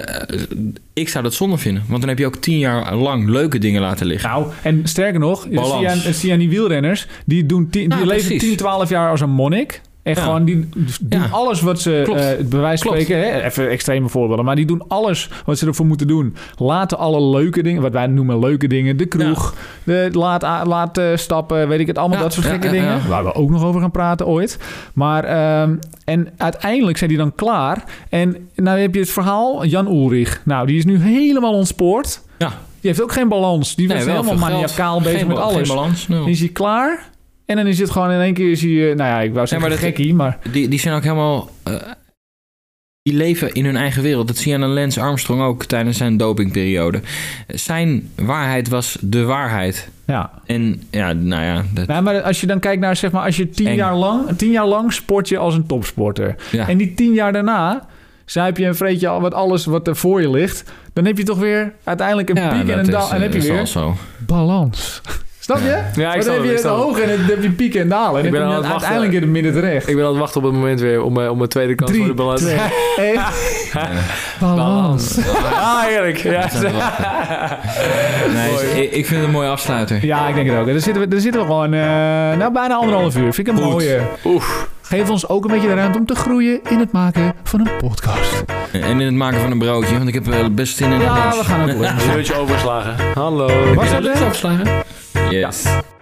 ik zou dat zonde vinden, want dan heb je ook tien jaar lang leuke dingen laten liggen.
Nou, en sterker nog, je
Balans.
zie, je aan, dat zie je aan die wielrenners, die, doen tien- die
Ja,
leven
precies.
10, 12 jaar als een monnik. En
Ja.
gewoon, die doen
Ja.
alles wat ze,
Klopt.
eh, bij wijze van
Klopt.
spreken, hè, even extreme voorbeelden, maar die doen alles wat ze ervoor moeten doen. Laten alle leuke dingen, wat wij noemen leuke dingen, de kroeg, de, laat, a- laat eh, stappen, weet ik het, allemaal
Ja,
dat soort
ja,
gekke
ja, ja.
dingen. Waar we ook nog over gaan praten ooit. Maar, ehm, en uiteindelijk zijn die dan klaar. En nou heb je het verhaal, Jan Ulrich. Nou, die is nu helemaal ontspoord.
Ja.
Die heeft ook geen balans. Die was
wel
helemaal
veel geld.
maniacaal bezig
Geen
met
ba-
alles.
Geen balans, nul.
Dan is hij klaar. En dan is het gewoon in één keer is hij... eh, Nou ja, ik wou zeggen
maar dat-
gekkie, maar...
Die, die zijn ook helemaal... eh, die leven in hun eigen wereld. Dat zie je aan een Lance Armstrong ook tijdens zijn dopingperiode. Zijn waarheid was de waarheid.
Ja.
En ja, nou ja... Dat,
Nou, maar als je dan kijkt naar, zeg maar, als je tien
Eng.
jaar, lang, tien jaar lang sport je als een topsporter.
Ja.
En die tien jaar daarna zuip je en vreet je al wat alles wat er voor je ligt. Dan heb je toch weer uiteindelijk een
ja,
piek en
dat
een
is,
dal. En
eh,
heb je
is wel
weer
zo.
balans. Snap je?
Ja, ik
Want dan
snap
heb
het,
je
ik
de
snap het.
hoge en dan heb je pieken en dalen. En dan
Ik ben
kom je
aan het wachten.
uiteindelijk in het midden terecht.
Ik ben aan het wachten op het moment weer om, eh, om mijn tweede kans voor de
Drie,
balans.
twee,
<laughs>
één.
Balans.
Balans.
Ah, heerlijk. Ja. <laughs>
Zijn we wel.
<laughs>
Nee,
Mooi.
is- ik, ik vind het een mooie afsluiter.
Ja, ik denk het ook. Daar zitten we, daar zitten we gewoon eh, nou, bijna anderhalf uur. Vind ik een
Goed.
mooie.
Oef.
Geef ons ook een beetje de ruimte om te groeien in het maken van een podcast.
En in het maken van een broodje, want ik heb eh, best zin in een
Ja,
lunch.
we gaan ook door.
Een uurtje overslagen. Hallo.
Was dat het?
Lunch afslagen? Yes.